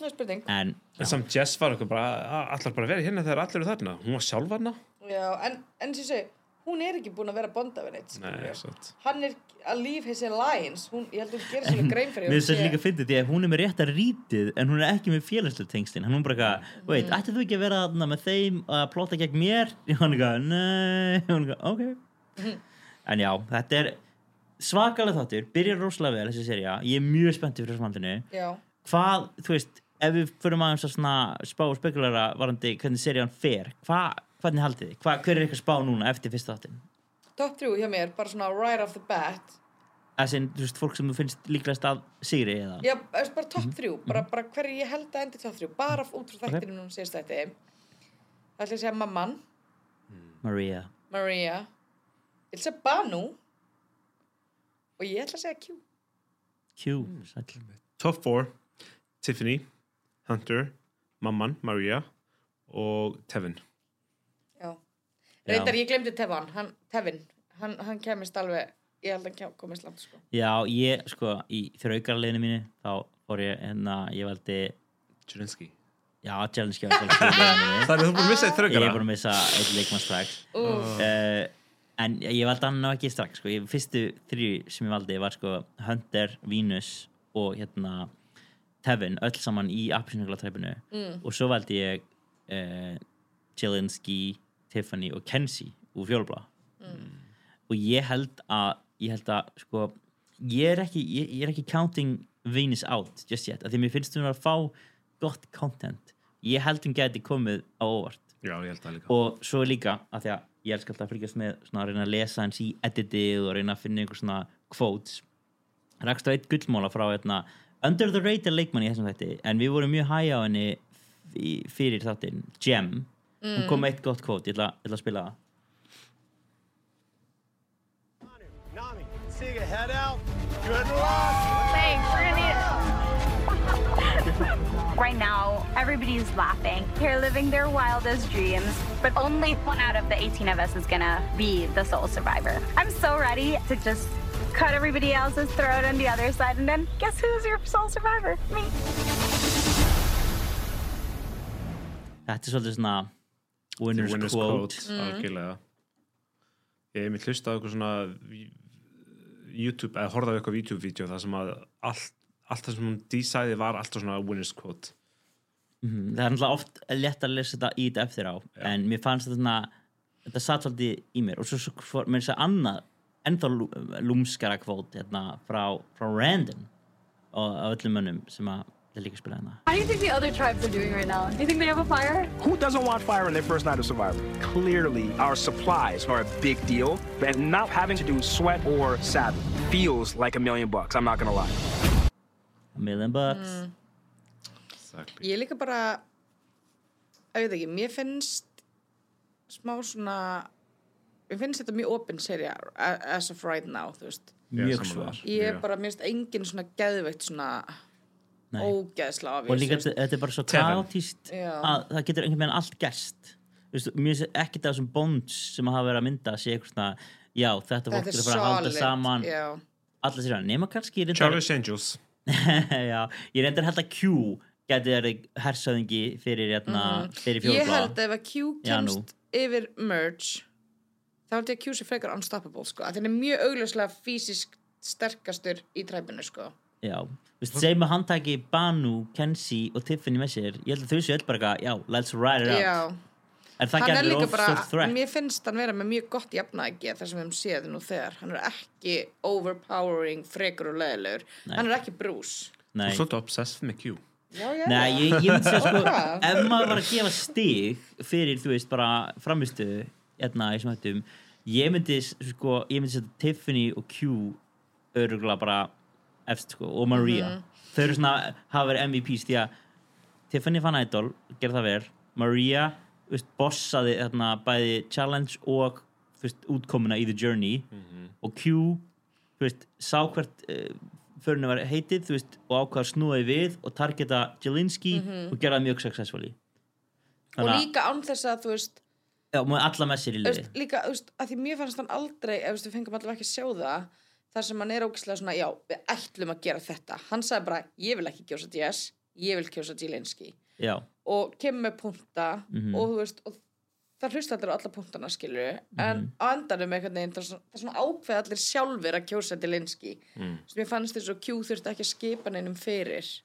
Speaker 2: það er spurning
Speaker 1: en
Speaker 3: En samt Jess var okkur bara, "Ah, allar bara verið hérna þegar allir eru þarna. Hún var sjálf hana.
Speaker 2: Já, en, en sem ég segi, hún er ekki búin að vera bonda við neitt skilur
Speaker 3: Nei,
Speaker 2: við.
Speaker 3: satt.
Speaker 2: Hann er að líf his alliance hún, Ég held að hún gerir sér alveg grein fyrir
Speaker 1: mér finnst þetta líka fyndið því að hún er með rétt að rítið en hún er ekki með félagslega tengslin hann hún bara eitthvað, veit, ætti þú ekki að vera þarna með þeim að plóta gegn mér hann eitthvað, nei, hann eitthvað, ok en já, þetta er svakalega þáttur, byrjar rosalega vel þessi serja, ég er mjög spenntið fyrir samhandinu
Speaker 2: Já,
Speaker 1: hvað, þú veist, ef við förum aðeins að svona spá og spekulara varandi hvernig serjan fer, hvað hvernig haldið þið, Hva, hver er eitthvað spá núna eftir fyrsta þáttin
Speaker 2: top 3 hjá mér, bara svona right off the bat
Speaker 1: þessi, þú veist, fólk sem þú finnst líklegast að sigri eða,
Speaker 2: Já, þú veist, bara top 3 bara, bara hverju ég held að endi top 3 Bara út frá þættinu núna síðast þetta Það ætla ég að segja mamman
Speaker 1: Maria
Speaker 2: Maria Ég ætla að segja Banu Og ég ætla að segja Q
Speaker 1: Q, sæll
Speaker 3: Top 4 Tiffany, Hunter, Mamman, Maria og Tevin
Speaker 2: Já. Reyndar, ég glemdi Tevin hann, Tevin, hann, hann kemist alveg Ég held að hann kem- komist langt sko.
Speaker 1: Já, ég, sko, í þraukarleginu mínu þá fór ég, hérna, ég valdi
Speaker 3: Jurinski
Speaker 1: já, challenge skjáði
Speaker 3: Það er þú búin að missa eitt
Speaker 1: ég er
Speaker 3: þröggara
Speaker 1: búin að missa eitt leikmann strax uh, en ég valdi hann ná ekki strax sko. ég, fyrstu þrjú sem ég valdi var sko, Hunter, Venus og hérna Tevin, öll saman í appisnuglatræpinu mm. og svo valdi ég uh, Jelinski, Tiffany og Kenzie úr fjólblá og ég held að ég held að sko ég er ekki, ég, ég er ekki counting Venus out just yet, af því mér finnst hún að fá gott content, ég held hún gæti komið á óvart
Speaker 3: Já, ég held það líka.
Speaker 1: og svo líka að því að ég elskar alltaf að fylgjast með svona að reyna að lesa hans í editið og reyna að finna einhver svona quotes rakst á eitt gullmóla frá hérna, under the radar leikmann í þessum þætti en við vorum mjög hæg á henni f- fyrir þáttin, Gem
Speaker 3: Mm.
Speaker 1: hún kom með eitt gott quote, ég ætla, ég ætla að spila það
Speaker 7: Nami, see your head out. Good luck.
Speaker 4: Thanks. We're gonna need it. right now, everybody's laughing. They're living their wildest dreams, but only one out of the 18 of us is gonna be the sole survivor. I'm so ready to just cut everybody else's throat on the other side, and then guess who's your sole survivor? Me.
Speaker 1: þetta er svolítið svona winner's,
Speaker 3: Winner's
Speaker 1: quote,
Speaker 3: quote, algjörlega. Ég hef mér hlustað á eitthvað svona vi- YouTube, eða horfðað á eitthvað YouTube-vídeó þar sem að allt, allt það sem hún dísæði var alltaf svona winner's quote.
Speaker 1: Mhm, það er náttúrulega oft lett að lesa þetta í þetta eftir á en mér fannst þetta svona þetta satt svolítið í mér og svo, svo fór- mér þess að annað ennþá lú- lúmskara kvót hérna, frá, frá random og af öllum mönnum sem að það líka spila hérna
Speaker 10: How do you think the other tribes are doing right now? Do you think they have a fire?
Speaker 11: Who doesn't want fire on their first night of survival? Clearly, our supplies are a big deal, and not having to do sweat or saddle feels like a million bucks. I'm not gonna lie.
Speaker 1: a million bucks
Speaker 2: Mm.
Speaker 3: Exactly.
Speaker 2: Ég líka bara að veit ekki, mér finnst smá svona mér finnst þetta mjög opin serja as of right now, þú veist
Speaker 1: mjög
Speaker 3: sammála
Speaker 1: svo
Speaker 3: þér.
Speaker 2: ég
Speaker 3: Já.
Speaker 2: er bara, mér finnst engin svona geðveikt svona
Speaker 1: Nei.
Speaker 2: ógeðsla
Speaker 1: og
Speaker 2: afvís
Speaker 1: líka þetta þetta er bara svo
Speaker 3: Tevin.
Speaker 1: kaotist
Speaker 2: Já.
Speaker 1: að það getur einhvern veginn allt gerst Vistu, mér finnst ekkert af þessum bonds sem hafa verið að mynda sé eitthvað svona já þetta fólk
Speaker 2: þetta
Speaker 1: er
Speaker 2: er
Speaker 1: að fara að halda saman
Speaker 2: solid já.
Speaker 1: alla sér að nema kannski reyndar-
Speaker 3: Charlie's Angels.
Speaker 1: Já, ég reyndar held að Q geti verið hersöðingi fyrir, hérna, fyrir
Speaker 2: Mm, ég
Speaker 1: fjólubláa.
Speaker 2: held ef að Q
Speaker 1: Já, nú.
Speaker 2: kemst yfir merge þá held ég að Q sé frekar unstoppable sko, að hann er mjög augljóslega fysisk sterkastur í træpinu sko
Speaker 1: Já, þú veist, segjum að hann taki Banu, Kenzie og Tiffany með sér. Ég held að þau séu öll bara eitthvað, já, let's ride it out.
Speaker 2: já,
Speaker 1: En það
Speaker 2: hann er
Speaker 1: getur
Speaker 2: líka
Speaker 1: of sort
Speaker 2: bara,
Speaker 1: threat.
Speaker 2: mér finnst hann vera með mjög gott jafnægi þar sem við höfum séð nú þegar hann er ekki overpowering frekur og leðilegur, hann er ekki brús
Speaker 1: Nei,
Speaker 3: Þú svolítið obsessed með Q.
Speaker 2: já, já,
Speaker 1: Nei ég, ég myndi segja sko,
Speaker 2: Hvað?
Speaker 1: ef maður var að gefa stig fyrir, þú veist, bara framistu, hérna, í smættum, ég myndi, sko, ég myndi setja Tiffany og Q örugla bara efst, sko, og Maria.
Speaker 2: Mhm.
Speaker 1: Þau eru svona, hafa verið MVPs því að Tiffany fann Idol, gerði það verið Maria þú veist, bossaði þarna, bæði challenge og þú veist, útkomuna í The Journey og Q þú veist, sá hvert uh, förinu var heitið þú veist, og ákvað að snúaði við og targeta Jelinski og gera það mjög successfully
Speaker 2: Mhm. og
Speaker 1: þannig að
Speaker 2: líka án þess að þú veist
Speaker 1: já, maður alla með sér í liði
Speaker 2: Öst, líka, öst, að því mér fannst hann aldrei ef veist, við fengum allavega ekki að sjá það þar sem hann er ógislega svona, já, við ætlum að gera þetta hann sagði bara, ég vil ekki kjósa DS ég vil kjósa Jelinski
Speaker 1: já,
Speaker 2: og kemur með punta
Speaker 1: Mhm.
Speaker 2: og þú veist, og það hlusta allir á alla puntana skilur
Speaker 1: Mhm.
Speaker 2: en á endanum einhvern veginn, það er svona, það er svona ákveð allir sjálfur að kjósa Jelinski mm. sem ég fannst þess að Q þurfti ekki að skipa neinum fyrir,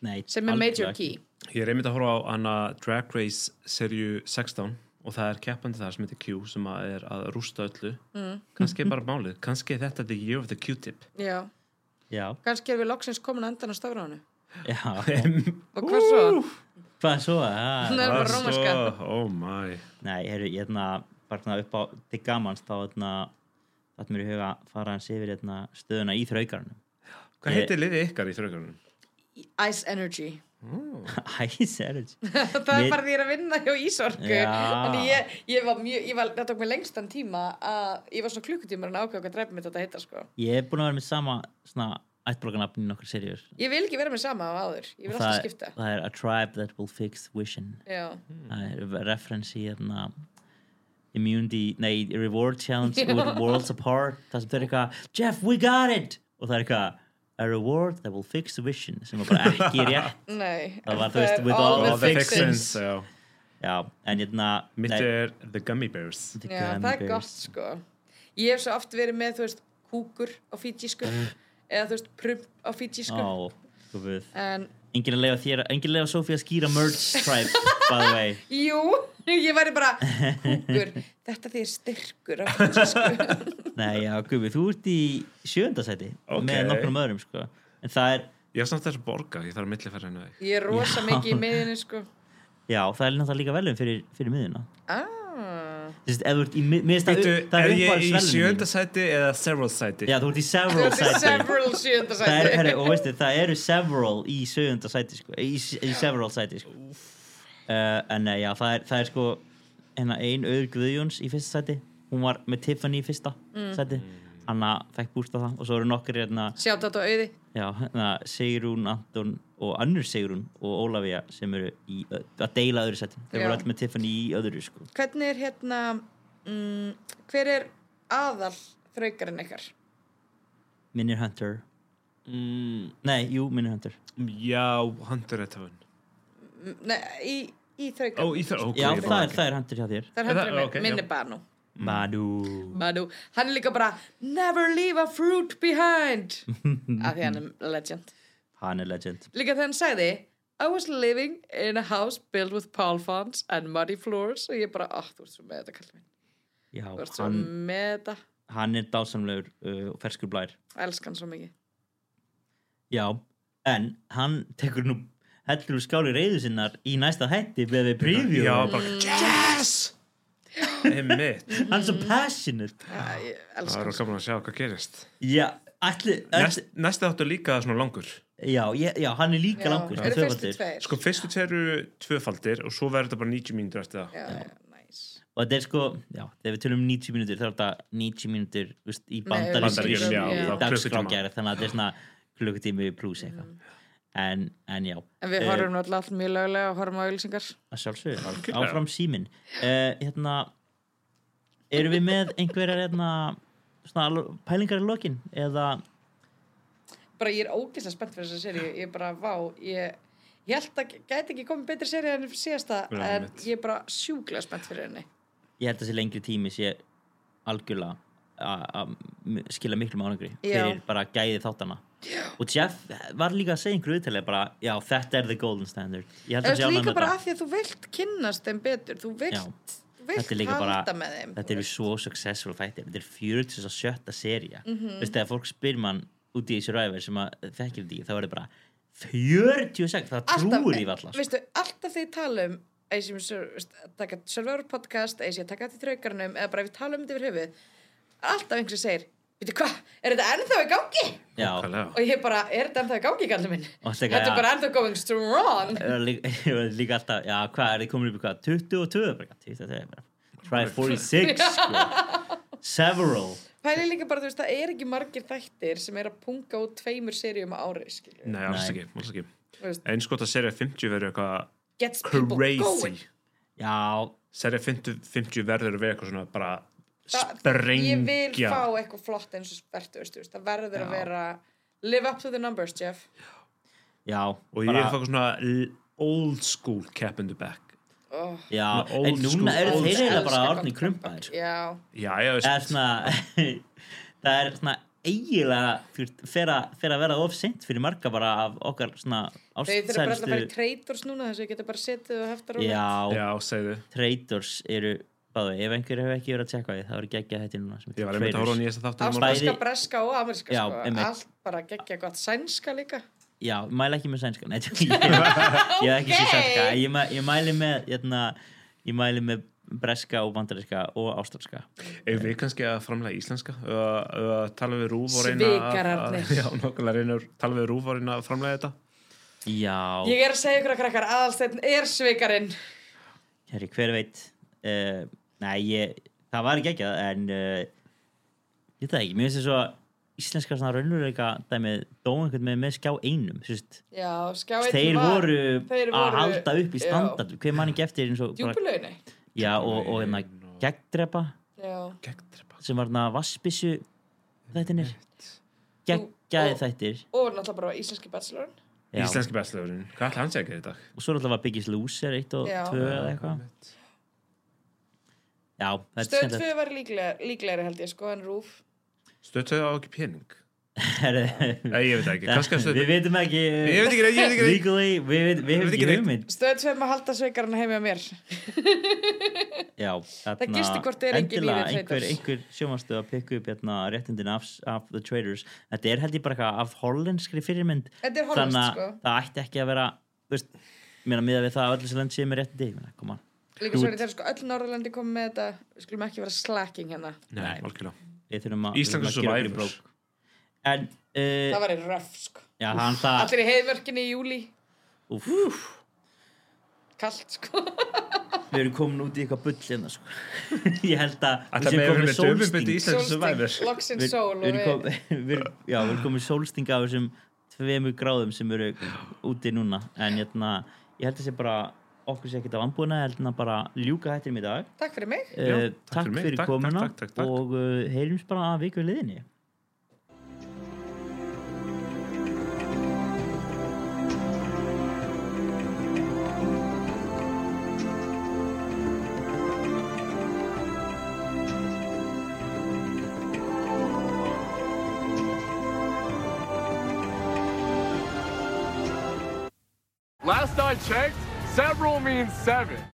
Speaker 1: nei,
Speaker 2: sem er major
Speaker 1: algjörlega
Speaker 2: key
Speaker 3: Ég er einmitt að horfa á hana Drag Race serju 16 og það er keppandi þar sem heitir Q sem að er að rústa öllu mm. kannski er bara málið, kannski er þetta the year of the Q-tip
Speaker 2: já,
Speaker 1: já,
Speaker 2: kannski erum við loksins komin að endan á stafránu
Speaker 1: já,
Speaker 2: og hvað svo?
Speaker 1: hvað svo Ah,
Speaker 2: Hún er bara rómaska
Speaker 3: oh my
Speaker 1: Nei, heyrðu, ég hérna bara svona upp á til gamans þá hérna þetta mér í huga að fara hans yfir hérna stöðuna í þraukarunum
Speaker 3: Hvað heitir liðið ykkar í þrjókarunum?
Speaker 2: Ice Energy
Speaker 1: Æs, er þetta
Speaker 2: það
Speaker 1: Mér-
Speaker 2: er bara því ég er að vinna hjá Ísorku
Speaker 1: Já.
Speaker 2: þannig ég, ég var mjög ég var, það tók mig lengstan tíma að ég var svona klukkutíma að ákveða hvað drepa mitt þetta heita sko.
Speaker 1: Ég er búin að vera með sama svona ættbrókarnafnin nokkur serjur
Speaker 2: ég vil ekki vera með sama á áður ég vil alltaf
Speaker 1: það,
Speaker 2: skipta
Speaker 1: það er A Tribe That Will Fix Vision
Speaker 2: Já.
Speaker 1: það er reference í hérna Immunity, nei, Reward Challenge with Worlds Apart, það sem þau er eitthvað Jeff, we got it! Og það er eitthvað A reward that will fix vision sem var bara ekki rétt
Speaker 2: Nei,
Speaker 1: Það var,
Speaker 2: en
Speaker 1: þú veist,
Speaker 2: er
Speaker 1: with all
Speaker 2: the
Speaker 1: the fixins.
Speaker 2: fixins.
Speaker 3: já.
Speaker 1: Já, en hérna
Speaker 3: Mitt eh,
Speaker 1: nei,
Speaker 3: er the Gummy Bears
Speaker 1: The
Speaker 2: Já,
Speaker 1: Gummy
Speaker 2: það er
Speaker 1: Bears.
Speaker 2: gott sko Ég hef svo oft verið með, þú veist, kúkur á fítísku eða þú veist, prump á fítísku
Speaker 3: Sko.
Speaker 1: Ó, guð.
Speaker 2: en
Speaker 1: Engin að leiða þér, engin að leiða Sofía að skýra merge stripe, by the way.
Speaker 2: jú, ég væri bara kúkur, þetta því er styrkur á fítísku
Speaker 1: Nei, já, guð, þú ert í sjöndasæti
Speaker 3: Ok.
Speaker 1: okay. með nokkrum öðrum, sko. En það er,
Speaker 3: Ég er samt þess að borga, ég þarf að millifæra henni þig.
Speaker 2: Ég er rosa
Speaker 1: Já.
Speaker 2: mikið í miðinni, sko
Speaker 1: já, það er náttúrulega líka velum fyrir, fyrir miðuna.
Speaker 2: ah.
Speaker 1: Þú veist, ef þú ert í, mið- mér finnst það,
Speaker 3: Býttu,
Speaker 1: upp- það
Speaker 3: er
Speaker 1: er
Speaker 3: ég í
Speaker 1: uppáhaldsvelun
Speaker 3: sjönda sæti eða several sæti?
Speaker 1: Já, þú ert í
Speaker 2: Þú
Speaker 1: several
Speaker 2: ert í
Speaker 1: sæti.
Speaker 2: several sjönda
Speaker 1: Það er, herri,
Speaker 2: sæti
Speaker 1: og veistu, það eru several í sjöunda sæti, sko. Í, í several sæti, sko. Uh, en nei, já, það er, það er sko, hérna, ein auður Guðjóns í fyrsta sæti. Hún var með Tiffany í fyrsta
Speaker 2: Mm.
Speaker 1: sæti. Hanna fekk bústa það og svo eru nokkur hérna,
Speaker 2: Sjátt á auði
Speaker 1: já, hérna, Sigrún, Anton og annur Sigrún og Ólafía sem eru í, ö- að deila öðru sæti. Þau
Speaker 2: Já.
Speaker 1: voru öll með Tiffany í öðru, sko.
Speaker 2: Hvernig er hérna mm, hver er aðal þraukarinn ykkar?
Speaker 1: Minir Hunter. Mm. Nei, jú, Minir Hunter.
Speaker 3: Já, Hunter er töfun.
Speaker 2: M- Nei, í, í þraukarinn
Speaker 3: Ó, í þrau- ok,
Speaker 1: já,
Speaker 3: ég
Speaker 1: það
Speaker 3: bara-
Speaker 1: er, það er Hunter hjá þér.
Speaker 2: Það er handrið minn,
Speaker 3: ok, já.
Speaker 2: minni Banu
Speaker 1: Madu.
Speaker 2: Banu, hann er líka bara Never leave a fruit behind af því hann er legend
Speaker 1: Hann er legend.
Speaker 2: Líka þegar hann sagði I was living in a house built with pole fonts and muddy floors og ég bara, ah, þú ert svo með þetta kallið minn
Speaker 1: Já,
Speaker 2: Þú ert svo
Speaker 1: hann,
Speaker 2: með þetta,
Speaker 1: hann er dásamlegur uh, og ferskur blær.
Speaker 2: elskan svo mikið
Speaker 1: Já, en hann tekur nú heldur úr skáli reyðu sinnar í næsta hætti með við preview.
Speaker 3: Já, bara, yes! Emmitt.
Speaker 1: Hann er svo passionate.
Speaker 2: ah, ég
Speaker 3: Það
Speaker 2: elskan
Speaker 3: eru gaman að sjá hvað gerist.
Speaker 1: Já, allir,
Speaker 3: Næst, næsti áttu líka svona langur.
Speaker 1: já, ég- já, hann er líka
Speaker 2: Já,
Speaker 1: langur. sko,
Speaker 2: eru fyrstu
Speaker 1: tvöfaldir.
Speaker 2: tveir
Speaker 3: Sko, fyrstu tveir eru tvöfaldir og svo verður þetta bara 90 mínútur eftir það.
Speaker 2: Já, já, nice
Speaker 1: Og þetta er sko, já, þegar við tölum 90 mínútur, þá er þetta 90 mínútur veist, í
Speaker 2: Nei,
Speaker 1: bandarísku
Speaker 2: Bandaríkjunum, já,
Speaker 1: í
Speaker 2: já.
Speaker 1: dagskrágerð, þannig að þetta er svona klukkutími pluss eitthvað. En, en já,
Speaker 2: Mm. En við
Speaker 1: Eh,
Speaker 2: horfum náttúrulega allt mjög löglega og horfum á auðlýsingar.
Speaker 1: að sjálfsögur,
Speaker 3: Algjörlega.
Speaker 1: áfram símin uh, hérna erum við með einhverjar hérna svona alveg- pælingar í lokin eða
Speaker 2: Bara ég er ógeðslega spennt fyrir þessa seríu. Ég er bara, vá, ég, ég held að gæti ekki komið betri seríu en síðasta,
Speaker 3: Já,
Speaker 2: en
Speaker 3: mitt.
Speaker 2: ég er bara sjúklega spennt fyrir henni.
Speaker 1: ég held að þessi lengri tími sé algjörlega að- að m- skila miklu málangri
Speaker 2: Já.
Speaker 1: fyrir bara gæði þáttana já. og Jeff var líka að segja einhverju viðtalið bara, já þetta er the golden standard ég held
Speaker 2: Það
Speaker 1: að sé
Speaker 2: er
Speaker 1: ánægð
Speaker 2: líka
Speaker 1: með
Speaker 2: bara
Speaker 1: þetta
Speaker 2: af því að þú vilt kynnast þeim betur, þú
Speaker 1: Já.
Speaker 2: vilt, þú
Speaker 1: Þetta er
Speaker 2: vilt
Speaker 1: líka bara-
Speaker 2: halda með þeim.
Speaker 1: þetta eru svo successful þættir þetta er 47. seria
Speaker 2: Mhm.
Speaker 1: mm -hmm. veist þegar fólk spyr mann úti í Survivor sem að þekkir þetta ekki þá er þetta bara 46, það trúir í sko. valla
Speaker 2: Veistu, alltaf þegar ég tala um eins og ég sem veist, taka server podcast, eins og ég taka þetta í þraukarnum, eða bara ef ég tala um þetta yfir höfuð, alltaf einhver segir, veitu hvað, er þetta ennþá í gangi?
Speaker 1: já,
Speaker 3: Nákvæmlega.
Speaker 2: Og ég bara, er þetta ennþá í gangi, kallið minn?
Speaker 1: Og þetta er
Speaker 2: Þetta
Speaker 1: eitthvað,
Speaker 2: er bara ennþá going strong.
Speaker 1: já, líka, líka alltaf, já, hvað er þið komin upp í hvað 22, bara, 22 bara. try 46 sko. several
Speaker 2: Pæli líka bara, þú veist, það er ekki margir þættir sem er að punga út tveimur seríum á ári, skilju.
Speaker 3: Nei, alls
Speaker 1: Nei.
Speaker 3: ekki, alls ekki.
Speaker 2: Þú veist,
Speaker 3: En sko, það serið 50 verður eitthvað
Speaker 2: gets people
Speaker 3: crazy.
Speaker 2: going.
Speaker 1: já,
Speaker 3: Serið 50, 50 verður að vera eitthvað svona bara
Speaker 2: Það-
Speaker 3: sprengja.
Speaker 2: Ég vil fá eitthvað flott eins og spertust, þú veist, það verður að vera live up to the numbers, Jeff.
Speaker 1: já
Speaker 3: Og ég vil fá eitthvað svona l- old school cap in the back.
Speaker 2: Oh,
Speaker 1: já,
Speaker 3: svona
Speaker 1: en
Speaker 3: old
Speaker 1: núna
Speaker 3: school,
Speaker 1: eru
Speaker 3: old
Speaker 1: þeir eiginlega bara
Speaker 2: Elska
Speaker 1: orðni
Speaker 2: gott
Speaker 1: krumpaðir sko.
Speaker 2: já,
Speaker 3: Já, já, veist.
Speaker 1: eða svona það er svona eiginlega þú veist, fer að fer að vera of seint fyrir marga bara af okkar svona
Speaker 2: þau þurfa bara alltaf að fara í
Speaker 1: ástsælstu
Speaker 2: traitors núna þess að þau geta bara setið og heftar
Speaker 1: já,
Speaker 3: Já, segðu.
Speaker 1: traitors eru báðu, ef einhver hefur ekki verið að tjekka því það eru geggja hætti núna sem
Speaker 3: Ég
Speaker 1: heitir
Speaker 3: var einmitt að horfa á
Speaker 1: Traitors.
Speaker 3: nýjasta þátt.
Speaker 2: ástæðska, breska og ameríska
Speaker 1: Já,
Speaker 2: sko,
Speaker 1: einmitt.
Speaker 2: allt bara geggja gott sænska líka
Speaker 1: já, mæla ekki með sænska Nei, ég, ég, ég hef ekki sér sænska ég, mæ- ég mæli með hérna, ég mæli með breska og bandaríska og ástralska
Speaker 3: Ef við kannski að framlega íslenska uh, uh, tala við rúf og reyna að-
Speaker 2: Svikararnir.
Speaker 3: að- Já, nokkulega reyna að- tala við rúf og reyna að framlega þetta
Speaker 1: já,
Speaker 2: ég er að segja ykkur að krakkar aðalstættin er svikarinn
Speaker 1: Herri, hver veit uh, Nei, ég, það var ekki ekki En uh, Ég veit það ekki, mér finnst þess að Íslenska svona raunveruleika dæmið Dó einhvern með með skjá einum þú veist.
Speaker 2: já, skjá einn
Speaker 1: Þeir
Speaker 2: var-
Speaker 1: voru
Speaker 2: þeir
Speaker 1: að
Speaker 2: voru-
Speaker 1: halda upp í sko.
Speaker 2: já,
Speaker 1: standard Hver mann ekki eftir eins og bara,
Speaker 2: djúpulauðinni.
Speaker 1: Já, og, og hérna gegndrepa
Speaker 2: já,
Speaker 3: Gegndrepa
Speaker 1: sem var hérna vassbissu þættinir geggjaði
Speaker 2: og-
Speaker 1: þættir
Speaker 2: og náttúrulega bara íslenski bachelorin
Speaker 1: já.
Speaker 3: Íslenski bestlöfurinn, hvað ætla hann sé að gera í dag?
Speaker 1: og svo er alltaf að byggjast lúsir eitt og
Speaker 2: Já.
Speaker 1: tvö eða eitthvað Já, þetta er
Speaker 2: Stöð
Speaker 1: skemmtilegt.
Speaker 2: 2 var líklega, líklegri held ég sko en Rúf
Speaker 3: Stöttuðu á ekki pening?
Speaker 1: Nei,
Speaker 3: ég veit það ekki, kannski að
Speaker 1: Við
Speaker 3: stöttuðu
Speaker 1: vitum ekki
Speaker 3: Ég veit ekki neitt, ég veit ekki neitt.
Speaker 1: Legally, við, við, við hefum
Speaker 3: veit ekki
Speaker 1: ekki
Speaker 3: neitt.
Speaker 1: hugmynd
Speaker 2: Stöð 2 maður halda sveikarinn heima hjá mér
Speaker 1: Já, þarna-
Speaker 2: gisti hvort er engin
Speaker 1: endilega
Speaker 2: nýri
Speaker 1: einhver,
Speaker 2: traders.
Speaker 1: einhver sjómastu að pikka upp hérna réttindin af, af The Traders Þetta er held ég bara eitthvað af hollenskri fyrirmynd
Speaker 2: Þetta er hollenskt,
Speaker 1: Þannig að
Speaker 2: sko.
Speaker 1: það ætti ekki að vera Þú veist, ég meina miða við það að öllu sem land sé með réttindi ég meina, koma
Speaker 2: Líka svo er þetta sko öll Norðurlandi komið með þetta Við skulum ekki vera slacking hérna
Speaker 3: Nei, algjörlega
Speaker 1: Við þurfum að
Speaker 3: Ísland er
Speaker 1: við þurfum að gera okkur í
Speaker 3: survivors.
Speaker 1: brók. En uh,
Speaker 2: Það var einn röf sko
Speaker 1: Já, hann það
Speaker 2: Allir í heiðvörkinni í júli
Speaker 1: Úf,
Speaker 2: Kalt sko
Speaker 1: Við erum komin út í eitthvað bull hérna sko. Ég held að
Speaker 3: Ætla
Speaker 1: séum
Speaker 3: með
Speaker 1: komin
Speaker 3: við
Speaker 1: með
Speaker 3: með döfum bindi í
Speaker 1: sólsting.
Speaker 3: Íslands Survivors
Speaker 2: Sólsting, loksins
Speaker 1: Við-
Speaker 2: sól og
Speaker 1: við erum
Speaker 2: við
Speaker 1: kom- við erum- já, við erum komið sólsting af þessum tveimur gráðum sem eru úti núna en hérna, ég held að sé bara okkur sé ekkert af anbúðina, ég held að bara ljúka hættinum í dag
Speaker 2: Takk fyrir mig
Speaker 1: Já,
Speaker 3: Já,
Speaker 1: takk,
Speaker 3: takk fyrir mig.
Speaker 1: fyrir
Speaker 3: Takk,
Speaker 1: komuna
Speaker 3: takk, takk, takk.
Speaker 1: og uh, heyrjumst bara að viku liðinni
Speaker 6: Last I checked, several means seven.